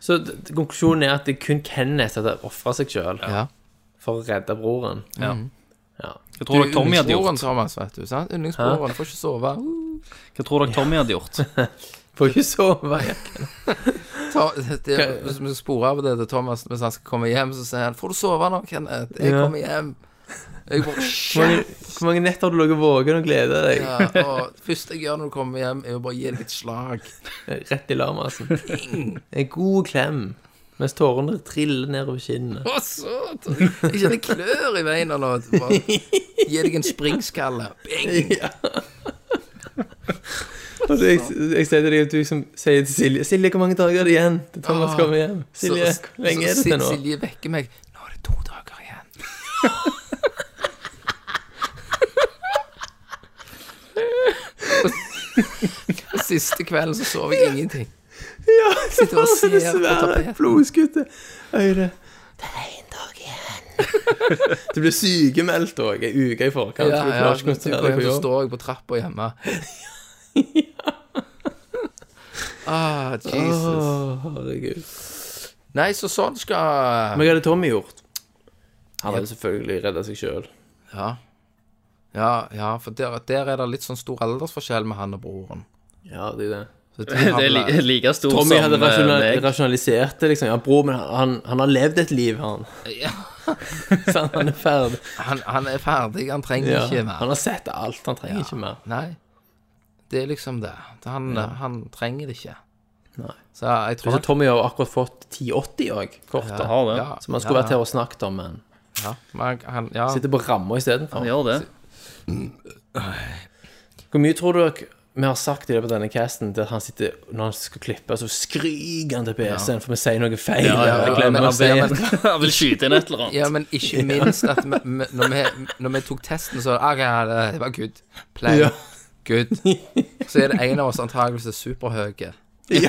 Så d- d- konklusjonen er at det er kun Kenneth som hadde ofra seg sjøl Ja. for å redde broren. Ja. Ja. Hva tror dere Tommy hadde gjort? Yndlingsbroren, Thomas, vet du. sant? Yndlingsbroren får ikke sove. Hva tror dere Tommy hadde gjort? Får ikke sove. ja. Ta, det, det, hvis vi sporer av det til Thomas mens han skal komme hjem, så sier han 'Får du sove nå, Kenneth? Jeg Ja. kommer hjem.' Jeg bare Hvor mange, «Shit!» hvor mange netter har du ligget våken og gleda deg? ja, og Det første jeg gjør når du kommer hjem, er å bare gi deg et slag. Eh, Rett i larmasen. En god klem mens tårene triller nedover kinnet. Å, så Jeg kjenner klør i veien nå. Bare Gi deg en springskalle. Bing! Og så Altså, jeg, jeg sier til deg at du som sier til Silje Silje, hvor mange dager er det igjen til Thomas Ah, kommer hjem? Så- Silje, så- hvor lenge er det så til nå? Silje vekker meg. 'Nå er det to dager igjen.' Og Siste kvelden så sover jeg ingenting. Ja, så og var det ser på svære tapeten. blodskuttet. Øyre. Det er en dag igjen. du blir sykemeldt òg, ei uke i forkant. Ja, for du ja, klarer når ikke å du konsentrere går deg hjem, på så jobb. står jeg på trappa hjemme. ah, Jesus. Å, herregud. Nei, så sånn skal Men hva hadde Tommy gjort? Han hadde selvfølgelig redda seg sjøl. Ja, ja, ja for der, der er det litt sånn stor aldersforskjell med han og broren. Ja, det er det. Så de Det har er vel- li- like stort Tommy som hadde eh, rasjonal meg. rasjonalisert det, liksom. Ja, bror, men han, han har levd et liv, han. Ja. Sånn, han er ferdig. Han, han er ferdig, han trenger Ja. ikke Han mer. har sett alt, han trenger ikke mer. Nei. Det er liksom det. Det- Han, han trenger det ikke. Nei. Så jeg tror Så Tommy har jo akkurat fått 1080 òg, kortet. Ja, har det. ja, Som han skulle vært her og snakket om, men ja, ja. Men han, ja. sitter på ramma istedenfor. Han gjør det. Hvor mye tror du vi har sagt i løpet av denne casten til at han sitter når han skal klippe, så skriker han til PC-en for vi sier noe feil? Ja, ja, eller ja, glemmer men- å si ja, det. men- Han vil skyte inn et eller annet. Ja, men ikke minst at vi, vi- når, vi, når vi tok testen, så var det ah, ja, det- det var good. Play. Ja. Good. Så er det en av oss antageligvis er superhøye.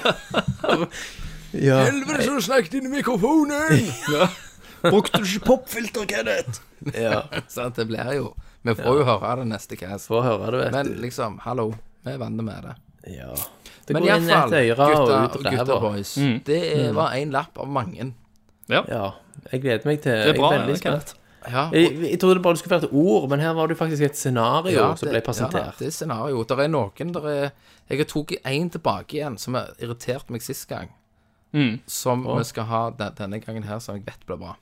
Ja. Helvete, så du snakket inn i mikrofonen! Brukte du ikke popfilter, Kenneth? Ja. Sant, det blir jo Vi får jo høre det neste cast. Få høre det, vet Men du. liksom, hallo, vi er vant med det. Ja. Det Men går inn i et øre og gutta, ut gutta ræva. boys, det er- Mm. var en lapp av mange. Ja. Jeg gleder meg til Det er bra, Jeg er veldig Kenneth. spent. Ja, og- Jeg, jeg trodde det bare skulle være et ord, men her var det jo faktisk et scenario ja, som det- ble Ja, presentert. det er scenario. Der er noen der er, Jeg tok én tilbake igjen som har irritert meg sist gang. Som vi skal ha de- denne gangen her, som jeg vet blir bra.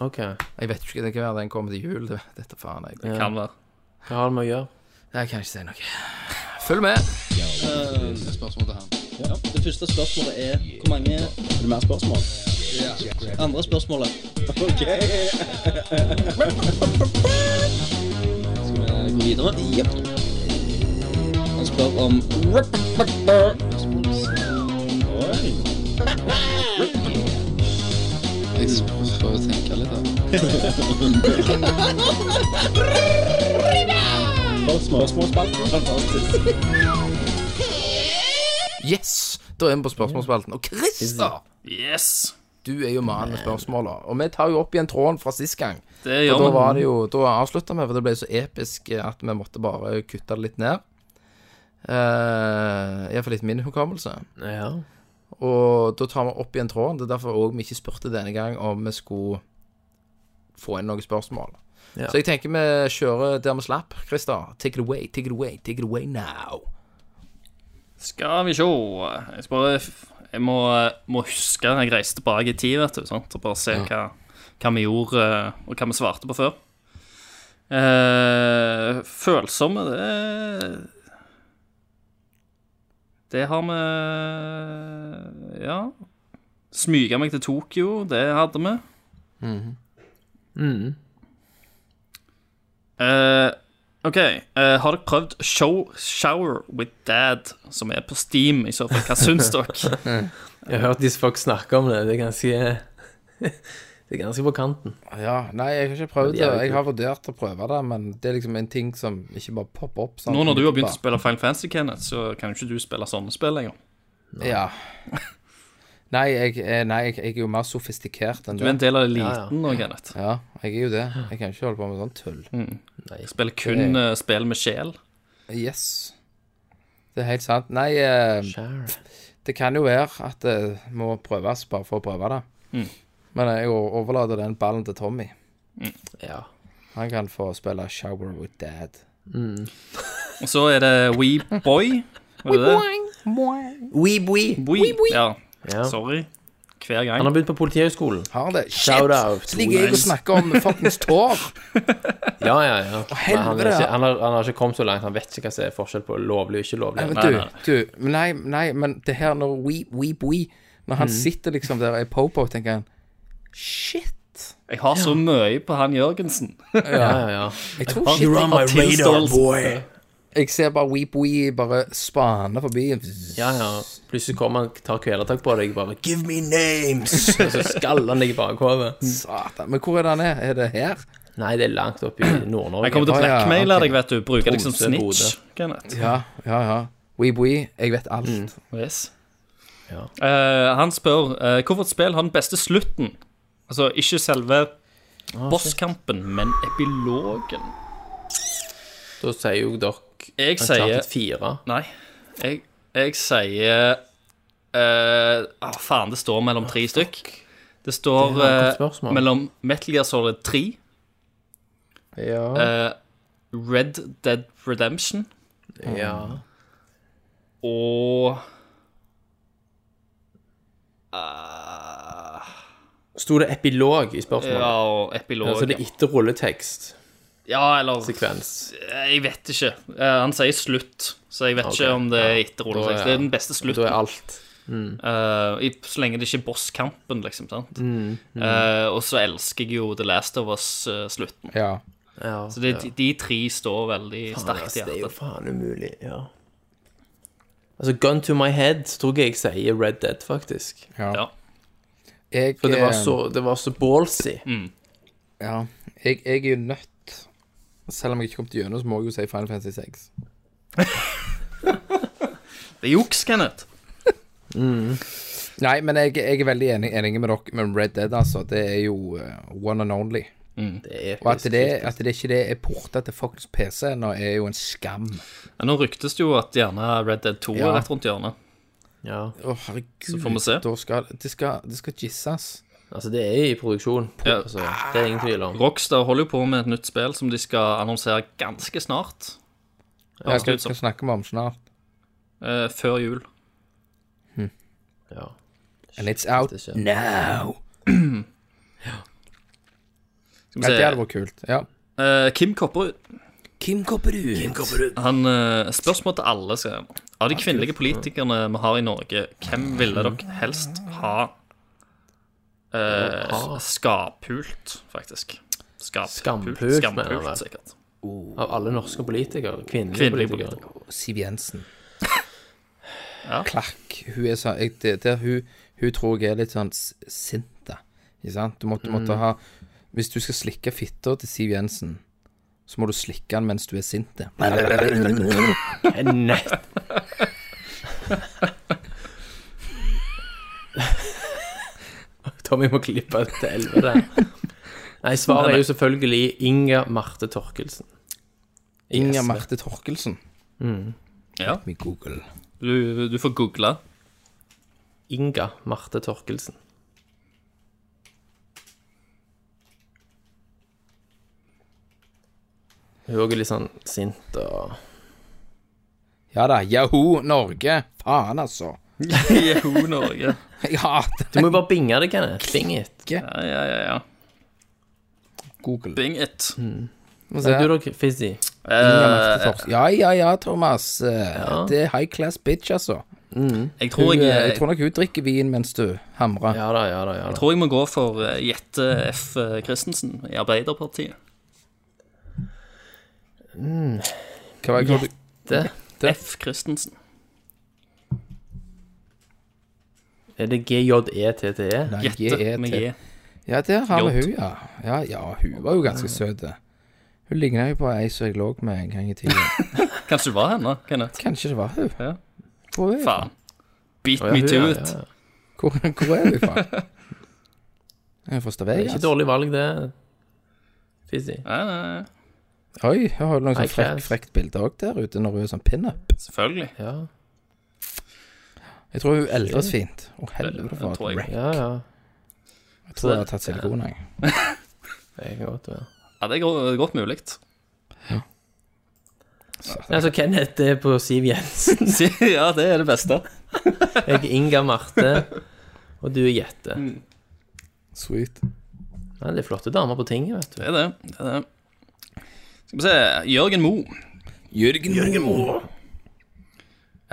Ok. Jeg vet ikke, det kan være den kommer til jul. det- Dette faen jeg. Ja. Kan være. Hva har det med å gjøre? Jeg kan ikke si noe. Følg med. Det første spørsmålet er hvor mange Er det mer spørsmål? Andre spørsmålet. Ok. Skal vi gå videre? Jepp. Han spør om Jeg prøver å tenke litt, da. Yes! Da er vi på spørsmålsspalten. Og Christer, Yes! du er jo mannen med spørsmåla. Og vi tar jo opp igjen tråden fra sist gang. Det Og gjør da vi. var det jo Da avslutta vi, for det ble så episk at vi måtte bare kutte det litt ned. Uh, Iallfall litt min hukommelse. Ja. Og da tar vi opp igjen tråden. Det er derfor også vi ikke spurte denne gang om vi skulle få inn noen spørsmål. Ja. Så jeg tenker vi kjører der vi slapp. Christer, take it away, take it away, take it away now. Skal vi sjå. Jeg bare Jeg må, må huske Jeg reiste tilbake i tid, vet du. Sant? Og bare se hva, hva vi gjorde, eh, og hva vi svarte på før. Eh, følsomme, det Det har vi Ja. Smyga meg til Tokyo, det hadde vi. Eh, OK. eh, har dere prøvd show, Shower with Dad, som er på Steam? I så fall, hva syns dere? Jeg har hørt disse folk snakke om det. Det er ganske Det er ganske på kanten. Ja, nei, jeg har ikke prøvd det. Men det er jo Jeg har vurdert å prøve det, men det er liksom en ting som ikke bare popper opp. sant? Nå når du har begynt å spille Final Fantasy, Kenneth, så kan jo ikke du spille sånne spill lenger. Ja. Nei, jeg, eh, nei, jeg, jeg er jo mer sofistikert enn Du er en det. del av eliten nå, Kenneth. Ja, jeg er jo det. Jeg kan ikke holde på med sånn tull. Spiller kun eh, spill med sjel. Yes. Det er helt sant. Nei, eh, Det kan jo være at det må prøves bare for å prøve det. Mm. Men jeg overlater den ballen til Tommy. Ja. Han kan få spille Shower with Dad. Og så er det WeBoy. WeBoy. Ja. Ja. Sorry. Hver Han har gang. begynt på Politihøgskolen. Har det? Shout out. Så ligger jeg og snakker om fuckings tår. Ja, ja, ja. Men han, er helvete. ikke, han, har, han har ikke kommet så langt. Han vet ikke hva som er forskjell på lovlig og ikke lovlig. Nei, men Nei, du, nei. du men Nei, nei, men det her når we, we, we Når Mm. han sitter liksom der og er popo, tenker han Shit. Jeg har så mye på han Jørgensen. Ja, ja, ja. Jeg tror shit. on my radar, boy. Jeg ser bare Weep We bare spane forbi. Ja, ja. Plutselig kommer han, tar kvelertak på deg, bare Give me names! Og så skaller han deg i bakhodet. Satan. Men hvor er det han er? Er det her? Nei, det er langt opp i Nord-Norge. Jeg kommer til å Å, ja, blackmaile ok. deg, vet du. Bruke deg som Bodø, snitch, Kenneth. Ja, ja, ja. Weep We. Jeg vet alt. Mm. Yes. Ja. Eh, han spør eh, hvorfor et spill har den beste slutten. Altså ikke selve Ah, bosskampen, men epilogen. Da sier jo dere Jeg sier Uncharted 4. Nei. Jeg, jeg sier eh, ah, Faen, det står mellom tre stykk. Det står Ah, Det er et godt eh, spørsmål. mellom Metal Gear Solid 3, Ja. eh, Red Dead Redemption Eh, ja. Ah, og eh, Sto det epilog i spørsmålet? Ja, og epilog. altså det er etter rulletekstsekvens. Ja, eller Jeg vet ikke. Eh, Han sier slutt, så jeg vet ikke om det er etter rulletekst. Da er- Det er den beste Da slutten, er alt eh, i- så lenge det ikke er bosskampen, liksom. sant? Mm, Eh, og så elsker jeg jo The Last of Us-slutten. Ja. ja, så det, de, de tre står veldig sterkt i Det er jo hjertet. faen umulig, ja. Altså, Gun to my head tror jeg jeg sier Red Dead, faktisk. Ja. Jeg, For det var eh, så, det var så ballsy. mm. Ja. Jeg, jeg er jo nødt Selv om jeg ikke kom til gjennom, så må jeg jo si Final Fantasy 6. Det er juks, Kenneth. Nei, men jeg, jeg er veldig enig, enig med dere med Red Dead, altså. Det er jo eh, one and only. Mm. Det er Og at det, at det ikke det er porta til fuckings PC ennå, er jo en skam. Men nå ryktes det jo at gjerne Red Dead 2 Ja. er rett rundt hjørnet. Ja, Å, herregud. Så får vi se. Da skal, det, skal, det skal gisses. altså det er i produksjon. Ja. Altså, det er ingen tvil om. Rockstar holder jo på med et nytt spill som de skal annonsere ganske snart. Ja, Høres hva det ut som. skal vi snakke om snart? eh, før jul. Ja. And it's out det skjer. now. Skal Ja, vi det hadde se. vært kult. Ja. Eh, Kim Kopperud. Kim Kopperud. Han, eh, spørsmål til alle, sier han. Av de kvinnelige politikerne vi har i Norge, hvem ville dere helst ha eh, Ha. skapult, faktisk? Skapult, Skampult, mener skampult jeg. sikkert. Av alle norske politikere, kvinnelige, Kvinnelige politikere. Siv Jensen. Ja. Klakk. Hun er sånn jeg, det, det, hun, hun tror jeg er litt sånn s- sinte. Ikke sant? Du måtte, Mm. måtte ha Hvis du skal slikke fitta til Siv Jensen, så må du slikke den mens du er sinte. Nei. Tommy må klippe ut til elleve der. Nei, svaret er jo selvfølgelig Inga Marte Torkelsen. Inger Marte Torkelsen. Mm. Ja. Med Google. Du, du får google. Inga Marte Torkelsen. Hun er også litt sånn sint og Ja da. Yahoo Norge. Faen, altså. Jeho Norge. Jeg hater Du må jo bare binge det, Kenneth. Bing it. Ja, ja, ja. ja. Google. Bing it. Må se. Nei, du da, Fizzy. Inger Eh, Marte Torkelsen. Ja, ja, ja, Thomas. Eh, Det er high class bitch, altså. jeg, Hun, tror jeg, eh, jeg jeg, tror nok hun drikker vin mens du hamrer. Ja da, ja da. ja da. tror jeg må gå for eh, Jette F. eh, Christensen i Arbeiderpartiet. Hva var det du Det, F. Christensen. er det E GJETTE? Nei, Jette med J. G-E-T. Ja, der har vi J. Ah. hun, ja. ja. Ja, hun var jo ganske søt. Hun ligna jo på ei som jeg lå med en gang i tiden. Kanskje det var henne, Kenneth? Kanskje det var hun? Ja. Hvor er hun? fra? Faen. Beat Å, ja, me hun, to ja, it. ja, ja. Hvor, hvor er hun fra? Er hun fra Det er ikke Stavanger? dårlig valg, det. Fizzy. Nei, nei, nei. Oi, hun har noen High sånn frekk, class. frekt bilde òg der ute når hun er sånn pinup. Selvfølgelig. Ja, Jeg tror hun eldres fint. Å, helvete Det for tror et jeg. rack. ja. ja. Jeg tror hun har tatt silikon, jeg. Det kan godt være. Ja, det er go- godt mulig. Ja, så altså, Kenneth er på Siv Jensen. ja, det er det beste. Jeg er Inga Marte, og du er Jette. Sweet. Ja, det er flotte damer på tinget, vet du. Det er det. det, er det. Skal vi se. Jørgen Mo. Jørgen, Moe.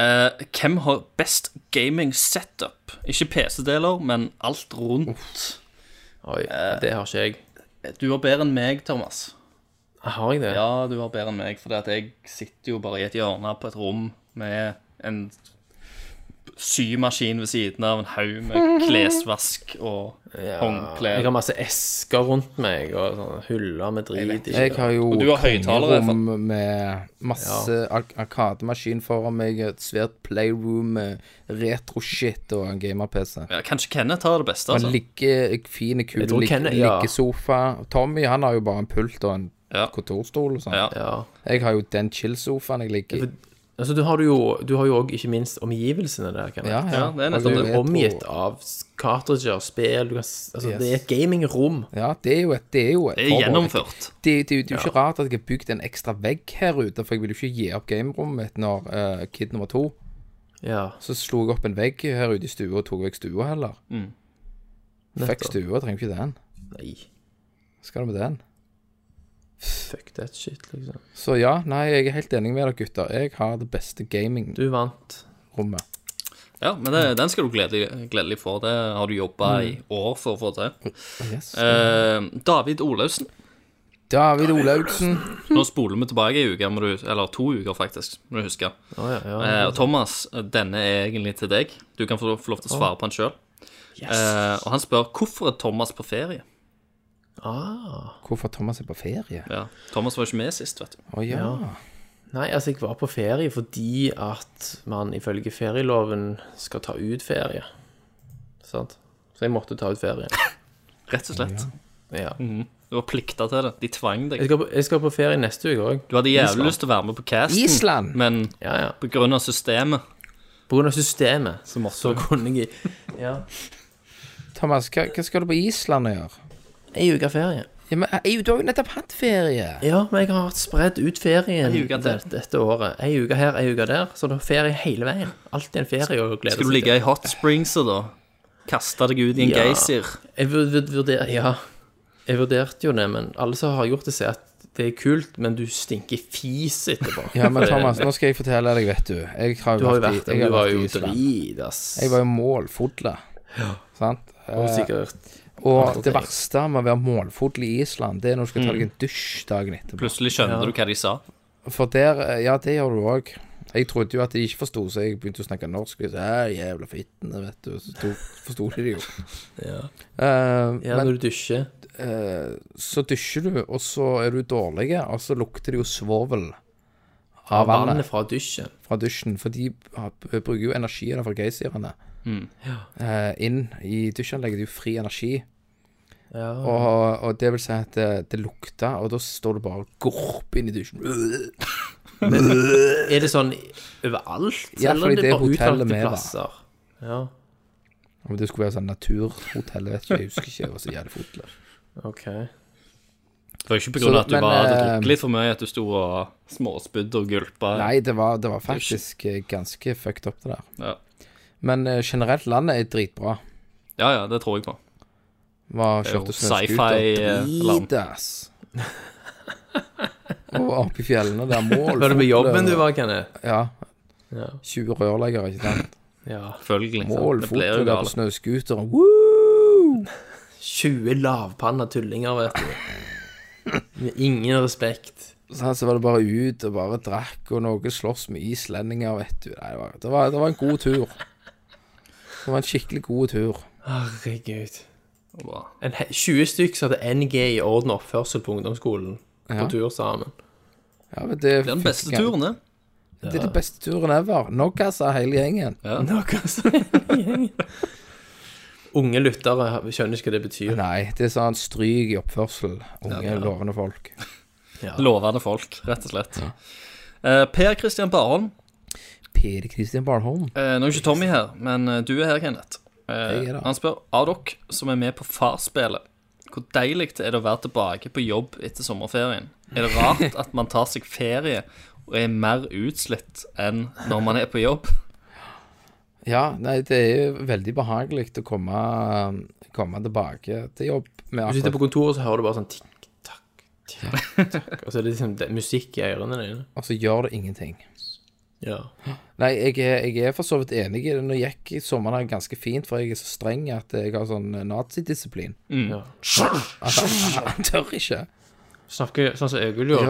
Eh, hvem har best gaming setup? Ikke PC-deler, men alt rundt. Oi, det har ikke jeg. Du var bedre enn meg, Thomas. Har jeg det? Ja, du var bedre enn meg, for jeg sitter jo bare i et hjørne på et rom med en symaskin ved siden av en haug med klesvask og Jeg har håndklær. masse esker rundt meg, og sånne hyller med drit i. Jeg har jo Og du har høyttalere, kongerom med masse ark- arkademaskin foran meg, et svært playroom med retro-shit og en gamer-PC. Ja, kanskje Kenneth har det beste, Han altså. ligger fine, kule Jeg tror ligge- Kenneth- ja. liggesofa. Tommy han har jo bare en pult og en Ja. kontorstol og sånn. Ja. Ja. Jeg har jo den chill-sofaen jeg ligger i. Altså, du har du jo du har jo òg ikke minst omgivelsene der, Kenneth. Ja, Ja, det Og er nettopp Du det. er retro- omgitt av cartridger, spill du kan, s- altså, Det er et gamingrom. Ja, det er jo et Det er jo et Det er forbehold. gjennomført. Det, det, det er jo ikke rart at jeg har bygd en ekstra vegg her ute, for jeg vil jo ikke gi opp gamerommet mitt når eh, kid nummer to Ja. Mm. Så slo jeg opp en vegg her ute i stua og tok vekk stua heller. Fuck stua, trenger ikke den. Nei, Skal du med den? fuck that shit, liksom. Så ja, nei, jeg er helt enig med dere gutter. Jeg har det beste gamingrommet. Du vant. Ja, men det, den skal du gledelig, gledelig få. Det har du jobba Mm. i år for å få til. Yes. Eh, David Olaussen. David Olaugsen. Nå spoler vi tilbake i uke, må du, eller to uker, faktisk, må du huske. Å ja, ja. Eh, og Thomas, denne er egentlig til deg. Du kan få, få lov til å svare på den sjøl. og han spør hvorfor er Thomas på ferie. Hvorfor Thomas er på ferie? Ja, Thomas var ikke med sist, vet du. Å ja. Nei, altså, jeg var på ferie fordi at man ifølge ferieloven skal ta ut ferie. Sant? Så jeg måtte ta ut ferie. Rett og slett. Ja. Du var plikta til det. De tvang deg. Jeg skal på, jeg skal på ferie neste uke òg. Du hadde jævlig lyst til å være med på casten, Island! men Ja, ja. på grunn av systemet På grunn av systemet, så, kunne jeg ja. Thomas, hva, hva skal du på Island og gjøre? Ei uke ferie. Ja, men jeg, du har jo nettopp hatt ferie. Ja, men jeg har hatt spredt ut ferien Ei uke til. det- dette året. Ei uke her, ei uke der. Så det er ferie hele veien. Alltid en ferie å glede Skal du ligge i hot springs og da kaste deg ut i en Ja. geysir? Jeg vur- vur- vurder, ja, jeg vurderte jo det, men alle som har gjort det, sier at det er kult, men du stinker fis etterpå. Ja, men For det- Thomas, nå skal jeg fortelle deg, vet du. Jeg har Du jo har jo vært, i, vært der, jeg men har du var vært i jo Island. drit, ass. Jeg var jo målfodle. Sant? Og Eh, sikkert og det verste med å være målfodle i Island, det er når du skal ta deg en dusj dagen etterpå. Plutselig skjønner du hva de sa. For der eh, Ja, det gjør du òg. Jeg trodde jo at de ikke forsto, så jeg begynte å snakke norsk. Og så, «Æ, jævla fittene, vet du. Så to- forsto de det jo. Eh, Ja, men når du dusjer. så dusjer du, og så er du dårlig, og så lukter det jo svovel av Vannet vannet fra dusjen. fra dusjen. For de har- bruker jo energien fra geysirene eh, inn i dusjanlegget. Det er jo fri energi. Ja. Og, og det vil si at det, det lukter, og da står det bare og gorp inn i dusjen. Er det sånn overalt? Ja, eller fordi det er bare hotellet utvalgte vi var. plasser? Ja, Om det skulle være sånn naturhotell, jeg vet ikke, jeg husker ikke. Jeg var så jævlig fotle. ok. Det var ikke på Så, grunn av at du men, bare hadde eh, drukket litt for mye at du sto og småspydde og gulpa. Nei, det var, det var faktisk eh, ganske fucked up, det der. Ja. Men eh, generelt, landet er dritbra. ja, ja, det tror jeg på. Var Det er jo kjørte sci-fi, snøskuter. eh, land. Drit, ass. Og oppe i fjellene der. Mål. Var det med jobben du var, Kenneth? Ja. Ja. 20 rørleggere, ikke sant. Ja. Selvfølgelig. Mål, Det blir fotre jo der på galt. snøskuter. Woo! 20 lavpanna tullinger, vet du. Med ingen respekt. Så, så var det bare ut og bare drakk, og noen sloss med islendinger, vet du. Nei, det, var, det, var, det var en god tur. Det var en skikkelig god tur. Herregud. Bra. En he 20 stykk som hadde NG i orden og oppførsel på ungdomsskolen. Ja. På tur sammen. Ja, men det, Det er den beste turen, det. Det er den beste turen ever. Noggassa hele gjengen. Noe som Unge lyttere skjønner ikke hva det betyr. Nei, det er sånn stryk i oppførsel. Unge, lovende folk. Lovende folk, rett og slett. Eh, per Christian Barholm, Peder Kristian Barnholm. eh, nå er ikke Tommy her, men eh, du er her, Kenneth. Eh, Jeg er her. han spør av dere som er med på Farspelet, hvor deilig er det å være tilbake på jobb etter sommerferien? Er det rart at man tar seg ferie og er mer utslitt enn når man er på jobb? Ja, nei, det er jo veldig behagelig å komme, komme tilbake til jobb med Du sitter akkurat på kontoret, så hører du bare sånn tikk, takk, tikk, takk. Og så er det liksom det, musikk i ørene dine. Og så altså, gjør det ingenting. Ja. Nei, jeg er, jeg er for så vidt enig i det. Nå gikk sommeren her ganske fint, for jeg er så streng at jeg har sånn nazidisiplin. ja. Han tør ikke. Snakker sånn som Egil gjør.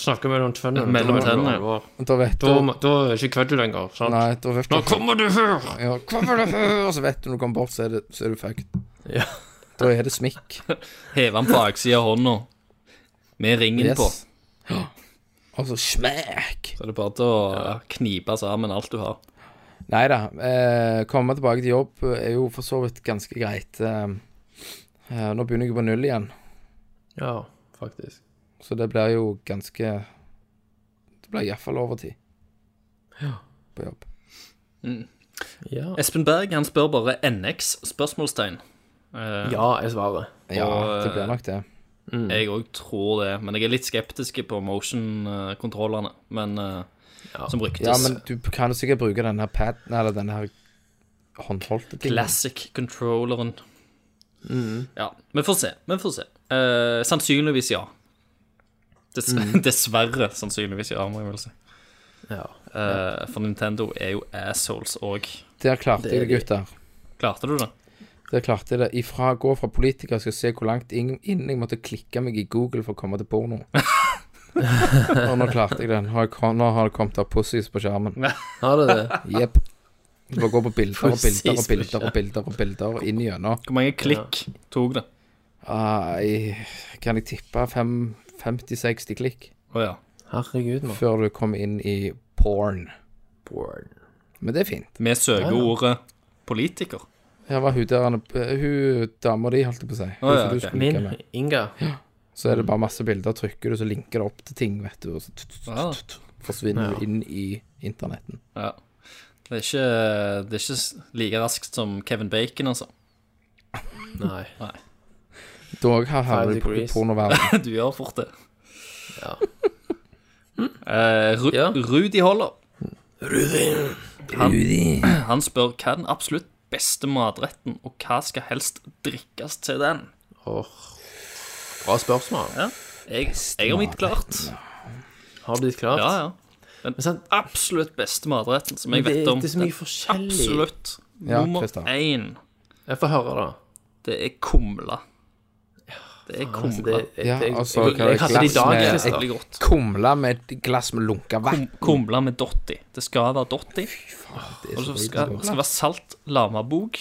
Snakker mellom tennene. Da er Mellom det tennene. alvor. Da vet Da, du da er det ikke kveld lenger. Sant? Nei, da vet sånn. du Kommer du her? ja, kommer det før? Og så vet du når du kommer bort, så er det, så er du fucked. Ja. Da er det smikk. Hever han på baksida av hånda med ringen på. Yes. Og så smekk. Så er det bare til å knipe sammen alt du har. Nei da. Eh, komme tilbake til jobb er jo for så vidt ganske greit. Eh, eh, nå begynner jeg på null igjen, Ja, faktisk. så det blir jo ganske Det blir iallfall overtid. Ja. På jobb. Ja, Espen Berg han spør bare NX? spørsmålstegn. Eh, ja jeg svarer. Ja, Og, det blir nok det. Jeg òg tror det, men jeg er litt skeptisk på motion-kontrollene. Men eh, som ryktes. Ja, men du kan jo sikkert bruke den her pad Eller den her håndholdte ting. Classic-controlleren. Ja, vi får se. Vi får se. Eh, sannsynligvis ja. Dess Dessverre sannsynligvis ja, må jeg vel si. Ja. Eh, for Nintendo er jo assholes òg. Der klarte jeg det, de. gutter. Klarte du det? Der klarte jeg det. Ifra å gå fra politiker skal jeg se hvor langt inn, inn jeg måtte klikke meg i Google for å komme til porno. og nå klarte jeg det. Nå har, jeg, kom- nå har det kommet opp pussies på skjermen. Har det det? Jepp. Du bare går på bilder og Pussies bilder og på bilder og bilder og bilder og inn igjennom. Hvor mange klikk tok det? Ah, jeg- kan jeg tippe fem- 50-60 klikk Å ja. Herregud, mann. før du kommer inn i porn? Men det er fint. Med søkeordet politiker. Her var hun der eh, Hun dama di, holdt jeg på å si. Hun Å, ja, som du ok. skulle ligge Min med. Inga. Så er det bare masse bilder, trykker du, så linker det opp til ting, vet du. Og så t- t- Ja. forsvinner du inn i internetten. ja. Det, er ikke, det er ikke like raskt som Kevin Bacon, altså. Nei. Dog har havner du på- i degrees. pornoverdenen. Du gjør fort det. Ja. Eh, Ru Ja. Rudi Holler. Han, han spør hva er den absolutt beste matretten, og hva skal helst drikkes til den? Åh. Bra spørsmål. Jeg, jeg har mitt klart. Har du ditt klart? Ja, ja. Den Men sant? absolutt beste matretten som Men jeg det vet er- om. det er så mye Den forskjellig. Absolutt Ja, nummer Christian. én, Jeg får høre, da. det er kumle. Det er Altså, det, kumle. jeg, Ja, jeg, altså, jeg, hva er jeg hadde det i dag. glass med- Christer. Veldig godt. Kumle med et glass med lunka vann. Kumle med dotti. Det skal være dotti. Og så skal det skal være salt lamabok.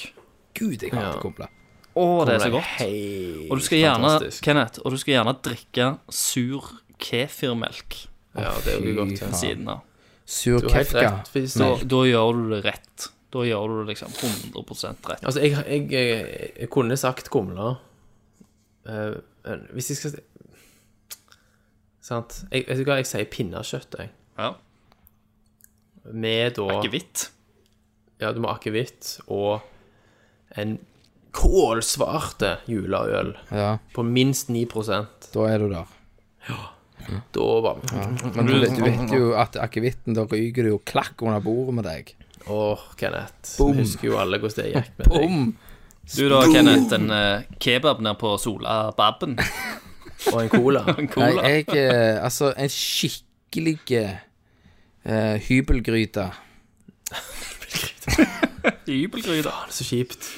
Gud, jeg hater kumle. Å, det er så godt. Hei. Og du skal gjerne, Fantastisk. Kenneth, og du skal gjerne drikke sur kefirmelk Ja, det er jo godt. ved siden av. Sur Du har helt kefka. rett. Hvis Da, du da gjør du det rett. Da gjør du det liksom 100 rett. Altså, jeg, jeg, jeg, jeg kunne sagt kumler. Eh, eh, hvis jeg skal Sant? Jeg, vet du hva, jeg sier pinnekjøtt, jeg. Ja. Med da Akevitt. Ja, du må ha akevitt og en kålsvarte juleøl Ja, på minst 9 Da da er du der. bare Men du, vet- du vet jo at akevitten, da ryker det jo klakk under bordet med deg. Åh, Kenneth. Vi Husker jo alle hvordan det gikk med deg. Bom! Du da, Kenneth, en eh, kebab nede på Sola Babben. Og en cola. Cola. Nei, jeg eh, Altså, en skikkelig eh, hybelgryte. Hybelgryte. Så kjipt.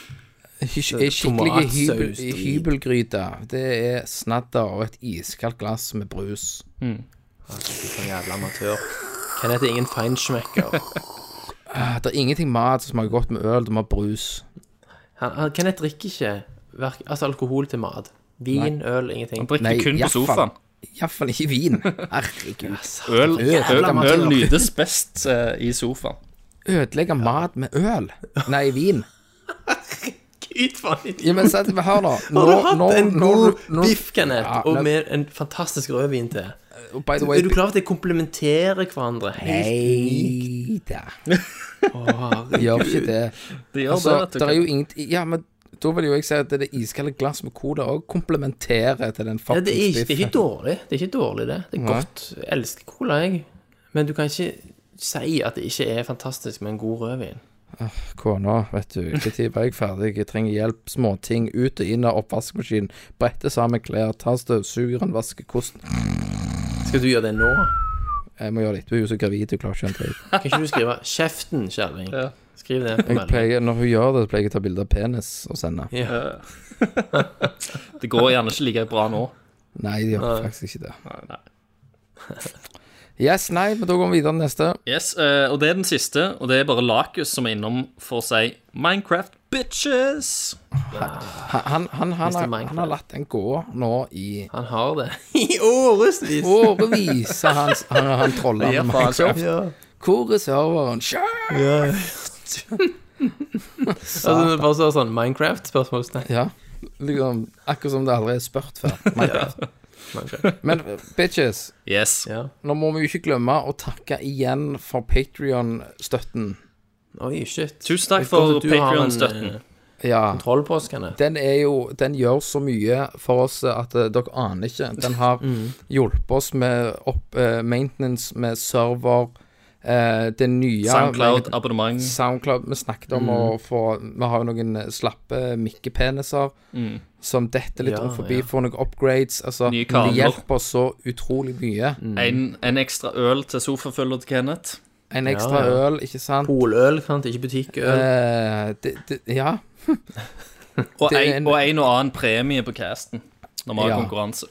Hys- En skikkelig hybel, tomatsaus, drit. hybelgryte. Det er snadder og et iskaldt glass med brus. En Sånn jævla amatør. Kenneth er ingen feinschmecker. Ah, Det er ingenting mat som smaker godt med øl, du må ha brus. Han, han, Kenneth drikker ikke verk, altså alkohol til mat. Vin, øl, ingenting. Drikker Nei, kun på iallfall. sofaen. Iallfall ikke vin. Herregud. Altså. Øl, øl, Jævla øl amatør. nytes best eh, i sofaen. Ødelegge mat med øl. Nei, vin. Gud, faen. Ja, men sett meg her, da. Har du hatt en god nå- biff, Kenneth, Ja, og men- med en fantastisk rødvin til? og By the way Er du klar over at de komplementerer hverandre? Helt Nei da. Gjør ikke det. Det gjør Altså, det, det er vet du. jo ingenting Ja, men da vil jo jeg si at det iskalde glass med cola òg komplementerer til den Ja, det, er ikke, fuckings det er biffen. ikke dårlig. Det er ikke dårlig, det. Det er godt. Jeg elsker cola, jeg. Men du kan ikke si at det ikke er fantastisk med en god rødvin. Kona, vet du. Når var jeg ferdig? Jeg trenger hjelp. Småting. Ut og inn av oppvaskmaskinen. Brette sammen klær. Ta støvsugeren. Vaske kosten. Skal du gjøre det nå? Jeg må gjøre litt. Du er jo så gravid, du klarer ikke en dritt. Kan ikke du skrive 'kjeften', kjerring? Skriv det på Jeg melding. pleier- Når hun gjør det, så pleier jeg å ta bilde av penis og sende. det går gjerne ikke like bra nå. Nei, det gjør faktisk ikke det. Yes, nei, men da går vi videre til neste. Yes, eh, og det er den siste, og det er bare Lakus som er innom for å si Minecraft bitches. Han, han, han, han, Mr. har- han Minecraft. har latt den gå nå i Han har det. I årevis! årevis. har Han, han, han trolla med Minecraft. Ja. Hvor er serveren? Sjø! Altså, det er bare så sånn Minecraft-spørsmålstegn. Ja. Liksom, akkurat som det aldri er spurt før. Minecraft. Minecraft. Men bitches, Yes. Ja. nå må vi jo ikke glemme å takke igjen for Patrion-støtten. Oi, shit. Tusen takk Det er godt for at du har en, Patreon-støtten. eh, Ja. Troll på oss, Kenneth. Den er jo Den gjør så mye for oss eh, at eh, dere aner ikke. Den har hjulpet oss med opp, eh, maintenance med server, eh, det nye SoundCloud-abonnement. SoundCloud vi snakket om å få Vi har jo noen eh, slappe mikkepeniser som detter litt Ja, rundt forbi, ja. får noen upgrades. Altså, Nye det kabler. hjelper så utrolig mye. Mm. Mm. En, en ekstra øl til sofafølger til Kenneth. En ekstra Ja, øl, ikke sant? Poløl, sant? Ikke butikkøl. Eh, det, det, ja. Og Det er en, en- og en og annen premie på casten når vi har Ja. konkurranse.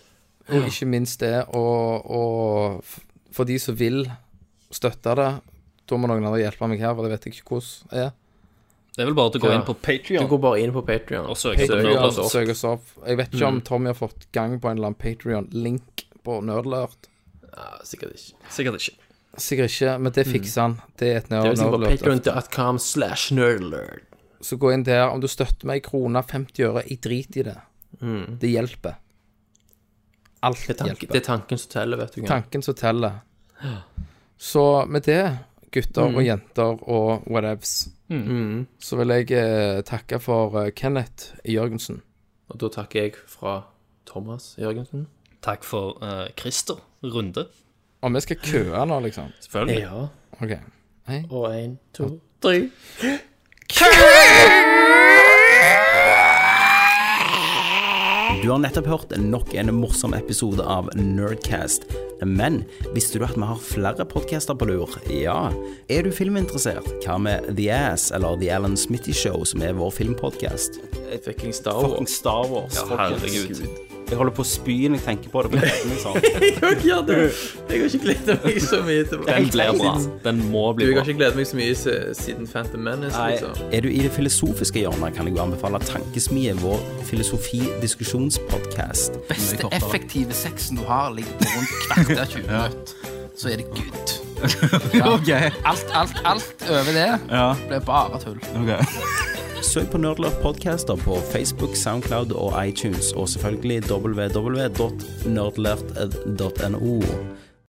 Og ikke minst det, og, og f- for de som vil støtte det, da må noen andre hjelpe meg her, for det vet jeg ikke hvordan er. Det er vel bare til å gå Ja. inn på Du Patrion går bare inn på Patrion. og søke på Patreon. altså. Nerdlord. oss opp. Søk oss opp. Jeg vet ikke om Tommy har fått gang på en eller annen Patrion-link på Nerdlert. Sikkert ikke. Sikkert ikke. Sikkert ikke, men det fikser han. Mm. Det er altså. et Det er liksom sikkert på Nerdlert. patreon.com slash nerdlerd. Så gå inn der. Om du støtter meg i krone 50 øre, jeg driter i det. Det hjelper. Alt Det er, tank, hjelper. det er tanken som teller, vet du. Ken. tanken som teller. Så med det, gutter og jenter og whatevs, Mm. så vil jeg eh, takke for eh, Kenneth Jørgensen. Og da takker jeg fra Thomas Jørgensen. Takk for eh, Christer Runde. Og vi skal køe nå, liksom. Selvfølgelig. Ja. OK. Og én, to Tre. Du har nettopp hørt nok en morsom episode av Nerdcast. Men visste du at vi har flere podcaster på lur? Ja. Er du filminteressert? Hva med The Ass eller The Alan Smitty Show, som er vår filmpodcast? Et fucking Star Fucking Wars. Star Wars. Ja, folkens. herregud. Jeg holder på å spy når jeg tenker på det. men det er liksom- Jeg har ikke gjort det. Jeg har ikke gledet meg så mye til Den blir bra. Den må Du, bli jeg bra. har ikke gledet meg så mye se- siden Phantom Menace, liksom. Nei, Er du i det filosofiske hjørnet, kan jeg jo anbefale Tankesmie, vår filosofi-diskusjonspodcast. beste effektive sexen du har, ligger på rundt kvarter 20 minutter. Så er det good. Ja. Alt, alt, alt over det blir bare tull. Søk på Nerdlert Podcaster på Facebook, Soundcloud og iTunes, og selvfølgelig www.nerdlert.no.